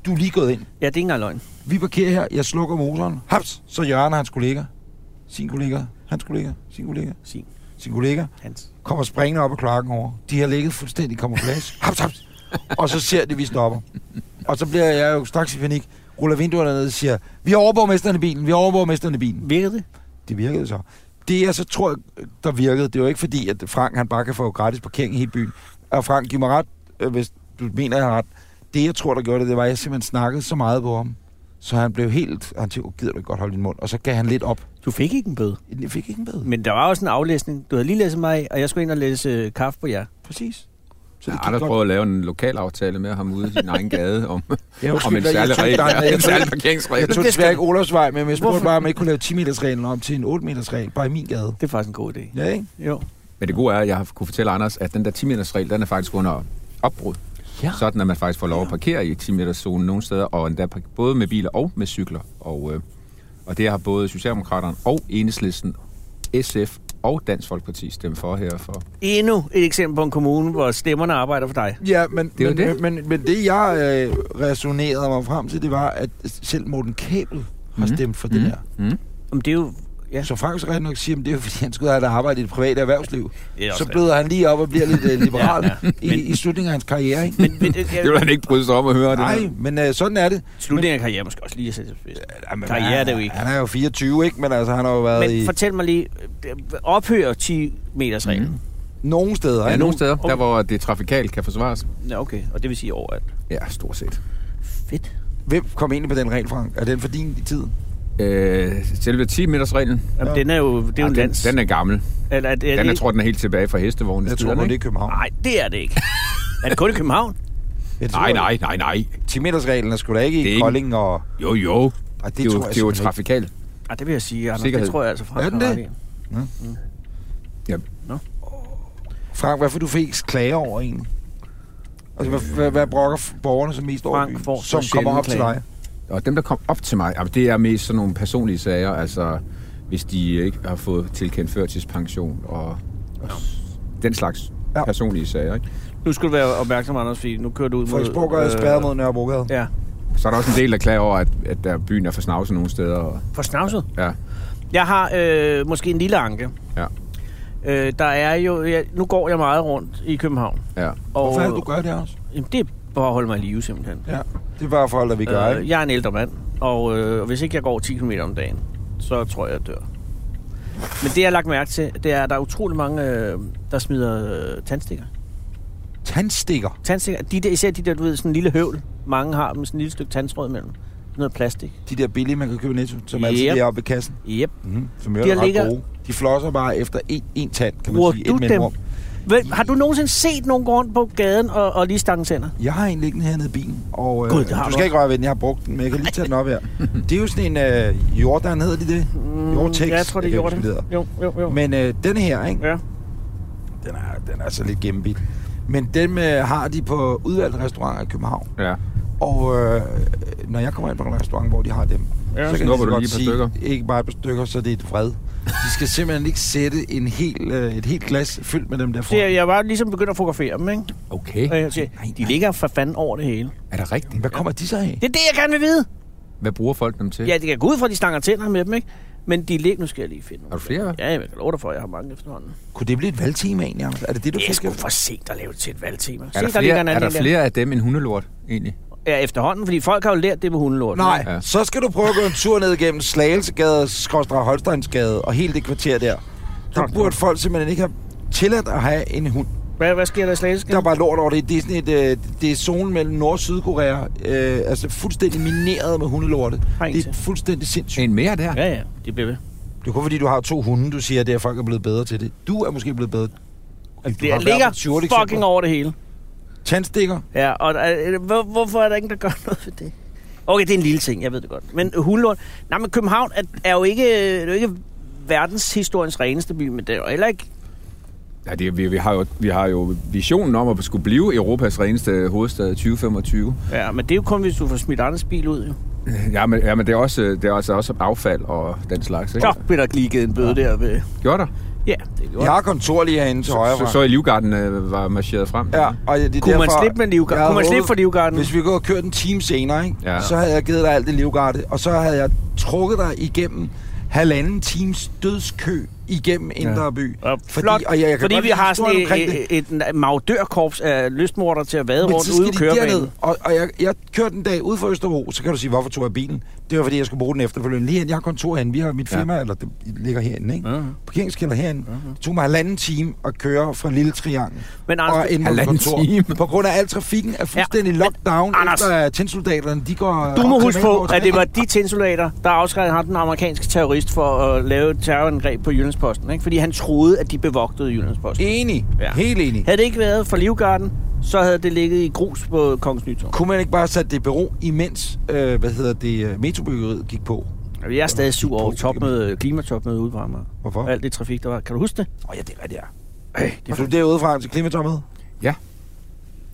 [SPEAKER 3] du er lige gået ind.
[SPEAKER 2] Ja, det er ikke engang løgn.
[SPEAKER 3] Vi parkerer her, jeg slukker motoren. Haps, så Jørgen og hans kollega, sin kollega, hans kollega, sin kollega,
[SPEAKER 2] Sin.
[SPEAKER 3] sin kollega,
[SPEAKER 2] Hans.
[SPEAKER 3] kommer springende op ad klokken over. De har ligget fuldstændig kamuflage. haps, haps. Og så ser de, vi stopper. Og så bliver jeg jo straks i panik, ruller vinduerne ned og siger, vi har overborgmesteren i bilen, vi har overborgmesteren i bilen.
[SPEAKER 2] Virkede det?
[SPEAKER 3] Det virkede så. Det jeg så tror, der virkede, det var ikke fordi, at Frank han bare kan få gratis parkering i hele byen. Og Frank, giv mig ret, øh, hvis du mener, jeg har ret. Det jeg tror, der gjorde det, det var, at jeg simpelthen snakkede så meget på ham. Så han blev helt... Han tænkte, oh, gider du ikke godt holde din mund? Og så gav han lidt op.
[SPEAKER 2] Du fik ikke en bøde.
[SPEAKER 3] Jeg fik ikke en bøde.
[SPEAKER 2] Men der var også en aflæsning. Du havde lige læst mig, og jeg skulle ind og læse øh, kaffe på jer.
[SPEAKER 3] Præcis.
[SPEAKER 5] Så
[SPEAKER 3] Så det
[SPEAKER 5] jeg har
[SPEAKER 3] gik
[SPEAKER 5] aldrig
[SPEAKER 3] godt.
[SPEAKER 5] prøvet at lave en lokal aftale med ham ude i sin egen gade om,
[SPEAKER 3] Ja,
[SPEAKER 5] om
[SPEAKER 3] jeg-
[SPEAKER 5] en
[SPEAKER 3] jeg
[SPEAKER 5] særlig
[SPEAKER 3] tog-
[SPEAKER 5] regel.
[SPEAKER 3] nej, nej,
[SPEAKER 5] Ja,
[SPEAKER 3] jeg
[SPEAKER 5] en særlig
[SPEAKER 3] tog-
[SPEAKER 5] parkeringsregel.
[SPEAKER 3] Jeg tog
[SPEAKER 2] Det skal-
[SPEAKER 3] desværre ikke Olofsvej, men jeg spurgte
[SPEAKER 2] Hvorfor?
[SPEAKER 3] bare, om jeg ikke kunne lave 10-meters-reglen om til en 8-meters-regel, bare i min gade.
[SPEAKER 2] Det er faktisk en god idé.
[SPEAKER 3] Ja, ikke?
[SPEAKER 2] Jo.
[SPEAKER 5] Men det gode er, at jeg har kunne fortælle Anders, at den der 10 meters regel, den er faktisk under opbrud.
[SPEAKER 3] Ja.
[SPEAKER 5] Sådan, at man faktisk får lov at parkere i 10 meters zonen nogle steder, og endda par- både med biler og med cykler. Og, øh, og det har både Socialdemokraterne og Enhedslisten, SF og Dansk Folkeparti stemt for her. For.
[SPEAKER 2] Endnu et eksempel på en kommune, hvor stemmerne arbejder for dig.
[SPEAKER 3] Ja, men
[SPEAKER 5] er jo
[SPEAKER 3] men,
[SPEAKER 5] det.
[SPEAKER 3] Men, men, men det, jeg øh, resonerede mig frem til, det var, at selv Morten Kabel har
[SPEAKER 5] Mhm.
[SPEAKER 3] stemt for det her.
[SPEAKER 5] Mm.
[SPEAKER 2] Jamen, det er jo... Ja.
[SPEAKER 3] Så Frank skal nok sige, at det er jo, fordi, han skulle have et arbejde i det private erhvervsliv.
[SPEAKER 2] Det er også
[SPEAKER 3] Så bløder han lige op og bliver lidt øh, liberal ja, ja. I, i slutningen af hans karriere. Ikke?
[SPEAKER 2] Men, men, det,
[SPEAKER 5] Det vil han ikke bryde sig om at høre. Det
[SPEAKER 3] Nej,
[SPEAKER 5] der.
[SPEAKER 3] men øh, sådan er det.
[SPEAKER 2] Slutningen af karriere måske også lige at sætte spids.
[SPEAKER 3] Jamen,
[SPEAKER 2] Karriere er det jo
[SPEAKER 3] han-
[SPEAKER 2] ikke.
[SPEAKER 3] Han er jo 24, ikke? Men altså, han har jo været i
[SPEAKER 2] Men fortæl mig lige, øh, ophører 10 meters reglen?
[SPEAKER 3] Mhm.
[SPEAKER 2] Mm.
[SPEAKER 3] nogle steder.
[SPEAKER 5] Ja,
[SPEAKER 3] ikke?
[SPEAKER 5] nogle steder,
[SPEAKER 2] Okay.
[SPEAKER 5] der hvor det trafikalt kan forsvares.
[SPEAKER 2] Ja, okay. Og det vil sige overalt.
[SPEAKER 5] Ja, stort set.
[SPEAKER 2] Fedt.
[SPEAKER 3] Hvem kom egentlig på den regel, Frank? Er den for din tid?
[SPEAKER 5] Øh, selve 10 meters reglen,
[SPEAKER 2] Jamen, den er jo, det er jo en
[SPEAKER 5] den,
[SPEAKER 2] lands...
[SPEAKER 5] den er gammel.
[SPEAKER 2] Eller, er, det- er det
[SPEAKER 5] Den, jeg
[SPEAKER 2] ikke-
[SPEAKER 5] tror, den er helt tilbage fra hestevognen.
[SPEAKER 3] Jeg tror, det er København.
[SPEAKER 2] Nej, det er det ikke. er det kun i København?
[SPEAKER 3] Jeg tror,
[SPEAKER 5] Nej, nej, nej, nej.
[SPEAKER 3] 10-meters-reglen er sgu da ikke
[SPEAKER 5] Det er
[SPEAKER 3] i
[SPEAKER 5] ikke-
[SPEAKER 3] Kolding og...
[SPEAKER 5] Jo, jo.
[SPEAKER 3] Ej, det,
[SPEAKER 5] Det, er jo,
[SPEAKER 3] tror jeg
[SPEAKER 5] det er jo
[SPEAKER 3] simpelthen
[SPEAKER 5] trafikalt.
[SPEAKER 2] Ah, det vil jeg sige, Anders.
[SPEAKER 5] Sikkerhed.
[SPEAKER 2] Det tror jeg altså fra.
[SPEAKER 3] Er den det? ikke. Frank, hvad får du flest klager over egentlig? Altså, hvad, hvad, hvad brokker f- borgerne som mest over
[SPEAKER 2] Frank
[SPEAKER 3] i byen,
[SPEAKER 2] får så
[SPEAKER 3] som kommer
[SPEAKER 2] sjældent
[SPEAKER 3] op til
[SPEAKER 2] klager.
[SPEAKER 3] dig?
[SPEAKER 5] Og dem, der kom op til mig, jamen, det er mest sådan nogle personlige sager, altså hvis de ikke har fået tilkendt førtidspension og, og den slags
[SPEAKER 3] Ja.
[SPEAKER 5] ja. personlige sager. Ikke?
[SPEAKER 2] Nu skal du være opmærksom, Anders, fordi nu kører du ud mod... øh,
[SPEAKER 3] Frederiksborg er spærret mod Nørrebrogade.
[SPEAKER 2] Ja.
[SPEAKER 5] Så er der også en del, der klager over, at, at der byen er for snavset nogle steder. Og,
[SPEAKER 2] For snavset.
[SPEAKER 5] ja.
[SPEAKER 2] Jeg har øh, måske en lille anke.
[SPEAKER 5] Ja.
[SPEAKER 2] Øh, der er jo... Jeg, nu går jeg meget rundt i København.
[SPEAKER 5] Ja.
[SPEAKER 2] Og,
[SPEAKER 3] Hvorfor er det, du gør det også?
[SPEAKER 2] Jamen, det er for at holde mig i live, simpelthen.
[SPEAKER 3] Ja. Det er bare for alt, at vi gør, ikke?
[SPEAKER 2] Øh, jeg er en ældre mand, og øh, hvis ikke jeg går 10 km om dagen, så tror jeg, jeg dør. Men det, jeg har lagt mærke til, det er, at der er utrolig mange, øh, der smider øh, tandstikker.
[SPEAKER 3] Tandstikker.
[SPEAKER 2] Tandstikker, de der, især de der, du ved, sådan en lille høvl. Mange har med sådan en lille stykke tandtråd imellem. Sådan noget plastik.
[SPEAKER 3] De der billige, man kan købe i netto, som
[SPEAKER 2] Yep.
[SPEAKER 3] altid er oppe i kassen.
[SPEAKER 2] Yep.
[SPEAKER 3] Mm, som jo
[SPEAKER 2] De
[SPEAKER 3] er ret
[SPEAKER 2] ligger-
[SPEAKER 3] gode. De flosser bare efter en, en tand, kan man
[SPEAKER 2] Bruger
[SPEAKER 3] sige.
[SPEAKER 2] du
[SPEAKER 3] Et mellemrum.
[SPEAKER 2] Hvem, har du nogensinde set nogen gå rundt på gaden og, og lige stange tænder?
[SPEAKER 3] Jeg har en liggende hernede i bilen, og øh,
[SPEAKER 2] Gud, det har
[SPEAKER 3] du
[SPEAKER 2] du
[SPEAKER 3] skal
[SPEAKER 2] også.
[SPEAKER 3] ikke røre ved den, jeg har brugt den, men jeg kan lige tage den op her. Det er jo sådan en øh, Jordan, hedder de det? Jortex.
[SPEAKER 2] Mm, Ja, jeg tror, det er
[SPEAKER 3] Jeg
[SPEAKER 2] Jordan.
[SPEAKER 3] kan ikke, hvad
[SPEAKER 2] Jo, jo, jo. Men,
[SPEAKER 3] Men øh, den her, ikke?
[SPEAKER 2] ja.
[SPEAKER 3] Den, er, den er så lidt gennembidt. Men dem øh, har de på udvalgte restauranter i København.
[SPEAKER 5] ja.
[SPEAKER 3] Og øh, når jeg kommer ind på en restaurant, hvor de har dem,
[SPEAKER 2] Ja.
[SPEAKER 3] jeg
[SPEAKER 5] Snupper
[SPEAKER 3] lige
[SPEAKER 5] du
[SPEAKER 3] så
[SPEAKER 5] lige et par
[SPEAKER 3] godt
[SPEAKER 5] stykker?
[SPEAKER 3] ikke bare et par stykker, så det er et vred. De skal simpelthen ikke sætte en hel, øh, et helt glas fyldt med dem der
[SPEAKER 2] Det, er-
[SPEAKER 3] foran.
[SPEAKER 2] jeg var ligesom begyndt at fotografere dem, ikke?
[SPEAKER 5] Okay.
[SPEAKER 2] Og jeg siger, de ligger for fanden over det hele.
[SPEAKER 5] Er det rigtigt?
[SPEAKER 3] Hvad kommer de så af?
[SPEAKER 2] Det er det, jeg gerne vil vide.
[SPEAKER 5] Hvad bruger folk dem til?
[SPEAKER 2] Ja, det kan gå ud fra, at de stanger tænder med dem, ikke? Men de ligger... Nu skal jeg lige finde
[SPEAKER 5] Har
[SPEAKER 2] nogle.
[SPEAKER 5] du flere?
[SPEAKER 2] Ja, jeg kan love dig for, at jeg har mange efterhånden.
[SPEAKER 3] Kunne det blive et valgtema egentlig? Anders? Er det det, du
[SPEAKER 2] Det er
[SPEAKER 3] fik?
[SPEAKER 2] sgu for sent at lave det til et valgtema. Se,
[SPEAKER 5] Er
[SPEAKER 2] ligger
[SPEAKER 5] der
[SPEAKER 2] en
[SPEAKER 5] flere, er
[SPEAKER 2] anden
[SPEAKER 5] der flere af dem end hundelort, egentlig?
[SPEAKER 2] Ja, efterhånden, fordi folk har jo lært det med hundelort.
[SPEAKER 3] Nej, ja.
[SPEAKER 5] Ja.
[SPEAKER 3] så skal du prøve at gå en tur ned gennem Slagelsegade, Skorstræk Holsteinsgade og hele det kvarter der. Der
[SPEAKER 2] Tak.
[SPEAKER 3] burde folk simpelthen ikke have tilladt at have en hund.
[SPEAKER 2] Hvad, hvad sker der i
[SPEAKER 3] Der er
[SPEAKER 2] Slagelsken?
[SPEAKER 3] bare lort over det. Det er sådan et, øh, det er zonen mellem Nord- og Sydkorea. Øh, altså fuldstændig mineret med hundelorte.
[SPEAKER 2] Har en
[SPEAKER 3] Det er
[SPEAKER 2] til.
[SPEAKER 3] fuldstændig sindssygt.
[SPEAKER 5] En mere der?
[SPEAKER 2] Ja, ja, det bliver ved.
[SPEAKER 3] Det er kun fordi, du har to hunde, du siger, at det er, at folk er blevet bedre til det. Du er måske blevet bedre.
[SPEAKER 2] Altså,
[SPEAKER 3] Du har
[SPEAKER 2] det
[SPEAKER 3] i hvert
[SPEAKER 2] ligger
[SPEAKER 3] fald 20
[SPEAKER 2] fucking
[SPEAKER 3] eksempler.
[SPEAKER 2] over det hele.
[SPEAKER 3] Tandstikker.
[SPEAKER 2] Ja, og der, er- hvor, hvorfor er der ingen, der gør noget for det? Okay, det er en lille ting, jeg ved det godt. Men hundelort... Nej, men København er, er jo ikke, øh, det er jo ikke verdenshistoriens reneste by, men det er jo heller ikke...
[SPEAKER 5] Ja, det, vi, vi, har jo, vi har jo visionen om at skulle blive Europas reneste hovedstad i 2025.
[SPEAKER 2] Ja, men det er jo kun, hvis du får smidt andres bil ud, jo.
[SPEAKER 5] Ja, men, ja, men det er også, det er altså også affald og den slags, ikke?
[SPEAKER 2] Så blev der lige givet en bøde der ved...
[SPEAKER 5] Gjorde der?
[SPEAKER 2] Ja, det gjorde
[SPEAKER 3] Jeg har kontor lige herinde til højre
[SPEAKER 5] Så,
[SPEAKER 3] fra.
[SPEAKER 5] så, så i Livgarden øh, var marcheret frem.
[SPEAKER 3] Ja, og det er
[SPEAKER 2] Kunne man
[SPEAKER 3] derfor,
[SPEAKER 2] slippe med Livgarden?
[SPEAKER 3] jeg
[SPEAKER 2] Kunne man
[SPEAKER 3] havde
[SPEAKER 2] slippe
[SPEAKER 3] håbet,
[SPEAKER 2] for Livgarden?
[SPEAKER 3] Hvis vi går og kørt en time senere, ikke?
[SPEAKER 5] Ja.
[SPEAKER 3] Ja. så havde jeg givet dig alt det livgarde, og så havde jeg trukket dig igennem halvanden times dødskø igennem Indre By.
[SPEAKER 2] Ja, flot,
[SPEAKER 3] og jeg, jeg kan
[SPEAKER 2] fordi
[SPEAKER 3] godt
[SPEAKER 2] vi
[SPEAKER 3] lide
[SPEAKER 2] har
[SPEAKER 3] historien
[SPEAKER 2] sådan
[SPEAKER 3] omkring
[SPEAKER 2] et, et, et magdørkorps øh, af lystmorder til at vade
[SPEAKER 3] Men
[SPEAKER 2] rundt
[SPEAKER 3] så
[SPEAKER 2] ude i
[SPEAKER 3] skal de derned,
[SPEAKER 2] kørebanen.
[SPEAKER 3] og, og jeg, jeg kørte en dag ud for Østerbro, så kan du sige, hvorfor tog jeg bilen? Det var, fordi jeg skulle bruge den efterfølgende. Lige herinde, jeg har kontor herinde, vi har mit firma, ja. eller det ligger herinde, ikke?
[SPEAKER 5] Ja.
[SPEAKER 3] Parkeringskælder herinde. Det tog mig halvanden time at køre fra Lille Triangel.
[SPEAKER 2] Men Anders,
[SPEAKER 3] og ind på
[SPEAKER 5] halvanden
[SPEAKER 3] kontor.
[SPEAKER 5] time.
[SPEAKER 3] På grund af al trafikken er fuldstændig
[SPEAKER 2] Ja,
[SPEAKER 3] ja.
[SPEAKER 2] men
[SPEAKER 3] lockdown,
[SPEAKER 2] Anders,
[SPEAKER 3] Anders, efter at tændsoldaterne, de går...
[SPEAKER 2] Du må huske på,
[SPEAKER 3] kriminalkorps-
[SPEAKER 2] at det var de tændsoldater, der afskrækkede ham, den amerikanske terrorist, for at lave et terrorangreb på Jyllandsposten. Ikke? Fordi han troede, at de bevogtede Jyllandsposten.
[SPEAKER 3] Enig.
[SPEAKER 2] Ja.
[SPEAKER 3] Ja. Helt enig.
[SPEAKER 2] Havde det ikke været for Livgarden, så havde det ligget i grus på Kongens Nytorv.
[SPEAKER 3] Kunne man ikke bare sætte det i bero, imens, øh, hvad hedder det, øh, metrobyggeriet gik på?
[SPEAKER 2] Jeg er stadig sur over topmøde, klimatopmøde ude på Amager.
[SPEAKER 3] Hvorfor?
[SPEAKER 2] Og alt det trafik, der var. Kan du huske det?
[SPEAKER 3] Åh, oh, ja, det er rigtigt, ja. Ej, det er du derude fra til klimatommet?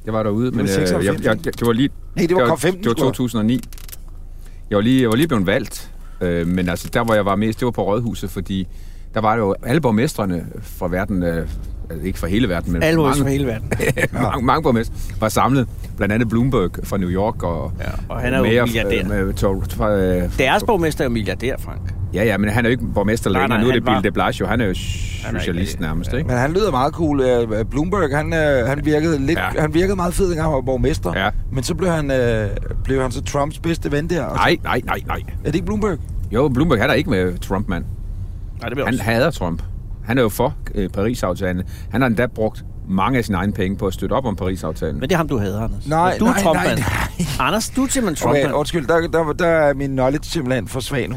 [SPEAKER 5] Jeg var derude, men øh, jeg,
[SPEAKER 3] 96,
[SPEAKER 5] jeg, jeg, det var lige...
[SPEAKER 3] Nej, det var
[SPEAKER 5] jeg-
[SPEAKER 3] COP15,
[SPEAKER 5] Det var
[SPEAKER 3] sgu da.
[SPEAKER 5] 2009. Jeg var lige, jeg var lige blevet valgt, øh, men altså, der hvor jeg var mest, det var på Rådhuset, fordi der var jo alle borgmestrene fra verden, øh, altså ikke fra hele verden, men
[SPEAKER 2] Alle
[SPEAKER 5] fra
[SPEAKER 2] vores
[SPEAKER 5] mange,
[SPEAKER 2] fra hele verden.
[SPEAKER 5] mange, mange borgmester var samlet. Blandt andet Bloomberg fra New York og...
[SPEAKER 2] Ja, og han er jo milliardær.
[SPEAKER 5] Øh, med Tor- fra, øh,
[SPEAKER 2] Deres borgmester er jo milliardær, Frank.
[SPEAKER 5] ja, ja, men han er jo ikke borgmester
[SPEAKER 2] Nej,
[SPEAKER 5] længere.
[SPEAKER 2] nej,
[SPEAKER 5] nu er det
[SPEAKER 2] han var-
[SPEAKER 5] Bill de Blasio. Han er jo
[SPEAKER 2] Han er ikke-
[SPEAKER 5] socialist nærmest, ikke?
[SPEAKER 3] Men han lyder meget cool. Øh, Bloomberg, han, øh, han, virkede lidt,
[SPEAKER 5] Ja.
[SPEAKER 3] ja. han virkede meget fed, dengang han var borgmester.
[SPEAKER 5] Ja.
[SPEAKER 3] Men så blev han, øh, blev han så Trumps bedste ven der. Og så,
[SPEAKER 5] Nej, nej, nej, nej.
[SPEAKER 3] er det ikke Bloomberg?
[SPEAKER 5] Jo, Bloomberg han er ikke med Trump, mand.
[SPEAKER 2] Nej, det vil jeg
[SPEAKER 5] Han
[SPEAKER 2] også.
[SPEAKER 5] hader Trump. Han er jo for øh, Paris-aftalen. Han har endda brugt mange af sine egne penge på at støtte op om Paris-aftalen.
[SPEAKER 2] Men det er ham, du hader, Anders.
[SPEAKER 3] Nej,
[SPEAKER 2] du er
[SPEAKER 3] nej,
[SPEAKER 2] Trump,
[SPEAKER 3] nej,
[SPEAKER 2] Anders, du er simpelthen Trump,
[SPEAKER 3] Okay, undskyld, der, der, der er min knowledge simpelthen for svag nu.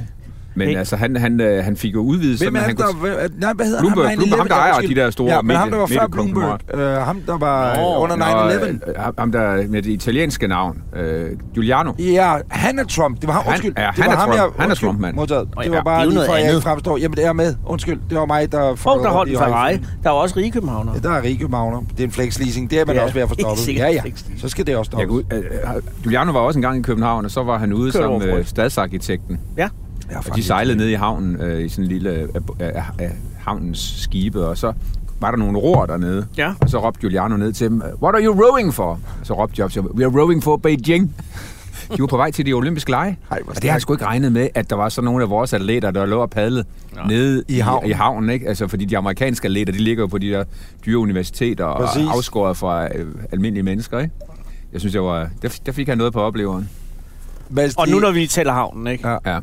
[SPEAKER 5] Men
[SPEAKER 2] Ikke.
[SPEAKER 5] altså, han, han, øh, han fik jo udvidet,
[SPEAKER 3] Hvem
[SPEAKER 5] så
[SPEAKER 3] er
[SPEAKER 5] han
[SPEAKER 3] det, der...
[SPEAKER 5] kunne...
[SPEAKER 3] hvem er- Nej, hvad hedder
[SPEAKER 5] Bloomberg-
[SPEAKER 3] ham?
[SPEAKER 5] Bloomberg, ham, der ejer de der store
[SPEAKER 3] Ja, men ham, der var
[SPEAKER 5] medie-
[SPEAKER 3] før Bloomberg.
[SPEAKER 5] mediekonglomerater.
[SPEAKER 3] Øh, ham, der var øh, under 9-11.
[SPEAKER 5] Nå, øh, ham der med det italienske navn, øh, Giuliano.
[SPEAKER 3] Ja, han er Trump. Det var ham,
[SPEAKER 5] Han-
[SPEAKER 3] undskyld.
[SPEAKER 5] ja,
[SPEAKER 3] det
[SPEAKER 5] han
[SPEAKER 3] var
[SPEAKER 5] er
[SPEAKER 3] ham,
[SPEAKER 5] Trump.
[SPEAKER 3] Jeg,
[SPEAKER 5] Han er
[SPEAKER 3] undskyld,
[SPEAKER 5] Trump, mand.
[SPEAKER 3] Modtaget.
[SPEAKER 2] Nå ja,
[SPEAKER 3] Det var
[SPEAKER 2] det er
[SPEAKER 3] bare
[SPEAKER 2] jo
[SPEAKER 3] lige
[SPEAKER 2] noget
[SPEAKER 3] for, at jeg
[SPEAKER 2] andet.
[SPEAKER 3] ikke fremstår. Jamen, det er med. Undskyld, det var mig, der...
[SPEAKER 2] Prov, der holdt en
[SPEAKER 3] de høje
[SPEAKER 2] Ferrari.
[SPEAKER 3] flag.
[SPEAKER 2] Der er jo også rige københavner.
[SPEAKER 3] Ja, der er Rike Magner. Det er en flexleasing. Det er man
[SPEAKER 2] Ja,
[SPEAKER 3] også ved at få
[SPEAKER 2] helt
[SPEAKER 3] stoppet.
[SPEAKER 2] sikkert
[SPEAKER 3] Ja, ja.
[SPEAKER 2] flexleasing.
[SPEAKER 3] Så skal det også
[SPEAKER 5] Jeg
[SPEAKER 3] stoppes.
[SPEAKER 5] kunne, øh, øh, Giuliano var også engang i København, og så var han ude
[SPEAKER 2] Kørte
[SPEAKER 5] sammen
[SPEAKER 2] over for
[SPEAKER 5] med
[SPEAKER 2] rødt.
[SPEAKER 5] stadsarkitekten.
[SPEAKER 2] Ja.
[SPEAKER 3] Ja,
[SPEAKER 5] Og de sejlede ned i havnen, øh, i sådan en lille øh, øh, øh, havnens skibe, og så var der nogle roer dernede.
[SPEAKER 2] Ja.
[SPEAKER 5] Og så råbte Giuliano ned til dem, What are you rowing for? Så råbte jeg op til We are rowing for Beijing. De var på vej til de olympiske lege.
[SPEAKER 3] Ej, hvor
[SPEAKER 5] og det har jeg sgu ikke regnet med, at der var sådan nogle af vores atleter, der lå og padlede nede i, havnen. i havnen. Ikke? Altså, fordi de amerikanske atleter, de ligger jo på de der dyre universiteter og
[SPEAKER 3] Præcis.
[SPEAKER 5] er afskåret fra øh, almindelige mennesker. Ikke? Jeg synes, jeg var, der, der fik han noget på opleveren.
[SPEAKER 3] Mads,
[SPEAKER 2] Og nu, når vi taler havnen, ikke?
[SPEAKER 3] Ja.
[SPEAKER 5] Ja,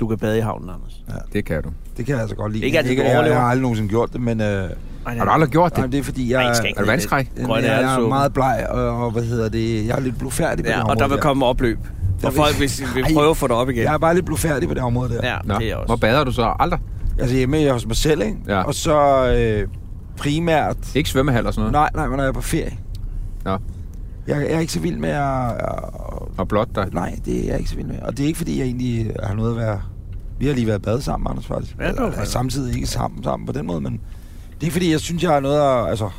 [SPEAKER 2] Du kan bade i havnen, Anders.
[SPEAKER 5] det kan du.
[SPEAKER 3] Det kan jeg altså godt lide.
[SPEAKER 2] Ikke altid, du
[SPEAKER 3] jeg, jeg
[SPEAKER 2] overlever.
[SPEAKER 3] har aldrig nogensinde gjort det, men... Øh, det.
[SPEAKER 5] Har du aldrig gjort
[SPEAKER 3] Nej,
[SPEAKER 5] det?
[SPEAKER 3] men det er fordi, jeg...
[SPEAKER 2] Nej, I skal ikke.
[SPEAKER 5] Er du vandskræk?
[SPEAKER 2] Grønne
[SPEAKER 3] jeg, jeg
[SPEAKER 2] alsuppe.
[SPEAKER 3] er meget bleg, og, og, hvad hedder det... Jeg er lidt blufærdig på det
[SPEAKER 2] Ja, og
[SPEAKER 3] område
[SPEAKER 2] der vil komme opløb. Og
[SPEAKER 3] vil-
[SPEAKER 2] folk vil, vil
[SPEAKER 3] Ej.
[SPEAKER 2] prøve at få dig op igen.
[SPEAKER 3] Jeg er bare lidt blufærdig på det område der.
[SPEAKER 2] Ja,
[SPEAKER 5] Nå,
[SPEAKER 2] det er jeg også.
[SPEAKER 5] hvor bader du så? Aldrig?
[SPEAKER 3] Altså hjemme hos mig selv, ikke?
[SPEAKER 5] Ja.
[SPEAKER 3] Og så øh, primært...
[SPEAKER 5] Ikke svømmehal og sådan noget?
[SPEAKER 3] Nej, nej, men når jeg er på ferie.
[SPEAKER 5] Nå,
[SPEAKER 3] Jeg, jeg er ikke så vild med at... at-
[SPEAKER 5] og blot dig.
[SPEAKER 3] Øh, Nej, det er jeg ikke så vild med. Og det er ikke, fordi jeg egentlig øh, har noget at være... Vi har lige været i bad sammen, Anders, faktisk.
[SPEAKER 2] Ja, det var
[SPEAKER 3] Eller,
[SPEAKER 2] faktisk.
[SPEAKER 3] samtidig ikke sammen, sammen på den måde, men... Det er ikke, fordi jeg synes, jeg har noget at... Altså,
[SPEAKER 2] Der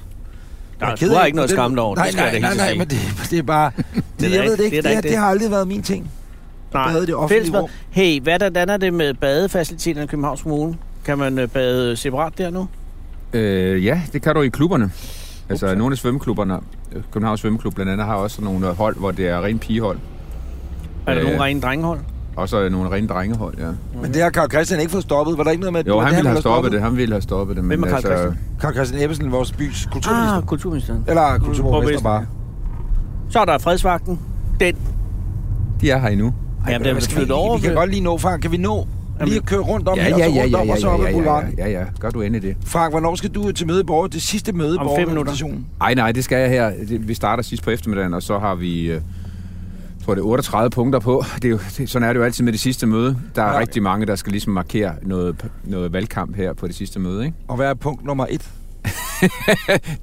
[SPEAKER 3] jeg
[SPEAKER 2] er
[SPEAKER 3] er ked
[SPEAKER 2] sgu
[SPEAKER 3] af
[SPEAKER 2] ikke
[SPEAKER 3] på
[SPEAKER 2] noget
[SPEAKER 3] den-
[SPEAKER 2] skam over.
[SPEAKER 3] Nej,
[SPEAKER 2] det skal
[SPEAKER 3] nej,
[SPEAKER 2] jeg da
[SPEAKER 3] nej,
[SPEAKER 2] hilse
[SPEAKER 3] nej,
[SPEAKER 2] at
[SPEAKER 3] men
[SPEAKER 2] sige.
[SPEAKER 3] det, det er bare... Det,
[SPEAKER 2] da
[SPEAKER 3] jeg
[SPEAKER 2] ikke-
[SPEAKER 3] ved det
[SPEAKER 2] det
[SPEAKER 3] ikke,
[SPEAKER 2] er da
[SPEAKER 3] det,
[SPEAKER 2] ikke
[SPEAKER 3] det.
[SPEAKER 2] det.
[SPEAKER 3] har aldrig været min ting.
[SPEAKER 2] Nej.
[SPEAKER 3] bade i det offentlige
[SPEAKER 2] Fællesbad.
[SPEAKER 3] rum.
[SPEAKER 2] Hey, hvad der, hvordan er det med badefaciliteterne i Københavns Kommune? Kan man øh, bade separat der nu?
[SPEAKER 5] Øh, ja, det kan du i klubberne. Altså nogle af svømmeklubberne, øh, Københavns Svømmeklub blandt andet, har også nogle øh, hold, hvor det er ren pigehold,
[SPEAKER 2] Er der
[SPEAKER 5] Øh.
[SPEAKER 2] nogle rene drengehold?
[SPEAKER 5] og så øh, nogle rene drengehold, ja.
[SPEAKER 2] Mm.
[SPEAKER 3] Men det har Carl Christian ikke fået stoppet. Var der ikke noget med... at det
[SPEAKER 5] Jo,
[SPEAKER 3] var
[SPEAKER 5] han
[SPEAKER 3] det,
[SPEAKER 5] ville have stoppet det, han ville have stoppet det. altså,
[SPEAKER 2] Hvem er Carl Christian?
[SPEAKER 3] Carl Christian Ebbesen, vores bys kulturminister.
[SPEAKER 2] Ah, kulturministeren.
[SPEAKER 3] Eller kulturborgmester
[SPEAKER 2] Borgmester.
[SPEAKER 3] bare.
[SPEAKER 2] Så er der fredsvagten. Den.
[SPEAKER 5] De er her endnu.
[SPEAKER 2] Ej, Jamen, den er
[SPEAKER 3] Hvad skal vi,
[SPEAKER 2] flyttet over.
[SPEAKER 3] vi kan
[SPEAKER 2] ved-
[SPEAKER 3] godt lige nå, Frank. Kan vi nå lige at køre rundt om her, og så rundt om, og så op ad
[SPEAKER 5] ja,
[SPEAKER 3] boulevarden?
[SPEAKER 5] ja, ja, gør du endelig det.
[SPEAKER 3] Frank, hvornår skal du til møde i borger? Det sidste møde i
[SPEAKER 2] Om fem
[SPEAKER 3] borgerorganisationen.
[SPEAKER 5] Ej, nej, det skal jeg her. Det- Vi starter sidst på eftermiddagen, og så har vi, øh, tror det er 38 punkter på. Det er jo, det, sådan er det jo altid med det sidste møde. Der er
[SPEAKER 3] Ja.
[SPEAKER 5] rigtig mange, der skal ligesom markere noget, noget valgkamp her på det sidste møde, ikke?
[SPEAKER 3] Og hvad er punkt nummer et?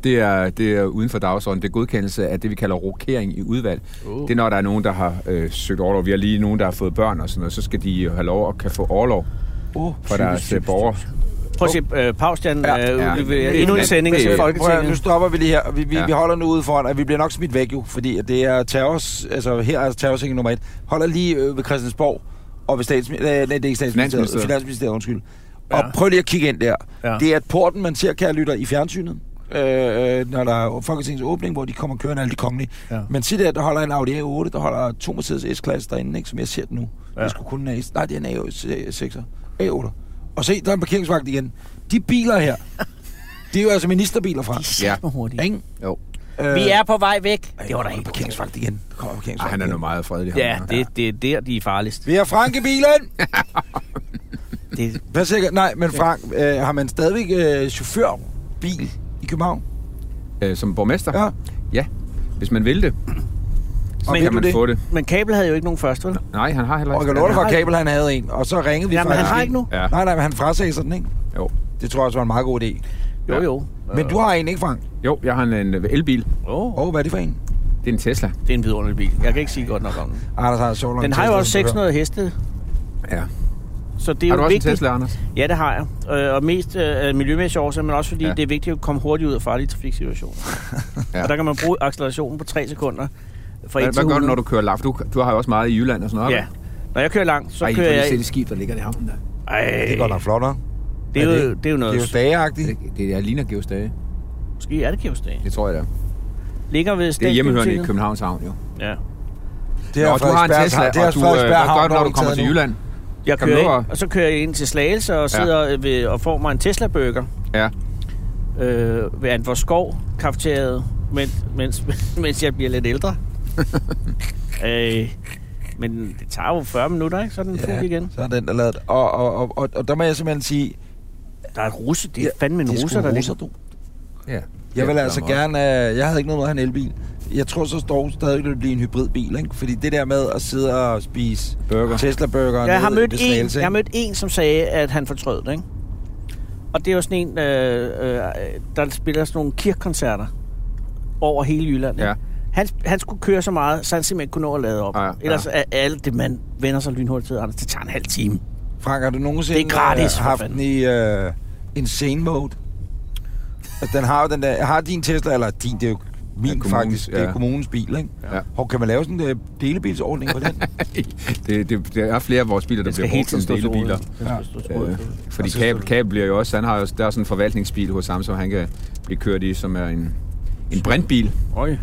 [SPEAKER 5] Det er, det er uden for dagsordenen. Det er godkendelse af det, vi kalder rokering i udvalg. Uh. Det er, når der er nogen, der har øh, søgt overlov. Vi har lige øh, nogen, der har fået børn og sådan noget. Så skal de jo have lov at kan få overlov
[SPEAKER 3] Oh,
[SPEAKER 5] for deres øh, borger,
[SPEAKER 2] Prøv at se, øh, Paustian,
[SPEAKER 3] Ja.
[SPEAKER 2] øh,
[SPEAKER 5] Ja.
[SPEAKER 2] udleverer endnu en sending
[SPEAKER 5] Ved-
[SPEAKER 2] til
[SPEAKER 3] Prøv, at høre, nu
[SPEAKER 2] Folketinget.
[SPEAKER 3] stopper vi lige her. Vi, vi, ja.
[SPEAKER 5] Ja.
[SPEAKER 3] vi holder nu ude foran, og vi bliver nok smidt væk jo, fordi at det er terrors, altså her er terrorsingen nummer et. Holder lige øh, ved Christiansborg og ved statsmi- øh, nej, det er ikke statsministeriet,
[SPEAKER 5] Finansministeriet.
[SPEAKER 3] finansministeriet, undskyld.
[SPEAKER 2] Ja.
[SPEAKER 3] Ja. Og prøv lige at kigge ind der.
[SPEAKER 2] Ja.
[SPEAKER 3] Ja. Det er porten, man ser, kære lytter, i fjernsynet. Øh, øh, når der er Folketingets åbning, hvor de kommer kørende alle de kongelige.
[SPEAKER 2] Ja.
[SPEAKER 3] Ja. Men se der, der holder en Audi A8, der holder to Mercedes S-klasse derinde, ikke, som jeg ser den nu.
[SPEAKER 2] Ja.
[SPEAKER 3] Ja. Det skulle kun en A6. Nej, det er en A6'er. A8. Og se, der er en parkeringsvagt igen. De biler her, det er jo altså ministerbiler fra.
[SPEAKER 5] Ja.
[SPEAKER 2] hurtigt.
[SPEAKER 3] Ikke?
[SPEAKER 5] Jo.
[SPEAKER 3] Øh,
[SPEAKER 2] Vi er på vej væk.
[SPEAKER 3] Ej,
[SPEAKER 2] Det var da
[SPEAKER 3] der
[SPEAKER 2] helt
[SPEAKER 3] parkeringsvagt igen. Der Kommer
[SPEAKER 5] Ej,
[SPEAKER 3] parkeringsvagt
[SPEAKER 5] Ah, han er nu
[SPEAKER 3] igen.
[SPEAKER 5] meget fredelig. ham
[SPEAKER 2] Ja,
[SPEAKER 5] her.
[SPEAKER 2] det, det er der, de er farligst.
[SPEAKER 3] Vi har Frank i bilen!
[SPEAKER 2] Det,
[SPEAKER 3] Hvad sikkert? Nej, men Frank, øh, har man stadigvæk øh, chaufførbil i København?
[SPEAKER 5] Øh, som borgmester?
[SPEAKER 3] Ja.
[SPEAKER 5] ja. Hvis man vil det, så
[SPEAKER 3] Og
[SPEAKER 5] kan
[SPEAKER 3] vil
[SPEAKER 5] man
[SPEAKER 3] du det?
[SPEAKER 5] få det.
[SPEAKER 2] men Kabel havde jo ikke nogen først, vel?
[SPEAKER 5] Nej, han har heller
[SPEAKER 3] Og jeg kan love dig for, at Kabel han havde en, og så ringede vi
[SPEAKER 2] Jamen, han
[SPEAKER 3] faktisk
[SPEAKER 2] har
[SPEAKER 3] ind.
[SPEAKER 2] ikke nu.
[SPEAKER 5] Ja.
[SPEAKER 3] Nej, nej, men han frasagde sig den, ikke?
[SPEAKER 5] Jo. Øh.
[SPEAKER 3] Det tror jeg også var en meget god idé.
[SPEAKER 2] Jo,
[SPEAKER 5] Ja.
[SPEAKER 2] jo.
[SPEAKER 3] Men du har en, ikke Frank?
[SPEAKER 5] jo, jeg har en, en elbil.
[SPEAKER 2] Oh,
[SPEAKER 3] Åh, oh, hvad er det for en?
[SPEAKER 5] Det er en Tesla.
[SPEAKER 2] det er en vidunderlig bil. Jeg kan ikke sige godt nok om den.
[SPEAKER 3] Anders har så
[SPEAKER 2] Den har jo også 600 heste,
[SPEAKER 5] Ja.
[SPEAKER 2] så det er
[SPEAKER 5] Har du
[SPEAKER 2] jo
[SPEAKER 5] også en
[SPEAKER 2] vigtigt.
[SPEAKER 5] Tesla, Anders?
[SPEAKER 2] Ja, det har jeg. Øh, Og mest øh, af miljømæssige årsager, men også fordi ja.
[SPEAKER 5] Ja.
[SPEAKER 2] det er vigtigt at komme hurtigt ud af farlige trafiksituationer. ja.
[SPEAKER 5] Ja.
[SPEAKER 2] Og der kan man bruge accelerationen på 3 sekunder. Fra
[SPEAKER 5] Hvad,
[SPEAKER 2] et til
[SPEAKER 5] hvad gør du,
[SPEAKER 2] 100.
[SPEAKER 5] når du kører laft? Du, du har jo også meget i Jylland og sådan noget.
[SPEAKER 2] Ja. Når jeg kører langt, så
[SPEAKER 5] Så Ej,
[SPEAKER 2] kører jeg...
[SPEAKER 5] det skib, der ligger i havnen der.
[SPEAKER 2] Ej,
[SPEAKER 3] Det er godt nok flot, hva'?
[SPEAKER 2] det er, jo,
[SPEAKER 3] Er
[SPEAKER 2] det
[SPEAKER 5] Øh.
[SPEAKER 2] er jo
[SPEAKER 3] Det
[SPEAKER 2] noget...
[SPEAKER 3] er jo stageagtigt.
[SPEAKER 5] Det, det er ligner Georgs Dage.
[SPEAKER 2] Måske er det Kirvesdag.
[SPEAKER 5] Det tror jeg da.
[SPEAKER 2] Ligger ved
[SPEAKER 5] Det er hjemmehørende i
[SPEAKER 2] Statsbiblioteket.
[SPEAKER 5] Københavns Havn, jo.
[SPEAKER 2] Ja.
[SPEAKER 3] Det
[SPEAKER 5] Nå, du har en
[SPEAKER 3] Frederiksberg-
[SPEAKER 5] Tesla,
[SPEAKER 3] det er
[SPEAKER 5] og du øh,
[SPEAKER 3] Frederiksberg
[SPEAKER 5] gør
[SPEAKER 3] Havn,
[SPEAKER 5] godt, når du kommer
[SPEAKER 3] optaget
[SPEAKER 5] til
[SPEAKER 3] nu.
[SPEAKER 5] Jylland.
[SPEAKER 2] Jeg
[SPEAKER 5] Kom
[SPEAKER 2] kører
[SPEAKER 5] nu,
[SPEAKER 2] ind,
[SPEAKER 5] og-
[SPEAKER 2] og så kører jeg ind til Slagelse og sidder ja. ved, og får mig en Tesla-burger
[SPEAKER 5] Ja.
[SPEAKER 2] øh, ved Antvorskov Skov kafeteriet, mens, mens, mens jeg bliver lidt ældre. øh, men det tager jo 40 minutter, ikke? Så er den ja.
[SPEAKER 3] Ja,
[SPEAKER 2] fuld igen.
[SPEAKER 3] så er den der lavet. Og, og, og, og, og der må jeg simpelthen sige,
[SPEAKER 2] Der er et russe, det er
[SPEAKER 3] Ja,
[SPEAKER 2] fandme en
[SPEAKER 3] det er
[SPEAKER 2] russer,
[SPEAKER 3] sgu
[SPEAKER 2] der
[SPEAKER 3] russer,
[SPEAKER 2] ligger.
[SPEAKER 3] du.
[SPEAKER 5] ja.
[SPEAKER 3] Jeg vil
[SPEAKER 5] Ja,
[SPEAKER 3] altså
[SPEAKER 5] der er meget.
[SPEAKER 3] gerne... Øh, jeg havde ikke noget med at have en elbil. Jeg tror så dog stadig, det vil blive en hybridbil, ikke? Fordi det der med at sidde og spise
[SPEAKER 5] Burger.
[SPEAKER 3] Tesla-burger...
[SPEAKER 2] Jeg har, mødt en, jeg har mødt en, som sagde, at han fortrød det, ikke? Og det er jo sådan en, øh, øh, der spiller sådan nogle kirkkoncerter over hele Jylland. ikke?
[SPEAKER 5] Ja.
[SPEAKER 2] Han, han skulle køre så meget, så han simpelthen ikke kunne nå at lade op.
[SPEAKER 5] Ja, ja.
[SPEAKER 2] Ellers er alt det, man vender sig lynhurtigt til, Anders, det tager en halv time.
[SPEAKER 3] Frank, har du nogensinde
[SPEAKER 2] Det er gratis,
[SPEAKER 3] øh,
[SPEAKER 2] for
[SPEAKER 3] haft
[SPEAKER 2] fanden.
[SPEAKER 3] den i øh, insane mode? Altså, den har jo den der... Har din Tesla, eller din, det er jo min
[SPEAKER 5] Ja,
[SPEAKER 3] ja,
[SPEAKER 5] kommunens,
[SPEAKER 3] faktisk, det er
[SPEAKER 5] ja.
[SPEAKER 3] kommunens bil, ikke?
[SPEAKER 5] Ja.
[SPEAKER 3] Hvor kan man lave sådan en øh, delebilsordning på den?
[SPEAKER 5] det, det, der er flere af vores biler, der bliver brugt som delebiler.
[SPEAKER 2] Ja. Altså,
[SPEAKER 5] Øh, fordi Kabel, Kabel bliver jo også, han har jo, der er sådan en forvaltningsbil hos ham, som han kan blive kørt i, som er en, en brintbil.
[SPEAKER 2] Øj.
[SPEAKER 5] En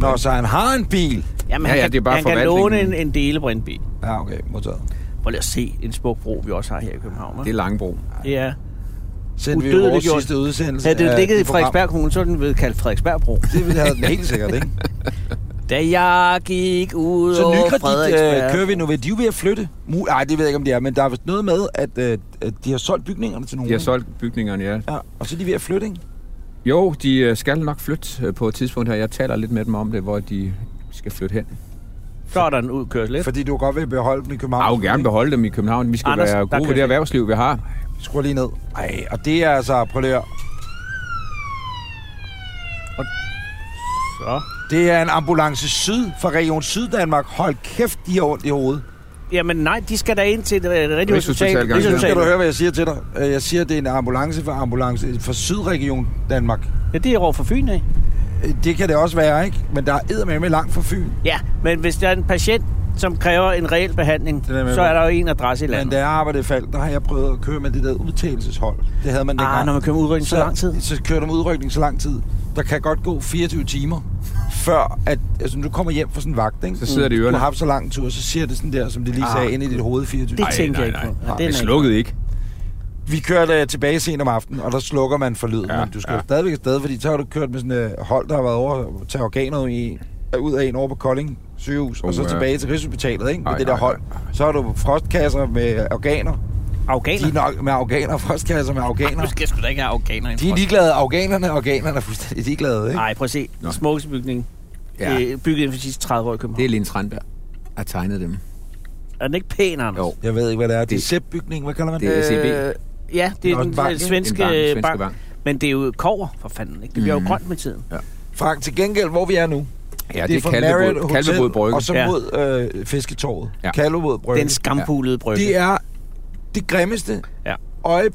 [SPEAKER 3] Nå,
[SPEAKER 5] brint-
[SPEAKER 3] så han har en bil!
[SPEAKER 2] Jamen,
[SPEAKER 5] Ja,
[SPEAKER 2] han
[SPEAKER 5] ja,
[SPEAKER 2] kan,
[SPEAKER 5] det er bare
[SPEAKER 2] han kan
[SPEAKER 5] forvaltningen.
[SPEAKER 2] låne en, en delebrindbil.
[SPEAKER 3] Ja, okay, modtaget.
[SPEAKER 2] Prøv lige at se en smuk bro, vi også har her i København.
[SPEAKER 5] det
[SPEAKER 2] Det,
[SPEAKER 5] er Langebro.
[SPEAKER 2] ja.
[SPEAKER 3] Sendte vi jo
[SPEAKER 2] Udødeliggjort.
[SPEAKER 3] vores sidste udsendelse
[SPEAKER 2] Havde det
[SPEAKER 3] af
[SPEAKER 2] ligget i
[SPEAKER 3] det program.
[SPEAKER 2] Frederiksberg Kommune, så ville den blevet kaldt Frederiksbergbro.
[SPEAKER 3] Det ville have den helt sikkert, ikke?
[SPEAKER 2] Da jeg gik ud
[SPEAKER 3] Så
[SPEAKER 2] over
[SPEAKER 3] nykredit øh,
[SPEAKER 2] Frederiksberg...
[SPEAKER 3] kører vi nu ved. De er jo ved at flytte. Nej, det ved jeg ikke, om det er, men der er vist noget med, at, øh, at de har solgt bygningerne til nogen.
[SPEAKER 5] De har solgt bygningerne, ja.
[SPEAKER 3] Ja, og så er de ved at flytte, ikke?
[SPEAKER 5] Jo, de øh, skal nok flytte øh, på et tidspunkt her. Jeg taler lidt med dem om det, hvor de skal flytte hen.
[SPEAKER 2] så er der en udkørsel, ikke?
[SPEAKER 3] Fordi du godt vil beholde dem i København.
[SPEAKER 5] Jeg vil gerne
[SPEAKER 3] ikke?
[SPEAKER 5] beholde dem i København. Vi skal
[SPEAKER 2] Anders,
[SPEAKER 5] Anders,
[SPEAKER 2] der
[SPEAKER 5] være gode
[SPEAKER 2] kører
[SPEAKER 5] ved
[SPEAKER 2] vi.
[SPEAKER 5] det erhvervsliv, vi har.
[SPEAKER 3] Skru lige ned. Ej, og det er altså, prøv lige at høre.
[SPEAKER 2] Så.
[SPEAKER 3] Det er en ambulance syd fra Region Syddanmark. Hold kæft, de har ondt i hovedet.
[SPEAKER 2] Jamen nej, de skal da ind til det øh, rigtige
[SPEAKER 5] Rigshospitalet,
[SPEAKER 2] hospital.
[SPEAKER 5] gang.
[SPEAKER 3] Nu skal du
[SPEAKER 2] Rigshospitalet.
[SPEAKER 3] høre, hvad jeg siger til dig. Øh, Jeg siger, at det er en ambulance fra ambulance fra Sydregion Danmark.
[SPEAKER 2] Ja, det er over for Fyn, ikke?
[SPEAKER 3] Øh, Det kan det også være, ikke? Men der er med langt fra Fyn.
[SPEAKER 2] Ja, men hvis der er en patient, som kræver en reel behandling,
[SPEAKER 3] Det er jeg med
[SPEAKER 2] så
[SPEAKER 3] på.
[SPEAKER 2] er der jo en adresse i
[SPEAKER 3] Men
[SPEAKER 2] landet.
[SPEAKER 3] da jeg arbejdede i Fald, der har jeg prøvet at køre med det der udtalelseshold. Det havde man dengang.
[SPEAKER 2] Ah, når man kører med udrykning så lang tid.
[SPEAKER 3] Så kører du med udrykning så lang tid. Der kan godt gå 24 timer, før at, altså nu kommer hjem fra sådan en vagt, ikke?
[SPEAKER 5] Så sidder det i
[SPEAKER 3] Du
[SPEAKER 5] ørerne.
[SPEAKER 3] har haft så lang tur, så siger det sådan der, som det lige
[SPEAKER 2] Ah,
[SPEAKER 3] sagde, ind i dit hoved 24
[SPEAKER 2] Det
[SPEAKER 3] timer.
[SPEAKER 2] tænker jeg ikke
[SPEAKER 5] nej,
[SPEAKER 2] på.
[SPEAKER 5] nej.
[SPEAKER 2] Ja, det er
[SPEAKER 5] Det
[SPEAKER 2] en-
[SPEAKER 5] slukkede ikke.
[SPEAKER 3] Vi kørte øh, tilbage sent om aftenen, og der slukker man for lyden, ja,
[SPEAKER 5] Ja,
[SPEAKER 3] men du skal
[SPEAKER 5] ja.
[SPEAKER 3] ja. stadigvæk afsted, fordi så har du kørt med sådan et øh, hold, der har været over at tage organer i, ud af en over på Kolding sygehus, og så
[SPEAKER 5] Uh, ja.
[SPEAKER 3] tilbage til Rigshospitalet, ikke? Med
[SPEAKER 5] Ej,
[SPEAKER 3] det der
[SPEAKER 5] ej,
[SPEAKER 3] hold. Så har du frostkasser med organer. De er
[SPEAKER 2] Afghaner?
[SPEAKER 3] nok med afghaner, frostkasser med afghaner.
[SPEAKER 2] Du skal sgu da ikke have afghaner.
[SPEAKER 3] De er ligeglade. Afghanerne og afghanerne er fuldstændig ligeglade, ikke?
[SPEAKER 2] Nej, prøv at se.
[SPEAKER 5] Nå.
[SPEAKER 2] Smukkeste bygning.
[SPEAKER 5] Ja.
[SPEAKER 2] Ja. Øh, bygget inden for de sidste 30 år i
[SPEAKER 5] Det
[SPEAKER 2] København.
[SPEAKER 5] er Lene Tran, der har tegnet dem.
[SPEAKER 2] Er den ikke pæn, Anders?
[SPEAKER 5] Jo.
[SPEAKER 3] Jeg ved ikke, hvad det E er. Det er
[SPEAKER 5] Det-
[SPEAKER 3] SEP-bygning, hvad kalder man
[SPEAKER 5] Det
[SPEAKER 3] det?
[SPEAKER 5] er SEB.
[SPEAKER 2] Øh, ja, det
[SPEAKER 3] Nå,
[SPEAKER 2] er den
[SPEAKER 3] en bank, Mm.
[SPEAKER 2] bank,
[SPEAKER 3] ikke?
[SPEAKER 2] svenske, øh,
[SPEAKER 5] En bank, den svenske
[SPEAKER 2] bank.
[SPEAKER 5] bank.
[SPEAKER 2] Men det er jo kover, for fanden. Ikke? Det bliver jo
[SPEAKER 5] Mhm.
[SPEAKER 2] grønt med tiden.
[SPEAKER 3] Frank, til gengæld, hvor vi er nu,
[SPEAKER 5] Ja, det, er Kalvebod, Kalvebod Brygge.
[SPEAKER 3] og så
[SPEAKER 2] Ja.
[SPEAKER 3] ja. mod øh, Fisketorvet. Ja.
[SPEAKER 5] Ja.
[SPEAKER 3] Kalvebod Brygge.
[SPEAKER 2] Den skampulede brygge.
[SPEAKER 3] det er det grimmeste
[SPEAKER 2] Ja.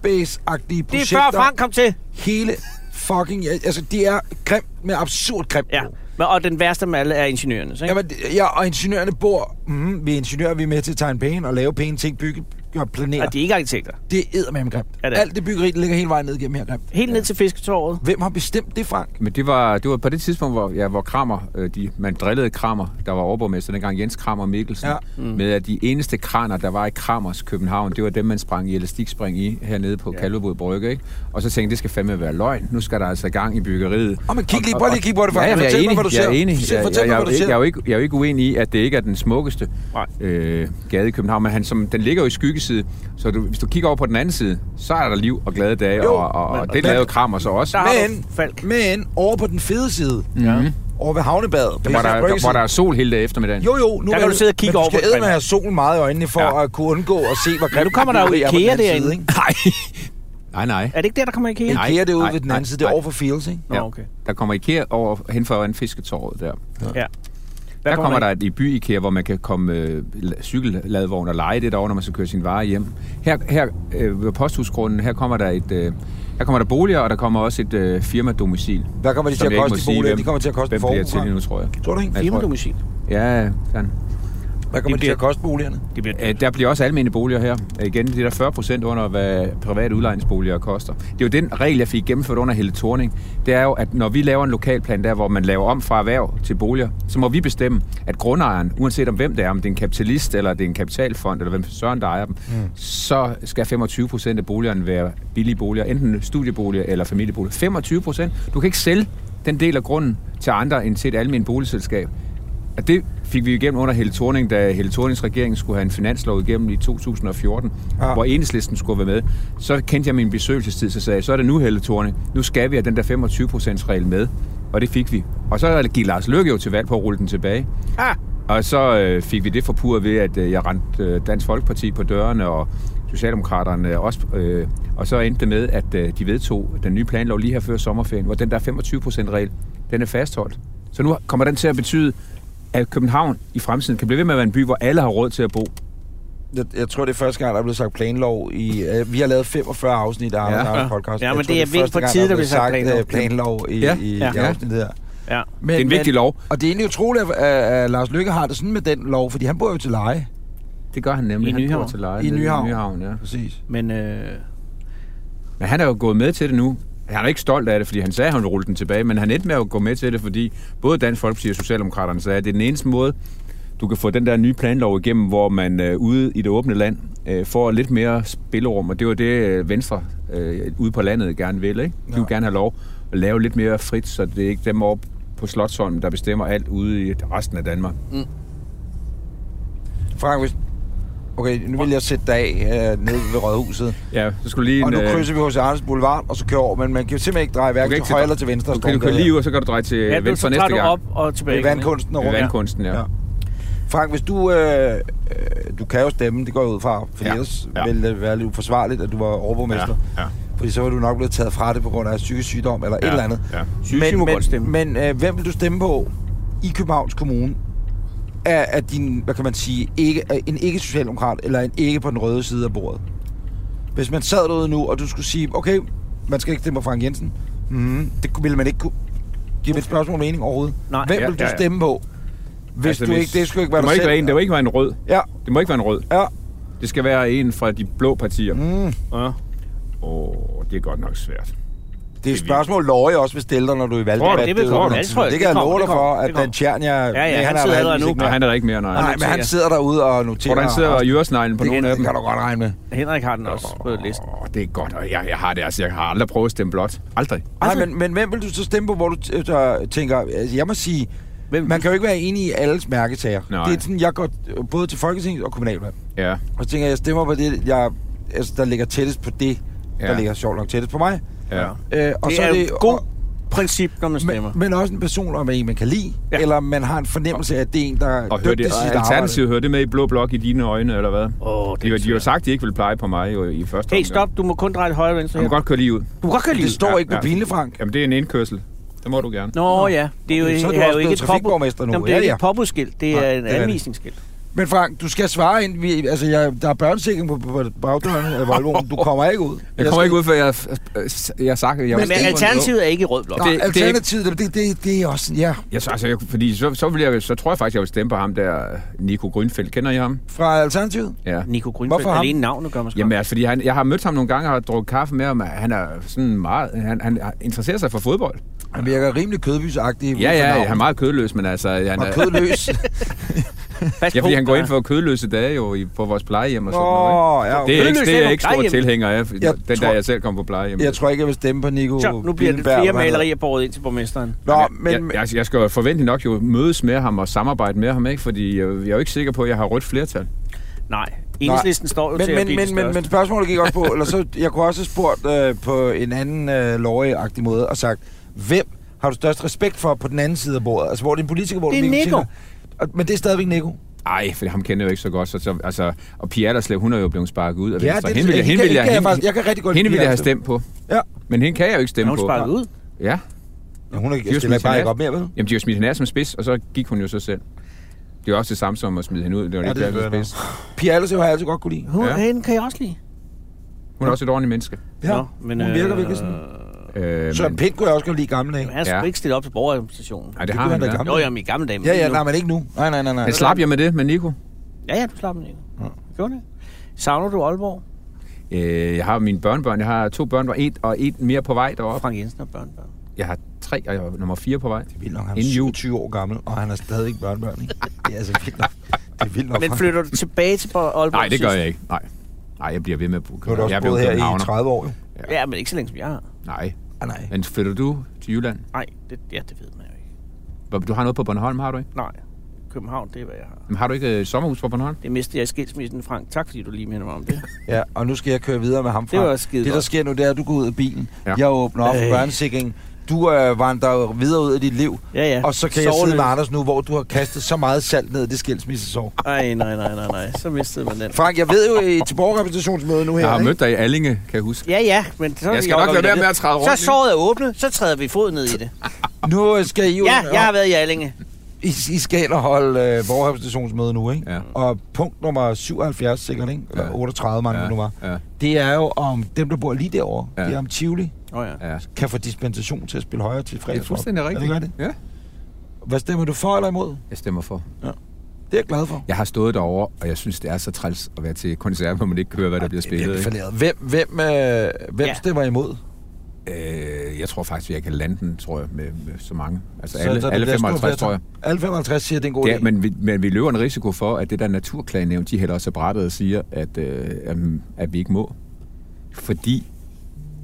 [SPEAKER 3] øjebæs-agtige
[SPEAKER 2] Det er
[SPEAKER 3] projekter.
[SPEAKER 2] før Frank kom til.
[SPEAKER 3] Hele fucking... ja, Altså, det er grimt, men absurd grimt.
[SPEAKER 2] Ja. Men- Og den værste med alle er ingeniørerne, så, ikke?
[SPEAKER 3] Jamen, det- ja, og ingeniørerne bor... Mm, vi er ingeniører, vi er med til at tegne pæne og lave pæne ting, bygge og planere.
[SPEAKER 2] Og de er ikke arkitekter.
[SPEAKER 3] Det er eddermame grimt.
[SPEAKER 2] Ja, det er.
[SPEAKER 3] Alt det byggeri, der ligger hele vejen ned gennem her grimt.
[SPEAKER 2] Helt ned til fisketåret.
[SPEAKER 3] Hvem har bestemt det, Frank?
[SPEAKER 5] Men det var, det var på det tidspunkt, hvor, ja, hvor Kramer, øh, de, man drillede Kramer, der var overborgmester dengang, Jens Kramer Mikkelsen,
[SPEAKER 3] Ja.
[SPEAKER 5] ja. mm. med at de eneste kraner, der var i Kramers København, det var dem, man sprang i elastikspring i hernede på ja. Kalvebod Brygge. Ikke? Og så tænkte jeg, det skal fandme være løgn. Nu skal der altså gang i byggeriet.
[SPEAKER 3] Åh, men kig lige- prøv lige at kigge på det,
[SPEAKER 5] Ja,
[SPEAKER 3] Frank.
[SPEAKER 5] jamen, jeg er
[SPEAKER 3] Fortæl mig,
[SPEAKER 5] enig,
[SPEAKER 3] hvad du
[SPEAKER 5] jeg er
[SPEAKER 3] ser.
[SPEAKER 5] enig.
[SPEAKER 3] Fortæl-
[SPEAKER 5] Jeg-
[SPEAKER 3] fortæl
[SPEAKER 5] jeg-
[SPEAKER 3] mig,
[SPEAKER 5] jeg-
[SPEAKER 3] hvad du ser.
[SPEAKER 5] Jeg er jo ikke, jeg er jo ikke uenig i, at det ikke er den smukkeste
[SPEAKER 2] Nej.
[SPEAKER 5] øh, gade i København, men han, som, den ligger jo i skyggeside. Så du, hvis du kigger over på den anden side, så er der liv og glade dage,
[SPEAKER 3] Jo,
[SPEAKER 5] jo, og, og,
[SPEAKER 2] men-
[SPEAKER 5] og det
[SPEAKER 3] men-
[SPEAKER 5] lavede Kramer så også.
[SPEAKER 2] Der har
[SPEAKER 3] Men-
[SPEAKER 2] du Falk.
[SPEAKER 3] Men over på den fede side,
[SPEAKER 5] Mhm.
[SPEAKER 3] over ved havnebadet, på
[SPEAKER 5] Hvor der,
[SPEAKER 3] Islands
[SPEAKER 5] der,
[SPEAKER 3] Brygge
[SPEAKER 5] hvor
[SPEAKER 3] side.
[SPEAKER 5] der er sol hele dag eftermiddagen.
[SPEAKER 3] Jo, jo, nu
[SPEAKER 2] Der kan
[SPEAKER 3] er
[SPEAKER 2] du sidde og kigge
[SPEAKER 3] men
[SPEAKER 2] over på
[SPEAKER 3] du skal æde med
[SPEAKER 2] Grindr.
[SPEAKER 3] at have solen meget i øjnene for ja.
[SPEAKER 5] Ja.
[SPEAKER 3] at kunne undgå at se, hvor grimt
[SPEAKER 2] nu kommer der jo
[SPEAKER 3] byggeri er på den
[SPEAKER 2] IKEA
[SPEAKER 3] anden side,
[SPEAKER 2] derinde.
[SPEAKER 3] ikke?
[SPEAKER 5] Nej. nej, nej.
[SPEAKER 2] Er det ikke der, der kommer IKEA?
[SPEAKER 5] Nej.
[SPEAKER 3] IKEA det er ude
[SPEAKER 5] nej,
[SPEAKER 3] ved den
[SPEAKER 5] nej,
[SPEAKER 3] anden side, det er
[SPEAKER 5] nej.
[SPEAKER 3] over for Fields, ikke?
[SPEAKER 2] Nå, okay.
[SPEAKER 5] Der kommer IKEA over hen foran fisketorvet der. Ja.
[SPEAKER 2] Ja. Hvad
[SPEAKER 5] Der kommer der
[SPEAKER 2] ind?
[SPEAKER 5] et i by IKEA, hvor man kan komme øh, la- cykelladvogn og lege det derovre, når man skal køre sin vare hjem. Her, her øh, ved posthusgrunden, her kommer der et... Øh, her kommer der boliger, og der kommer også et øh, firmadomicil.
[SPEAKER 3] Hvad kommer de til
[SPEAKER 5] som
[SPEAKER 3] at
[SPEAKER 5] jeg ikke
[SPEAKER 3] koste
[SPEAKER 5] må
[SPEAKER 3] i
[SPEAKER 5] sige,
[SPEAKER 3] boligen?
[SPEAKER 5] hvem-
[SPEAKER 3] De kommer til at koste en
[SPEAKER 5] Hvem bliver til
[SPEAKER 3] formue,
[SPEAKER 5] det nu, tror jeg.
[SPEAKER 3] Tror du ikke?
[SPEAKER 5] Nej.
[SPEAKER 2] Firmadomicil.
[SPEAKER 5] Ja, sådan.
[SPEAKER 3] Hvad kommer de til at koste boligerne?
[SPEAKER 2] Det bliver
[SPEAKER 5] Øh, Der bliver også almene boliger her. Øh, Igen, det er der 40 procent under, hvad private udlejningsboliger koster. Det er jo den regel, jeg fik gennemført under hele Torning. Det er jo, at når vi laver en lokalplan der, hvor man laver om fra erhverv til boliger, så må vi bestemme, at grundejeren, uanset om hvem det er, om det er en kapitalist, eller det er en kapitalfond, eller hvem søren der ejer dem, mm. så skal 25 procent af boligerne være billige boliger, enten studieboliger eller familieboliger. 25 procent? Du kan ikke sælge den del af grunden til andre end til et almindeligt boligselskab. Og det fik vi igennem under Helle Thorning, da Helle Thornings regering skulle have en finanslov igennem i 2014,
[SPEAKER 3] Ja.
[SPEAKER 5] ja. hvor enhedslisten skulle være med. Så kendte jeg min besøgelsestid, så sagde jeg, så er det nu Helle Thorning, nu skal vi have den der 25%-regel med. Og det fik vi. Og så gik Lars Løkke jo til valg på at rulle den tilbage.
[SPEAKER 2] Ah,
[SPEAKER 5] Og så øh, fik vi det forpurret ved, at øh, jeg rendte øh, Dansk Folkeparti på dørene, og Socialdemokraterne også. Øh, og så endte det med, at øh, de vedtog den nye planlov lige her før sommerferien, hvor den der 25%-regel, den er fastholdt. Så nu kommer den til at betyde, at København i fremtiden kan blive ved med at være en by, hvor alle har råd til at bo.
[SPEAKER 3] Jeg, jeg tror, det er første gang, der er blevet sagt planlov. I, øh, vi har lavet 45 afsnit af
[SPEAKER 5] Ja.
[SPEAKER 3] Anders ja. podcast.
[SPEAKER 2] Ja, men
[SPEAKER 3] Jeg tror,
[SPEAKER 2] det er
[SPEAKER 3] første
[SPEAKER 2] vildt på
[SPEAKER 3] gang,
[SPEAKER 2] tide, der
[SPEAKER 3] er
[SPEAKER 2] bliver sagt
[SPEAKER 3] blevet øh, planlov i,
[SPEAKER 5] Ja.
[SPEAKER 3] i,
[SPEAKER 2] Ja.
[SPEAKER 3] i afsnittet her.
[SPEAKER 2] ja.
[SPEAKER 3] Men,
[SPEAKER 5] Det er en vigtig lov.
[SPEAKER 3] Og det er egentlig utroligt, at, at Lars Lykke har det sådan med den lov, fordi han bor jo til leje.
[SPEAKER 5] Det gør han nemlig.
[SPEAKER 2] I
[SPEAKER 5] han
[SPEAKER 2] Nyhavn.
[SPEAKER 5] bor til leje
[SPEAKER 3] I
[SPEAKER 5] nede
[SPEAKER 3] Nyhavn.
[SPEAKER 5] I Nyhavn ja.
[SPEAKER 3] Præcis.
[SPEAKER 2] Men øh,
[SPEAKER 5] Men han er jo gået med til det nu. Han er ikke stolt af det, fordi han sagde, at han ville rulle den tilbage, men han endte med at gå med til det, fordi både Dansk Folkeparti og Socialdemokraterne sagde, at det er den eneste måde, du kan få den der nye planlov igennem, hvor man øh, ude i det åbne land øh, får lidt mere spillerum, og det var det øh, Venstre øh, ude på landet gerne vil. Ikke? De vil gerne have lov at lave lidt mere frit, så det er ikke dem oppe på Slotsholm, der bestemmer alt ude i resten af Danmark.
[SPEAKER 3] Frank, hvis... Okay, nu vil jeg sætte dig af øh, nede ved Rådhuset.
[SPEAKER 5] Ja, så skulle du lige...
[SPEAKER 3] Og nu
[SPEAKER 5] en, øh,
[SPEAKER 3] krydser vi hos Anders Boulevard, og så kører over, men man kan jo simpelthen ikke dreje
[SPEAKER 5] du kan
[SPEAKER 3] hverken
[SPEAKER 5] ikke
[SPEAKER 3] til højre eller til venstre.
[SPEAKER 5] Okay, du kan lige ud, og så kan du dreje til
[SPEAKER 2] ja, du,
[SPEAKER 5] venstre
[SPEAKER 2] så
[SPEAKER 5] næste
[SPEAKER 2] tager
[SPEAKER 5] gang.
[SPEAKER 2] du op og tilbage.
[SPEAKER 3] Ved
[SPEAKER 2] igen, ikke?
[SPEAKER 3] vandkunsten og
[SPEAKER 5] Ved
[SPEAKER 3] rundt.
[SPEAKER 5] vandkunsten, ja.
[SPEAKER 3] Ja. Frank, hvis du... Øh, øh, du kan jo stemme, det går jeg ud fra, for ja.
[SPEAKER 5] Ja.
[SPEAKER 3] ellers ja.
[SPEAKER 5] Ja.
[SPEAKER 3] ville det være lidt uforsvarligt, at du var overborgmester.
[SPEAKER 5] Ja, ja.
[SPEAKER 3] Fordi så var du nok blevet taget fra det på grund af psykisk sygdom eller ja. et
[SPEAKER 5] Ja,
[SPEAKER 3] eller andet.
[SPEAKER 5] ja.
[SPEAKER 2] Psykisk må
[SPEAKER 3] men,
[SPEAKER 2] godt stemme.
[SPEAKER 3] Men øh, hvem vil du stemme på i Københavns Kommune? Er, er din, hvad kan man sige, ikke, er en ikke-socialdemokrat eller en ikke på den røde side af bordet? Hvis man sad derude nu, og du skulle sige, okay, man skal ikke stemme på Frank Jensen. Mm, det kunne- ville man ikke kunne. Giver mit spørgsmål mening overhovedet?
[SPEAKER 2] Nej.
[SPEAKER 3] Hvem
[SPEAKER 5] Ja,
[SPEAKER 3] vil du
[SPEAKER 5] ja, ja.
[SPEAKER 3] stemme på? Hvis altså, du ikke, det skulle ikke være
[SPEAKER 5] det
[SPEAKER 3] dig
[SPEAKER 5] må ikke
[SPEAKER 3] selv.
[SPEAKER 5] være en, Det må ikke være en rød.
[SPEAKER 3] Ja,
[SPEAKER 5] Det må ikke være en rød.
[SPEAKER 3] ja.
[SPEAKER 5] Det skal være en fra de blå partier. Åh,
[SPEAKER 3] Mm.
[SPEAKER 2] Ja.
[SPEAKER 5] oh, det er godt nok svært.
[SPEAKER 3] Det er et spørgsmål, Lorge også vil stille dig, når du er i
[SPEAKER 2] Tror
[SPEAKER 3] valgdebat.
[SPEAKER 2] du, det vil komme? Ja, det tror jeg.
[SPEAKER 3] det kan jeg
[SPEAKER 2] Det kommer,
[SPEAKER 3] love dig
[SPEAKER 2] det kommer,
[SPEAKER 3] for,
[SPEAKER 2] det
[SPEAKER 3] at
[SPEAKER 2] kommer.
[SPEAKER 3] Dan Tjernia...
[SPEAKER 2] ja, han
[SPEAKER 3] har
[SPEAKER 2] sidder der
[SPEAKER 3] heldigvis
[SPEAKER 2] nu.
[SPEAKER 3] ikke
[SPEAKER 5] Nej,
[SPEAKER 3] med.
[SPEAKER 5] han er der ikke mere, nej.
[SPEAKER 3] Nej, men han sidder derude og noterer.
[SPEAKER 5] Tror du, han sidder og jører sneglen på
[SPEAKER 3] det,
[SPEAKER 5] nogle af dem?
[SPEAKER 3] Det kan du godt regne med.
[SPEAKER 2] Henrik har den også på listen.
[SPEAKER 5] Åh, det er godt. og Jeg, jeg har det, altså. Jeg har aldrig prøvet at stemme blåt. Aldrig.
[SPEAKER 3] Nej,
[SPEAKER 2] Altså-
[SPEAKER 3] men, men hvem vil du så stemme på, hvor du t- der tænker... Altså, jeg må sige,
[SPEAKER 2] Hvem
[SPEAKER 3] man kan jo ikke være enig i alles mærkesager.
[SPEAKER 5] Nej.
[SPEAKER 3] Det er sådan, jeg går øh, både til Folketinget og kommunalvalg.
[SPEAKER 5] Ja.
[SPEAKER 3] Og så tænker jeg, jeg stemmer på det, jeg, altså, der ligger tættest på det, ja. der
[SPEAKER 5] Ja.
[SPEAKER 3] ligger sjovt nok tættest på mig.
[SPEAKER 5] ja.
[SPEAKER 3] Øh, og
[SPEAKER 2] det
[SPEAKER 3] så
[SPEAKER 2] er,
[SPEAKER 3] er det,
[SPEAKER 2] et godt
[SPEAKER 3] og,
[SPEAKER 2] princip, når man stemmer.
[SPEAKER 3] men, men også en person, om en man kan lide, ja.
[SPEAKER 2] Ja.
[SPEAKER 3] eller man har en fornemmelse af, at det er en, der er
[SPEAKER 5] Og hører
[SPEAKER 3] dygtig
[SPEAKER 5] det,
[SPEAKER 3] til sit
[SPEAKER 5] alternativ
[SPEAKER 3] arbejde.
[SPEAKER 5] hører det med i blå blok i dine øjne, eller hvad?
[SPEAKER 2] Åh,
[SPEAKER 5] De,
[SPEAKER 2] det
[SPEAKER 5] har-
[SPEAKER 2] er
[SPEAKER 5] de har jo
[SPEAKER 2] svært.
[SPEAKER 5] sagt, at de ikke ville pleje på mig jo, i første
[SPEAKER 2] Hey,
[SPEAKER 5] omgang.
[SPEAKER 2] stop. Du må kun dreje til højre og venstre
[SPEAKER 5] Du
[SPEAKER 2] her.
[SPEAKER 5] må godt køre lige ud.
[SPEAKER 2] Du må godt køre lige.
[SPEAKER 3] Det står
[SPEAKER 5] Ja,
[SPEAKER 3] ikke på
[SPEAKER 5] ja.
[SPEAKER 3] pinle, Frank.
[SPEAKER 5] Jamen, det er en indkørsel. Det må du gerne.
[SPEAKER 2] Nå ja, det er jo,
[SPEAKER 3] Okay, så er du
[SPEAKER 2] er
[SPEAKER 3] også
[SPEAKER 2] jo ikke
[SPEAKER 3] blevet
[SPEAKER 2] et påbud.
[SPEAKER 3] trafikborgmester nu.
[SPEAKER 2] Jamen, det er
[SPEAKER 3] Ja,
[SPEAKER 2] ikke
[SPEAKER 3] ja.
[SPEAKER 2] et påbudsskilt, det
[SPEAKER 3] Nej,
[SPEAKER 2] er
[SPEAKER 3] det er
[SPEAKER 2] en
[SPEAKER 3] det.
[SPEAKER 2] anvisningsskilt.
[SPEAKER 3] Men Frank, du skal svare ind. Vi, altså, jeg, der er børnesikring på, på bagdøren af Volvoen. Du kommer ikke ud.
[SPEAKER 5] Jeg kommer ikke ud, før jeg, Øh, jeg har sagt, at jeg
[SPEAKER 2] Men, men alternativet er ikke i rød blok.
[SPEAKER 5] Det-
[SPEAKER 3] Det,
[SPEAKER 5] det er
[SPEAKER 3] Ah, Alternativet, det, det, det, det er også... Ja,
[SPEAKER 5] Jeg, så- altså, jeg, fordi så, så, vil jeg, så tror jeg faktisk, jeg vil stemme på ham der, Nico Grønfeldt. Kender I ham?
[SPEAKER 3] fra Alternativet.
[SPEAKER 5] Ja.
[SPEAKER 2] Nico Grønfeldt,
[SPEAKER 3] Hvorfor ham?
[SPEAKER 2] alene navnet gør mig skræmt.
[SPEAKER 5] Jamen, altså, fordi han, jeg har mødt ham nogle gange og har drukket kaffe med ham. og Han er sådan meget... Han, han interesserer sig for fodbold.
[SPEAKER 3] Han virker rimelig kødbysagtig.
[SPEAKER 5] Ja, ja, han er meget kødløs, men altså... Han
[SPEAKER 3] meget
[SPEAKER 5] er,
[SPEAKER 3] kødløs.
[SPEAKER 2] Pas
[SPEAKER 5] ja, fordi
[SPEAKER 2] på,
[SPEAKER 5] han går
[SPEAKER 2] der-
[SPEAKER 5] ind for kødløse dage jo i, på vores plejehjem og sådan noget.
[SPEAKER 3] Åh, ja,
[SPEAKER 5] Ikke? Det er ikke,
[SPEAKER 2] Kødløs
[SPEAKER 5] det
[SPEAKER 2] er
[SPEAKER 5] er
[SPEAKER 2] jo
[SPEAKER 5] jeg ikke stor
[SPEAKER 2] plejehjem.
[SPEAKER 5] tilhænger af,
[SPEAKER 3] Jeg
[SPEAKER 5] den
[SPEAKER 3] tror-
[SPEAKER 5] der jeg selv kom på plejehjem.
[SPEAKER 3] Jeg tror ikke, jeg vil stemme på Nico
[SPEAKER 2] Så, nu bliver det flere
[SPEAKER 3] Billenberg, hvad han hedder.
[SPEAKER 2] malerier båret ind til borgmesteren.
[SPEAKER 3] Nå,
[SPEAKER 5] Men, jeg,
[SPEAKER 3] men...
[SPEAKER 5] jeg, jeg skal jo forventelig nok jo mødes med ham og samarbejde med ham, ikke? Fordi øh, jeg, jeg er jo ikke sikker på, at jeg har rødt flertal.
[SPEAKER 2] Nej, enhedslisten står jo til
[SPEAKER 3] Men,
[SPEAKER 2] at
[SPEAKER 3] men,
[SPEAKER 2] blive det
[SPEAKER 3] men, men, men
[SPEAKER 2] største.
[SPEAKER 3] spørgsmålet gik også på, eller så, jeg kunne også have spurgt øh, på en anden øh, lovagtig måde og sagt, hvem har du størst respekt for på den anden side af bordet? Altså, hvor det er en politiker, hvor
[SPEAKER 2] Det er
[SPEAKER 3] Mikkel
[SPEAKER 2] Nico.
[SPEAKER 3] Schiller. Og- Men det er stadigvæk Nico.
[SPEAKER 5] Ej, for ham kender jeg jo ikke så godt. Så, så, altså, og Pia Allerslev, hun er jo blevet sparket ud af
[SPEAKER 3] Ja,
[SPEAKER 5] Venstre.
[SPEAKER 3] det-
[SPEAKER 5] hende vil jeg,
[SPEAKER 3] hende
[SPEAKER 5] hende
[SPEAKER 3] kan-
[SPEAKER 5] vil
[SPEAKER 3] hende
[SPEAKER 5] jeg,
[SPEAKER 3] kan jeg
[SPEAKER 5] hende,
[SPEAKER 3] faktisk- jeg kan rigtig godt
[SPEAKER 5] hende
[SPEAKER 3] lide
[SPEAKER 5] vil jeg have
[SPEAKER 3] Allerslev.
[SPEAKER 5] stemt på.
[SPEAKER 3] Ja.
[SPEAKER 5] Men hende kan jeg jo ikke
[SPEAKER 2] Er
[SPEAKER 5] stemme
[SPEAKER 2] hun
[SPEAKER 5] på.
[SPEAKER 2] sparket ud?
[SPEAKER 5] Ja.
[SPEAKER 3] ja hun er,
[SPEAKER 5] Giv os
[SPEAKER 3] stiller
[SPEAKER 5] min
[SPEAKER 3] bare ikke
[SPEAKER 5] signal.
[SPEAKER 3] op mere, vel?
[SPEAKER 5] Jamen, de har jo smidt hende af som spids, og så gik hun jo så selv. Det er jo også det samme som at smide hende ud. Det var
[SPEAKER 3] Ja,
[SPEAKER 5] ja,
[SPEAKER 3] det er
[SPEAKER 5] det, det
[SPEAKER 3] selvfølgelig
[SPEAKER 5] spids.
[SPEAKER 3] Pia Allersøv har jeg altid godt kunne lide.
[SPEAKER 2] Hun,
[SPEAKER 5] Ja.
[SPEAKER 2] Hende kan jeg også lide.
[SPEAKER 5] Hun er også et ordentligt menneske.
[SPEAKER 3] Ja,
[SPEAKER 2] Nå, men,
[SPEAKER 3] hun virker
[SPEAKER 2] øh,
[SPEAKER 3] virkelig sådan.
[SPEAKER 5] Øh,
[SPEAKER 3] Søren Pind kunne jeg også godt lide i gamle dage.
[SPEAKER 2] Han skulle
[SPEAKER 5] Ja.
[SPEAKER 2] ikke stille op til borgeradministrationen.
[SPEAKER 5] Nej, det,
[SPEAKER 3] det
[SPEAKER 5] har
[SPEAKER 3] kunne
[SPEAKER 5] han
[SPEAKER 3] han da
[SPEAKER 5] da.
[SPEAKER 3] gammel.
[SPEAKER 2] Jo, jamen i gamle dage. men
[SPEAKER 3] Ja,
[SPEAKER 2] lige
[SPEAKER 3] ja,
[SPEAKER 2] nu.
[SPEAKER 3] nej, men ikke nu. Nej, nej, nej, nej.
[SPEAKER 5] Men slap jeg med det med Nico?
[SPEAKER 2] Ja, ja, du slap den ikke. Ja. Gjorde det? Savner du Aalborg?
[SPEAKER 5] Øh, jeg har mine børnebørn. Jeg har to børn, og et, og et mere på vej
[SPEAKER 2] Og
[SPEAKER 5] deroppe.
[SPEAKER 2] Frank Jensen og børnebørn.
[SPEAKER 5] Jeg har tre, og jeg er nummer fire på vej. Det er
[SPEAKER 3] Vildt nok, han er
[SPEAKER 5] Inden jul.
[SPEAKER 3] 27 år gammel, og han er stadig ikke børnebørn, ikke? Det er altså vildt nok. Det er vildt nok.
[SPEAKER 2] Men
[SPEAKER 3] Frank.
[SPEAKER 2] flytter du tilbage til Aalborg?
[SPEAKER 5] Nej, det gør
[SPEAKER 2] sidst?
[SPEAKER 5] jeg ikke. Nej. Nej, jeg bliver ved med at bruge
[SPEAKER 3] Nu har du også
[SPEAKER 5] Jeg bliver
[SPEAKER 3] boet
[SPEAKER 5] jo
[SPEAKER 3] her i
[SPEAKER 5] københavner.
[SPEAKER 3] 30 år, jo.
[SPEAKER 2] Ja, men ikke så længe som jeg har.
[SPEAKER 5] Nej.
[SPEAKER 3] Ah, nej.
[SPEAKER 5] Men flytter du til Jylland?
[SPEAKER 2] Nej, det, ja, det ved man jo ikke.
[SPEAKER 5] Du har noget på Bornholm, har du ikke?
[SPEAKER 2] Nej, København, det er, hvad jeg har.
[SPEAKER 5] Men har du ikke et sommerhus på Bornholm?
[SPEAKER 2] Det mistede jeg i skilsmissen, Frank. Tak, fordi du lige minder mig om det.
[SPEAKER 3] Ja, og nu skal jeg køre videre med ham
[SPEAKER 2] Det
[SPEAKER 3] frem.
[SPEAKER 2] var skide
[SPEAKER 3] det der
[SPEAKER 2] godt.
[SPEAKER 3] sker nu, det er, at du går ud af bilen. Ja.
[SPEAKER 5] Ja.
[SPEAKER 3] Jeg åbner op for
[SPEAKER 2] Øh.
[SPEAKER 3] børnesikringen. Du øh, vandrer videre ud af dit liv.
[SPEAKER 2] Ja, ja.
[SPEAKER 3] Og så kan jeg sidde
[SPEAKER 2] Sårløs.
[SPEAKER 3] med Anders nu, hvor du har kastet så meget salt ned i det skilsmissesår.
[SPEAKER 2] Ej, nej, nej, nej, nej. Så mistede man den.
[SPEAKER 3] Frank, jeg ved jo i til borgerrepræsentationsmøde nu her,
[SPEAKER 5] Jeg har
[SPEAKER 3] ikke?
[SPEAKER 5] mødt dig i Allinge, kan jeg huske.
[SPEAKER 2] Ja, ja, men så
[SPEAKER 5] Jeg skal nok lade være med at træde rundt,
[SPEAKER 2] Så
[SPEAKER 5] ikke?
[SPEAKER 2] såret er åbnet, så træder vi fod ned i det.
[SPEAKER 3] Nu øh, skal I jo...
[SPEAKER 2] Ja, jeg har været i Allinge.
[SPEAKER 3] I, I skal ind og holde øh, borgerrepræsentationsmøde nu, ikke?
[SPEAKER 5] Ja.
[SPEAKER 3] Og punkt nummer 77 sikkert, ikke? Eller
[SPEAKER 5] Ja.
[SPEAKER 3] 38, mange det nu var.
[SPEAKER 5] ja,
[SPEAKER 3] Det er jo om dem, der bor lige derovre, ja.
[SPEAKER 5] Ja.
[SPEAKER 3] det er om Tivoli,
[SPEAKER 2] Åh oh, ja.
[SPEAKER 5] ja.
[SPEAKER 3] kan få dispensation til at spille højere til
[SPEAKER 5] Det er
[SPEAKER 3] fredagsrock.
[SPEAKER 5] fuldstændig
[SPEAKER 3] Er
[SPEAKER 5] rigtigt.
[SPEAKER 3] det godt?
[SPEAKER 5] Ja,
[SPEAKER 3] Hvad stemmer du for eller imod?
[SPEAKER 5] jeg stemmer for.
[SPEAKER 3] Det er jeg glad for.
[SPEAKER 5] Jeg har stået derovre, og jeg synes, det er så træls at være til koncert, hvor man ikke kan høre, hvad der bliver spillet.
[SPEAKER 3] Det er hvem, hvem, øh, hvem
[SPEAKER 2] Ja.
[SPEAKER 3] ja. stemmer imod?
[SPEAKER 5] ikke? Øh, jeg tror faktisk, at jeg kan lande den, tror jeg, med, med så mange. Altså
[SPEAKER 3] Så-
[SPEAKER 5] alle,
[SPEAKER 3] så det
[SPEAKER 5] alle
[SPEAKER 3] bliver stort
[SPEAKER 5] 55, tror jeg.
[SPEAKER 3] flertal. Alle 55 siger, at det er en god
[SPEAKER 5] Ja,
[SPEAKER 3] idé. Men...
[SPEAKER 5] men, vi, men vi løber en risiko for, at det der naturklagenævn, de hælder også brættet og siger, at, øh, at, at vi ikke må. Fordi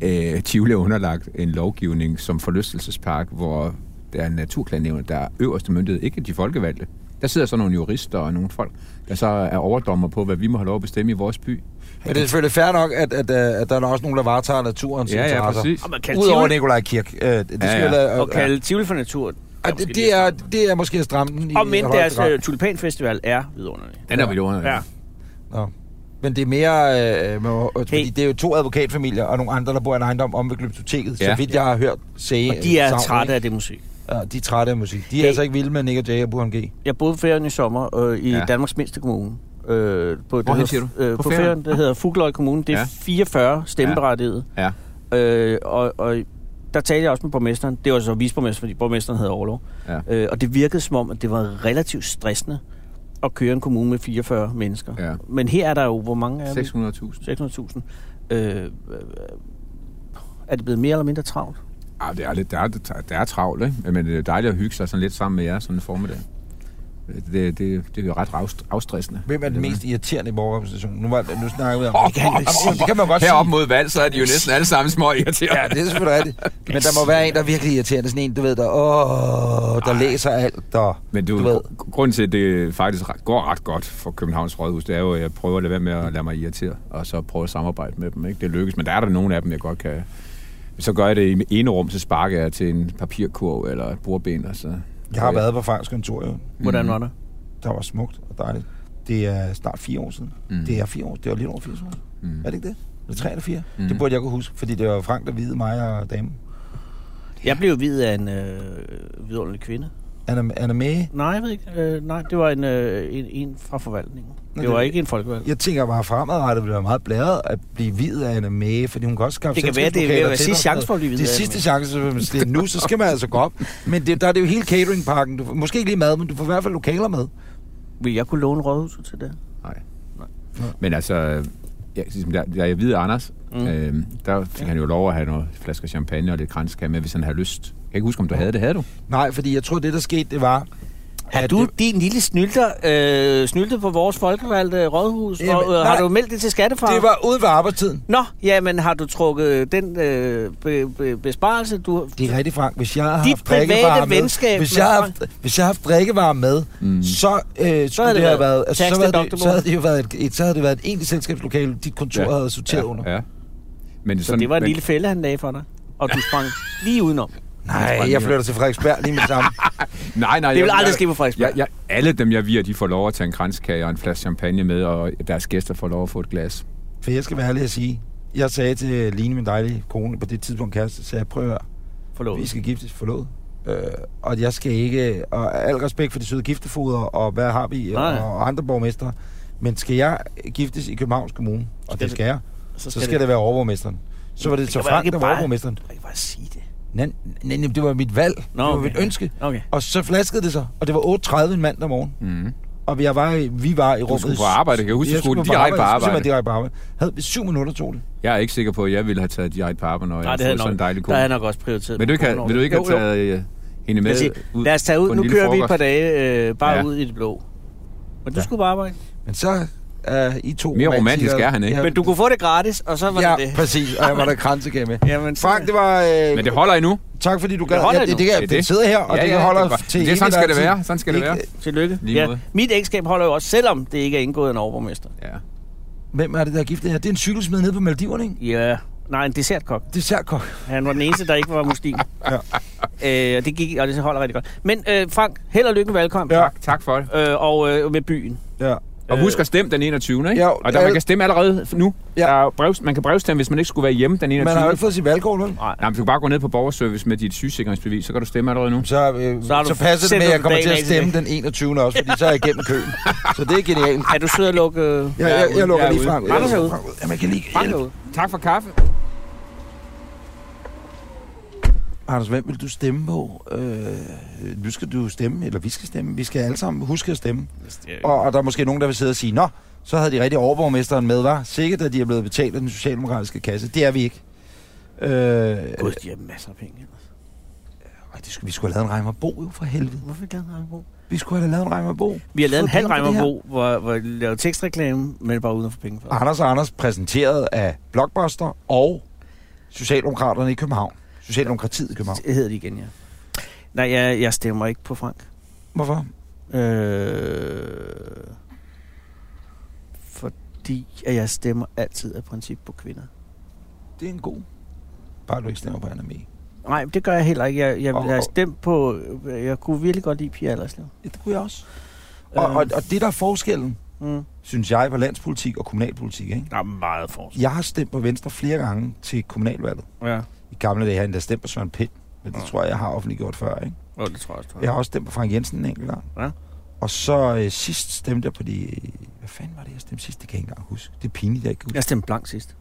[SPEAKER 5] øh, Tivoli er underlagt en lovgivning som forlystelsespark, hvor der er en naturklagenævn, der er øverste myndighed, ikke de folkevalgte. Der sidder så nogle jurister og nogle folk, der så er overdommer på, hvad vi må have lov at bestemme i vores by.
[SPEAKER 3] men det er selvfølgelig fair nok, at, at, øh, at, at der er også nogen, der varetager naturens
[SPEAKER 5] Ja, ja,
[SPEAKER 3] interesser.
[SPEAKER 5] præcis.
[SPEAKER 2] Og man kan
[SPEAKER 3] Udover
[SPEAKER 2] Tivoli,
[SPEAKER 3] Nikolaj Kirk. Øh, det, skal
[SPEAKER 5] Ja,
[SPEAKER 3] ja,
[SPEAKER 5] ja.
[SPEAKER 3] ja.
[SPEAKER 2] og kalde Tivoli for natur.
[SPEAKER 3] og det, det, er, det er måske at stramme den i
[SPEAKER 2] Og men
[SPEAKER 3] højeste
[SPEAKER 2] deres
[SPEAKER 3] grad.
[SPEAKER 2] øh, tulipanfestival er vidunderlig.
[SPEAKER 5] Den er vi under.
[SPEAKER 2] Ja.
[SPEAKER 3] Nå. Men det er mere, øh, med, øh, fordi
[SPEAKER 2] Hey.
[SPEAKER 3] det er jo to advokatfamilier og nogle andre, der bor i en ejendom om ved Glyptoteket, ja. så
[SPEAKER 5] Ja.
[SPEAKER 3] vidt jeg har hørt sige.
[SPEAKER 2] Og de er trætte af det musik.
[SPEAKER 3] Ja, de er trætte af musik. De er
[SPEAKER 2] Hey.
[SPEAKER 3] hey. altså ikke vilde med Nick og Jay og Burhan G.
[SPEAKER 2] Jeg boede på ferien i sommer øh, i ja.
[SPEAKER 5] Ja.
[SPEAKER 2] Danmarks mindste kommune. Øh, på, det
[SPEAKER 5] Hvorhen
[SPEAKER 2] hedder-
[SPEAKER 5] siger du?
[SPEAKER 2] Øh, på,
[SPEAKER 5] På
[SPEAKER 2] på
[SPEAKER 5] Færøerne?
[SPEAKER 2] ferien, det hedder Fugløj Kommune. Det er ja.
[SPEAKER 5] Ja.
[SPEAKER 2] 44 stemmeberettigede.
[SPEAKER 5] ja.
[SPEAKER 2] Ja. Øh, og, og der talte jeg også med borgmesteren. Det var så viceborgmesteren, fordi borgmesteren havde overlov.
[SPEAKER 5] Ja.
[SPEAKER 2] Øh, og det virkede som om, at det var relativt stressende at køre en kommune med 44 mennesker.
[SPEAKER 5] Ja.
[SPEAKER 2] Men her er der jo, hvor mange er vi?
[SPEAKER 5] 600.000.
[SPEAKER 2] 600.000. Øh, øh, er det blevet mere eller mindre travlt?
[SPEAKER 5] Ah, det er lidt, der er, der er travlt, ikke? Men det er dejligt at hygge sig sådan lidt sammen med jer sådan en formiddag. Øh, Det, det, det er jo ret afst- afstressende.
[SPEAKER 3] Hvem er den
[SPEAKER 5] Eller
[SPEAKER 3] mest irriterende i borgerrepræsentationen? Nu, var, nu snakker vi om...
[SPEAKER 5] Åh,
[SPEAKER 3] Det kan, man- Jamen, det kan man godt
[SPEAKER 5] Heroppe
[SPEAKER 3] sige.
[SPEAKER 5] mod valg, så er de jo næsten alle sammen små irriterende.
[SPEAKER 3] Ja, det er selvfølgelig rigtigt. Men der må være en, der er virkelig irriterende. Sådan en, du ved, der, åh, der læser alt. Og,
[SPEAKER 5] Men du,
[SPEAKER 3] du
[SPEAKER 5] du
[SPEAKER 3] ved.
[SPEAKER 5] grunden til, at det faktisk re- går ret godt for Københavns Rådhus, det er jo, at jeg prøver at lade være med at lade mig irritere, og så prøve at samarbejde med dem. Ikke? Det lykkes, men der er der nogle af dem, jeg godt kan... Så gør jeg det i ene rum, så sparker jeg til en papirkurv eller et bordben, og så...
[SPEAKER 3] Jeg har været på Franks kontor, jo.
[SPEAKER 2] Hvordan
[SPEAKER 5] Mm.
[SPEAKER 2] var det?
[SPEAKER 3] Der var smukt og dejligt. Det er snart fire år siden. Mm. Det er fire år. Det var lidt over fire år. Mm. Er det ikke det? Det er tre eller fire. Mm. Det burde jeg kunne huske, fordi det var Frank, der videde mig og damen.
[SPEAKER 2] Jeg blev videt af en øh, vidunderlig kvinde.
[SPEAKER 3] Han er, han er med.
[SPEAKER 2] Nej, jeg ved ikke. Øh, nej, det var en, øh, en, en fra forvaltningen.
[SPEAKER 3] Nå,
[SPEAKER 2] det
[SPEAKER 3] det-
[SPEAKER 2] var ikke en folkevalg.
[SPEAKER 3] Jeg tænker bare, fremadrettet ville være meget blæret at blive videt af Anna Mae, fordi hun kan også skaffe
[SPEAKER 2] Det kan være, det er ved at være
[SPEAKER 3] selskabslokaler til
[SPEAKER 2] sidste
[SPEAKER 3] dig.
[SPEAKER 2] chance for at blive videt
[SPEAKER 3] Det er
[SPEAKER 2] af
[SPEAKER 3] sidste chance, så hvis det er nu, så skal man altså gå op. Men det, der er det jo hele cateringpakken. Du får, måske ikke lige mad, men du får i hvert fald lokaler med.
[SPEAKER 2] Vil jeg kunne låne rådhuset til det?
[SPEAKER 5] Men altså, ja, ligesom da, da jeg videre Anders, mm. øh, der fik ja. han jo lov at have nogle flasker champagne og lidt kranskage med, hvis han havde lyst. Jeg kan ikke huske, om du havde det. Havde du?
[SPEAKER 3] Nej, fordi jeg tror, det der skete, det var...
[SPEAKER 2] Har
[SPEAKER 3] at
[SPEAKER 2] du
[SPEAKER 3] det-
[SPEAKER 2] det... din lille snylter, øh, snylter på vores folkevalgte rådhus?
[SPEAKER 3] Jamen,
[SPEAKER 2] Jamen, og, øh, har
[SPEAKER 3] nej.
[SPEAKER 2] du meldt det til skattefar?
[SPEAKER 3] Det var ude ved arbejdstiden.
[SPEAKER 2] Nå, jamen har du trukket den øh, be, be, besparelse, du...
[SPEAKER 3] Det er rigtigt, Frank. Hvis jeg har
[SPEAKER 2] Dit
[SPEAKER 3] haft drikkevarer
[SPEAKER 2] private
[SPEAKER 3] med,
[SPEAKER 2] venskab
[SPEAKER 3] hvis
[SPEAKER 2] med
[SPEAKER 3] jeg, har,
[SPEAKER 2] Frank.
[SPEAKER 3] hvis jeg har haft drikkevarer med, mm. så, øh, så
[SPEAKER 2] havde
[SPEAKER 3] havde det,
[SPEAKER 2] det
[SPEAKER 3] have
[SPEAKER 2] været
[SPEAKER 3] været, altså,
[SPEAKER 2] tax
[SPEAKER 3] så,
[SPEAKER 2] til
[SPEAKER 3] havde det,
[SPEAKER 2] Dr.
[SPEAKER 3] så havde det jo været et, et, så havde det været et egentligt selskabslokale, dit kontor ja. havde sorteret
[SPEAKER 5] ja,
[SPEAKER 3] ja. under.
[SPEAKER 5] Ja. Men
[SPEAKER 2] Så det var en
[SPEAKER 5] men,
[SPEAKER 2] lille fælde, han lagde for dig. Og du sprang lige udenom.
[SPEAKER 3] Nej, jeg flytter til Frederiksberg lige med sammen.
[SPEAKER 5] Nej, nej.
[SPEAKER 2] Det
[SPEAKER 5] jeg-
[SPEAKER 2] vil aldrig
[SPEAKER 5] jeg-
[SPEAKER 2] ske på Frederiksberg.
[SPEAKER 5] Jeg, jeg, alle dem, jeg virer, de får lov at tage en kranskage og en flaske champagne med, og deres gæster får lov at få et glas.
[SPEAKER 3] For jeg skal være ærlig at sige, jeg sagde til Line, min dejlige kone, på det tidspunkt kæreste, så jeg prøver, vi
[SPEAKER 2] Forlovet.
[SPEAKER 3] skal giftes forlod. Øh, og jeg skal ikke, og al respekt for de søde giftefoder, og hvad har vi, og,
[SPEAKER 2] Nej.
[SPEAKER 3] og andre borgmestre, men skal jeg giftes i Københavns Kommune, og det skal jeg, så skal, det, være overborgmesteren. Så var det, så
[SPEAKER 2] kan man
[SPEAKER 3] Frank,
[SPEAKER 2] ikke
[SPEAKER 3] der var
[SPEAKER 2] bare-
[SPEAKER 3] overborgmesteren.
[SPEAKER 2] Jeg kan bare sige det.
[SPEAKER 3] Nej, nej, nej, det var mit valg.
[SPEAKER 2] Nå,
[SPEAKER 3] det var
[SPEAKER 2] okay.
[SPEAKER 3] mit ønske.
[SPEAKER 2] Okay.
[SPEAKER 3] Og så flaskede det sig, og det var 8.30 en mandag morgen.
[SPEAKER 5] Mm.
[SPEAKER 3] Og jeg var, i- vi var i rummet.
[SPEAKER 5] skulle på arbejde, kan jeg huske, du
[SPEAKER 3] Jeg på
[SPEAKER 5] skulle direkte på
[SPEAKER 3] Jeg skulle
[SPEAKER 5] arbejde.
[SPEAKER 3] simpelthen direkte på arbejde. Havde vi syv minutter, tog det.
[SPEAKER 5] Jeg er ikke sikker på, at jeg ville have taget direkte på arbejde, når jeg
[SPEAKER 2] Nej,
[SPEAKER 5] har
[SPEAKER 2] det havde
[SPEAKER 5] fået
[SPEAKER 2] nok,
[SPEAKER 5] sådan en dejlig
[SPEAKER 2] der
[SPEAKER 5] kone.
[SPEAKER 2] havde nok også prioriteret.
[SPEAKER 5] Vil du ikke, have,
[SPEAKER 2] Kone
[SPEAKER 5] vil du ikke have
[SPEAKER 2] over det. Jo, jo.
[SPEAKER 5] taget øh, hende med
[SPEAKER 2] Lad os, sige,
[SPEAKER 5] ud
[SPEAKER 2] lad os tage ud.
[SPEAKER 5] på en
[SPEAKER 2] Nu
[SPEAKER 5] lille
[SPEAKER 2] kører vi et par
[SPEAKER 5] frokost?
[SPEAKER 2] dage øh, bare
[SPEAKER 5] Ja.
[SPEAKER 2] ja. ud i det blå. Men du ja. skulle bare arbejde.
[SPEAKER 3] Men så er I to
[SPEAKER 5] Mere romantisk er han ikke.
[SPEAKER 2] Men du kunne få det gratis, og så var
[SPEAKER 3] ja,
[SPEAKER 2] det det.
[SPEAKER 3] præcis. Og jeg var der kransekage med.
[SPEAKER 2] Jamen, så-
[SPEAKER 3] Frank, det var... Øh,
[SPEAKER 5] Men det holder endnu.
[SPEAKER 3] tak fordi du gad.
[SPEAKER 2] holder
[SPEAKER 3] ja, det,
[SPEAKER 2] endnu.
[SPEAKER 3] det,
[SPEAKER 5] Det er
[SPEAKER 3] det, det,
[SPEAKER 5] det.
[SPEAKER 3] sidder her, og
[SPEAKER 5] Ja,
[SPEAKER 3] det
[SPEAKER 5] ja,
[SPEAKER 3] holder
[SPEAKER 5] det er bare-
[SPEAKER 3] til
[SPEAKER 5] det er sådan,
[SPEAKER 3] evigt
[SPEAKER 5] skal det
[SPEAKER 3] altid.
[SPEAKER 5] være. Sådan skal det
[SPEAKER 3] Ikke-
[SPEAKER 5] være.
[SPEAKER 2] Tillykke.
[SPEAKER 5] Lige
[SPEAKER 2] Ja.
[SPEAKER 5] måde.
[SPEAKER 2] Mit ægteskab holder jo også, selvom det ikke er indgået af en overborgmester.
[SPEAKER 5] Ja.
[SPEAKER 3] Hvem er det, der er gift det her? Det er en cykelsmed nede på Maldiverne, ikke?
[SPEAKER 2] Ja. Nej, en dessertkok.
[SPEAKER 3] Dessertkok.
[SPEAKER 2] Han var den eneste, der ikke var muslim.
[SPEAKER 3] Ja.
[SPEAKER 2] Øh, og det gik, og det holder rigtig godt. Men øh, Frank, held og lykke med valgkampen.
[SPEAKER 3] Ja.
[SPEAKER 5] Tak, tak for det.
[SPEAKER 2] Øh, og øh, med byen.
[SPEAKER 3] Ja.
[SPEAKER 5] Og husk at stemme den 21. Ikke?
[SPEAKER 3] Øh, Ja,
[SPEAKER 5] og der,
[SPEAKER 3] alle-
[SPEAKER 5] man kan stemme allerede nu.
[SPEAKER 3] Ja.
[SPEAKER 5] Ja. Der er brev, man kan brevstemme, hvis man ikke skulle være hjemme den 21.
[SPEAKER 3] Man har jo ikke fået sit valgkort, vel?
[SPEAKER 5] Nej, men du kan bare gå ned på borgerservice med dit sygesikringsbevis, så kan du stemme allerede nu.
[SPEAKER 3] Så, øh,
[SPEAKER 2] Så har
[SPEAKER 3] så,
[SPEAKER 2] du
[SPEAKER 3] så passer det
[SPEAKER 2] sendt
[SPEAKER 3] med, at jeg
[SPEAKER 2] ud
[SPEAKER 3] kommer
[SPEAKER 2] dagen
[SPEAKER 3] til at
[SPEAKER 2] af
[SPEAKER 3] stemme den 21. også, fordi så er jeg igennem køen. Så det er genialt.
[SPEAKER 2] Er du sød at lukke øh,
[SPEAKER 3] Jeg, jeg, jeg lukker
[SPEAKER 5] Jeg er
[SPEAKER 3] lige
[SPEAKER 5] ude.
[SPEAKER 3] Frank ud.
[SPEAKER 2] Anders er ude.
[SPEAKER 3] Frank ud. Jamen, jeg kan lige
[SPEAKER 2] Frank
[SPEAKER 3] hjælpe.
[SPEAKER 2] ud?
[SPEAKER 5] Tak for kaffe.
[SPEAKER 3] Anders, hvem vil du stemme på? Øh, nu skal du stemme, eller vi skal stemme. Vi skal alle sammen huske at stemme. Og, og der er måske nogen, der vil sidde og sige, Nå, så havde de rigtig overborgmesteren med, var Sikkert, at de er blevet betalt af den socialdemokratiske kasse. Det er vi ikke. Øh,
[SPEAKER 2] Gud, de har masser af penge. ellers.
[SPEAKER 3] ej, det skulle, vi skulle have lavet en Reimerbo, jo for helvede.
[SPEAKER 2] Hvorfor ikke lavet en Reimerbo?
[SPEAKER 3] Vi skulle have lavet en Reimerbo.
[SPEAKER 2] Vi har lavet en
[SPEAKER 3] Få penge
[SPEAKER 2] halv
[SPEAKER 3] for det her.
[SPEAKER 2] Reimerbo, hvor, hvor jeg lavede tekstreklame, men bare uden at få penge for det.
[SPEAKER 3] Anders og Anders præsenteret af Blockbuster og Socialdemokraterne i København. Socialdemokratiet i København.
[SPEAKER 2] Det hedder de igen, ja. Nej, jeg, jeg stemmer ikke på Frank.
[SPEAKER 3] Hvorfor?
[SPEAKER 2] Øh, fordi at jeg stemmer altid af princip på kvinder.
[SPEAKER 3] Det er en god. Bare du ikke stemmer på Anna Mee.
[SPEAKER 2] Nej, det gør jeg heller ikke. Jeg, jeg,
[SPEAKER 3] Og-
[SPEAKER 2] jeg har
[SPEAKER 3] og-
[SPEAKER 2] stemt på... Jeg kunne virkelig godt lide Pia Allerslev.
[SPEAKER 3] Ja, det kunne jeg også. Øhm. Og, og, og det, der er forskellen,
[SPEAKER 2] Mm.
[SPEAKER 3] synes jeg, på landspolitik og kommunalpolitik, ikke?
[SPEAKER 2] Der er meget forskel.
[SPEAKER 3] Jeg har stemt på Venstre flere gange til kommunalvalget.
[SPEAKER 2] Ja.
[SPEAKER 3] I gamle dage har jeg endda stemt på Søren Pind, men det tror jeg, jeg har offentliggjort før, ikke?
[SPEAKER 2] Jo, det tror jeg også.
[SPEAKER 3] Jeg har også stemt på Frank Jensen en enkelt gang.
[SPEAKER 2] Ja.
[SPEAKER 3] Og så øh, sidst stemte jeg på de... Hvad fanden var det, jeg stemte sidst? Det kan jeg ikke engang huske. Det er pinligt, jeg ikke kan huske.
[SPEAKER 2] Jeg stemte blank sidst.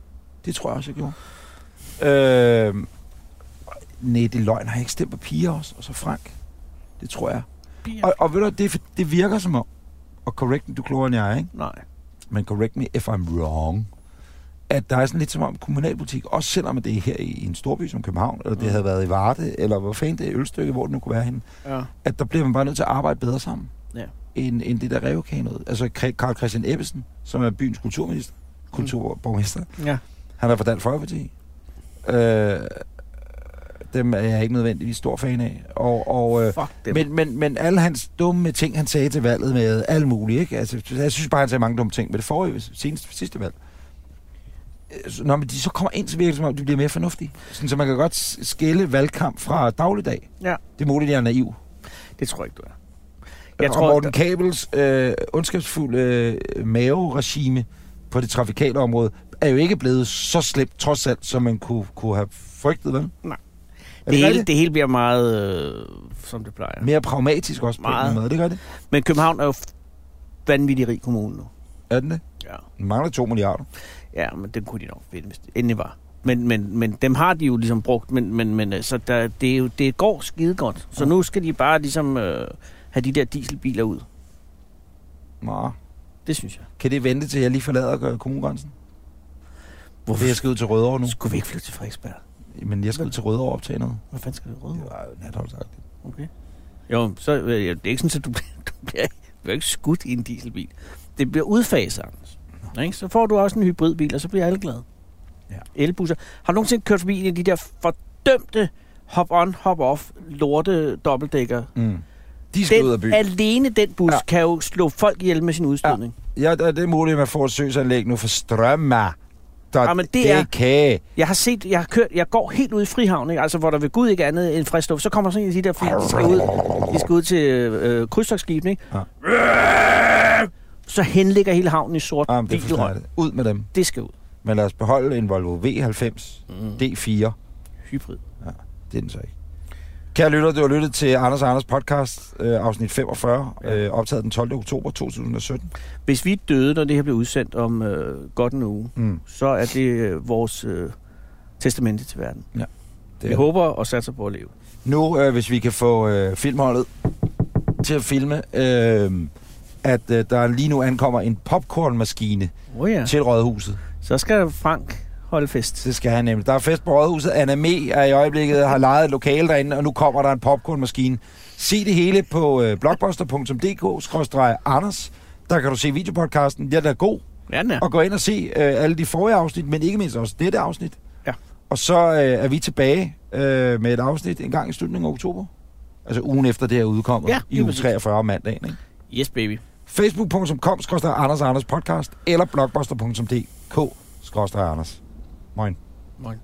[SPEAKER 3] Det tror jeg også, jeg gjorde. Øh, nej, det er løgn. Har jeg ikke stemt på piger også? Og så Frank. Det tror jeg.
[SPEAKER 2] Piger.
[SPEAKER 3] Og, og ved du, det, er for- det virker som om, og correct me, du er klogere end jeg, ikke?
[SPEAKER 2] Nej.
[SPEAKER 3] men correct me if I'm wrong, at der er sådan lidt som om kommunalpolitik, også selvom det er her i, i en storby som København, eller det havde været i Varde, eller hvor fanden det er Ølstykke, hvor det nu kunne være henne,
[SPEAKER 2] Ja.
[SPEAKER 3] at der bliver man bare nødt til at arbejde bedre sammen.
[SPEAKER 2] Ja.
[SPEAKER 3] End, end det der revkanoet. Altså Kre- Karl Christian Ebbesen, som er byens kulturminister, kulturborgmester,
[SPEAKER 2] ja.
[SPEAKER 3] han er fra Dansk Folkeparti. Øh, dem er jeg ikke nødvendigvis stor fan af. Og, og, øh,
[SPEAKER 2] Fuck dem.
[SPEAKER 3] men, men, men alle hans dumme ting, han sagde til valget med alt muligt, ikke? Altså, jeg synes bare, han sagde mange dumme ting med det forrige, seneste, sidste valg. Øh, så- Når man, de så kommer ind, så virker det som om, de bliver mere fornuftige. Sådan, så man kan godt s- skille valgkamp fra dagligdag.
[SPEAKER 2] Ja.
[SPEAKER 3] Det er muligt, jeg er naiv.
[SPEAKER 2] Det tror jeg ikke, du er.
[SPEAKER 3] Jeg
[SPEAKER 2] Jeg
[SPEAKER 3] Øh, og tror,
[SPEAKER 2] tror,
[SPEAKER 3] Morten
[SPEAKER 2] der-
[SPEAKER 3] Kabels øh, ondskabsfulde øh, maveregime på det trafikale område er jo ikke blevet så slemt, trods alt, som man kunne, kunne have frygtet, vel?
[SPEAKER 2] det, hele,
[SPEAKER 3] rigtigt?
[SPEAKER 2] det hele bliver meget, øh, som det plejer.
[SPEAKER 3] Mere pragmatisk også på en
[SPEAKER 2] Meget.
[SPEAKER 3] eller anden måde, det gør det.
[SPEAKER 2] Men København er jo f- vanvittig rig kommune nu.
[SPEAKER 3] Er den det?
[SPEAKER 2] Ja.
[SPEAKER 3] Den mangler 2 milliarder.
[SPEAKER 2] Ja, men den kunne de nok finde, hvis det endelig var. Men, men, men dem har de jo ligesom brugt, men, men, men øh, så der, det, er jo, det går skide godt. Så nu skal de bare ligesom øh, have de der dieselbiler ud.
[SPEAKER 3] Nå.
[SPEAKER 2] Det synes jeg.
[SPEAKER 3] Kan det vente til, jeg lige forlader øh, kommunegrænsen?
[SPEAKER 2] Hvorfor
[SPEAKER 3] Fordi jeg skal ud til Rødovre nu.
[SPEAKER 2] skulle vi ikke flytte til Frederiksberg?
[SPEAKER 3] Men jeg skal ud til Rødovre og optage noget.
[SPEAKER 2] Hvad fanden skal vi rydde?
[SPEAKER 3] Det var jo natholdsagtigt.
[SPEAKER 2] Okay. Jo, så øh, det er ikke sådan, at du, bliver- du bliver, du bliver ikke skudt i en dieselbil. Det bliver udfaset, Anders. Ikke? Så får du også en hybridbil, og så bliver alle glade.
[SPEAKER 3] Ja.
[SPEAKER 2] Elbusser. Har du nogensinde kørt forbi en af de der fordømte hop-on, hop-off, lorte dobbeltdækker?
[SPEAKER 3] Mm. De skal ud af
[SPEAKER 2] Den,
[SPEAKER 3] byen.
[SPEAKER 2] alene den bus
[SPEAKER 3] Ja.
[SPEAKER 2] ja. kan jo slå folk ihjel med sin udstødning.
[SPEAKER 3] Ja, der- det er muligt, at man får et søgsanlæg nu for strømmer. Der,
[SPEAKER 2] Jamen, Ah, det er-
[SPEAKER 3] Kan.
[SPEAKER 2] Jeg har set, jeg har kørt, jeg går helt ud i Frihavn, ikke? altså hvor der ved Gud ikke er andet end frisk luft. Så kommer sådan en af de der fly, de skal ud, de skal ud til øh, krydstogsskibene, ikke?
[SPEAKER 3] Ja.
[SPEAKER 2] Så henligger hele havnen i sort
[SPEAKER 3] Jamen, Ah, det forstår
[SPEAKER 2] vinkelrøg.
[SPEAKER 3] jeg det. Ud med dem.
[SPEAKER 2] Det skal ud.
[SPEAKER 3] Men lad os beholde en Volvo V90 mm. D4.
[SPEAKER 2] Hybrid.
[SPEAKER 3] Det er den så ikke. Kære lytter, du har lyttet til Anders og Anders podcast, øh, afsnit 45, øh, optaget den 12. oktober 2017.
[SPEAKER 2] Hvis vi døde, når det her bliver udsendt om øh, godt en uge,
[SPEAKER 3] Mm.
[SPEAKER 2] så er det øh, vores øh, testamente til verden.
[SPEAKER 3] Det
[SPEAKER 2] Vi
[SPEAKER 3] er-
[SPEAKER 2] håber og satser på at leve.
[SPEAKER 3] Nu, øh, hvis vi kan få øh, filmholdet til at filme, øh, at øh, der lige nu ankommer en popcornmaskine
[SPEAKER 2] Åh oh, ja.
[SPEAKER 3] ja. til Rådhuset.
[SPEAKER 2] Så skal Frank holde fest.
[SPEAKER 3] Det skal han nemlig. Der er fest på Rådhuset. Anna Me er i øjeblikket har lejet et lokale derinde, og nu kommer der en popcornmaskine. Se det hele på øh, blogbuster.dk-anders. Der kan du se videopodcasten. Den er god.
[SPEAKER 2] Ja, den er.
[SPEAKER 3] Og gå ind og se øh, alle de forrige afsnit, men ikke mindst også dette afsnit.
[SPEAKER 2] Ja.
[SPEAKER 3] Og så øh, er vi tilbage øh, med et afsnit en gang i slutningen af oktober. Altså ugen efter det er udkommet.
[SPEAKER 2] Ja,
[SPEAKER 3] I
[SPEAKER 2] lige
[SPEAKER 3] uge
[SPEAKER 2] præcis.
[SPEAKER 3] 43 om mandagen. Ikke?
[SPEAKER 2] Yes, baby.
[SPEAKER 3] Facebook.com skrøster Anders og Anders podcast eller blogbuster.dk skrøster Anders. Moin.
[SPEAKER 2] Moin.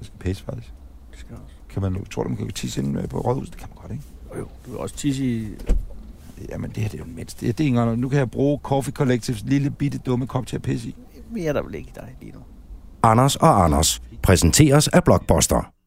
[SPEAKER 3] Jeg skal pisse faktisk.
[SPEAKER 2] Det skal også.
[SPEAKER 3] Kan man, tror du, man kan gå tisse inde øh, på rådhuset? Det kan man godt, ikke?
[SPEAKER 2] Og jo, du vil også tisse i...
[SPEAKER 3] Jamen, det her det er jo mindst. Det, det er ikke engang noget. Nu kan jeg bruge Coffee Collectives lille bitte dumme kop til at pisse i.
[SPEAKER 2] Mere er der vel ikke i dig lige nu.
[SPEAKER 1] Anders og Anders præsenteres af Blockbuster.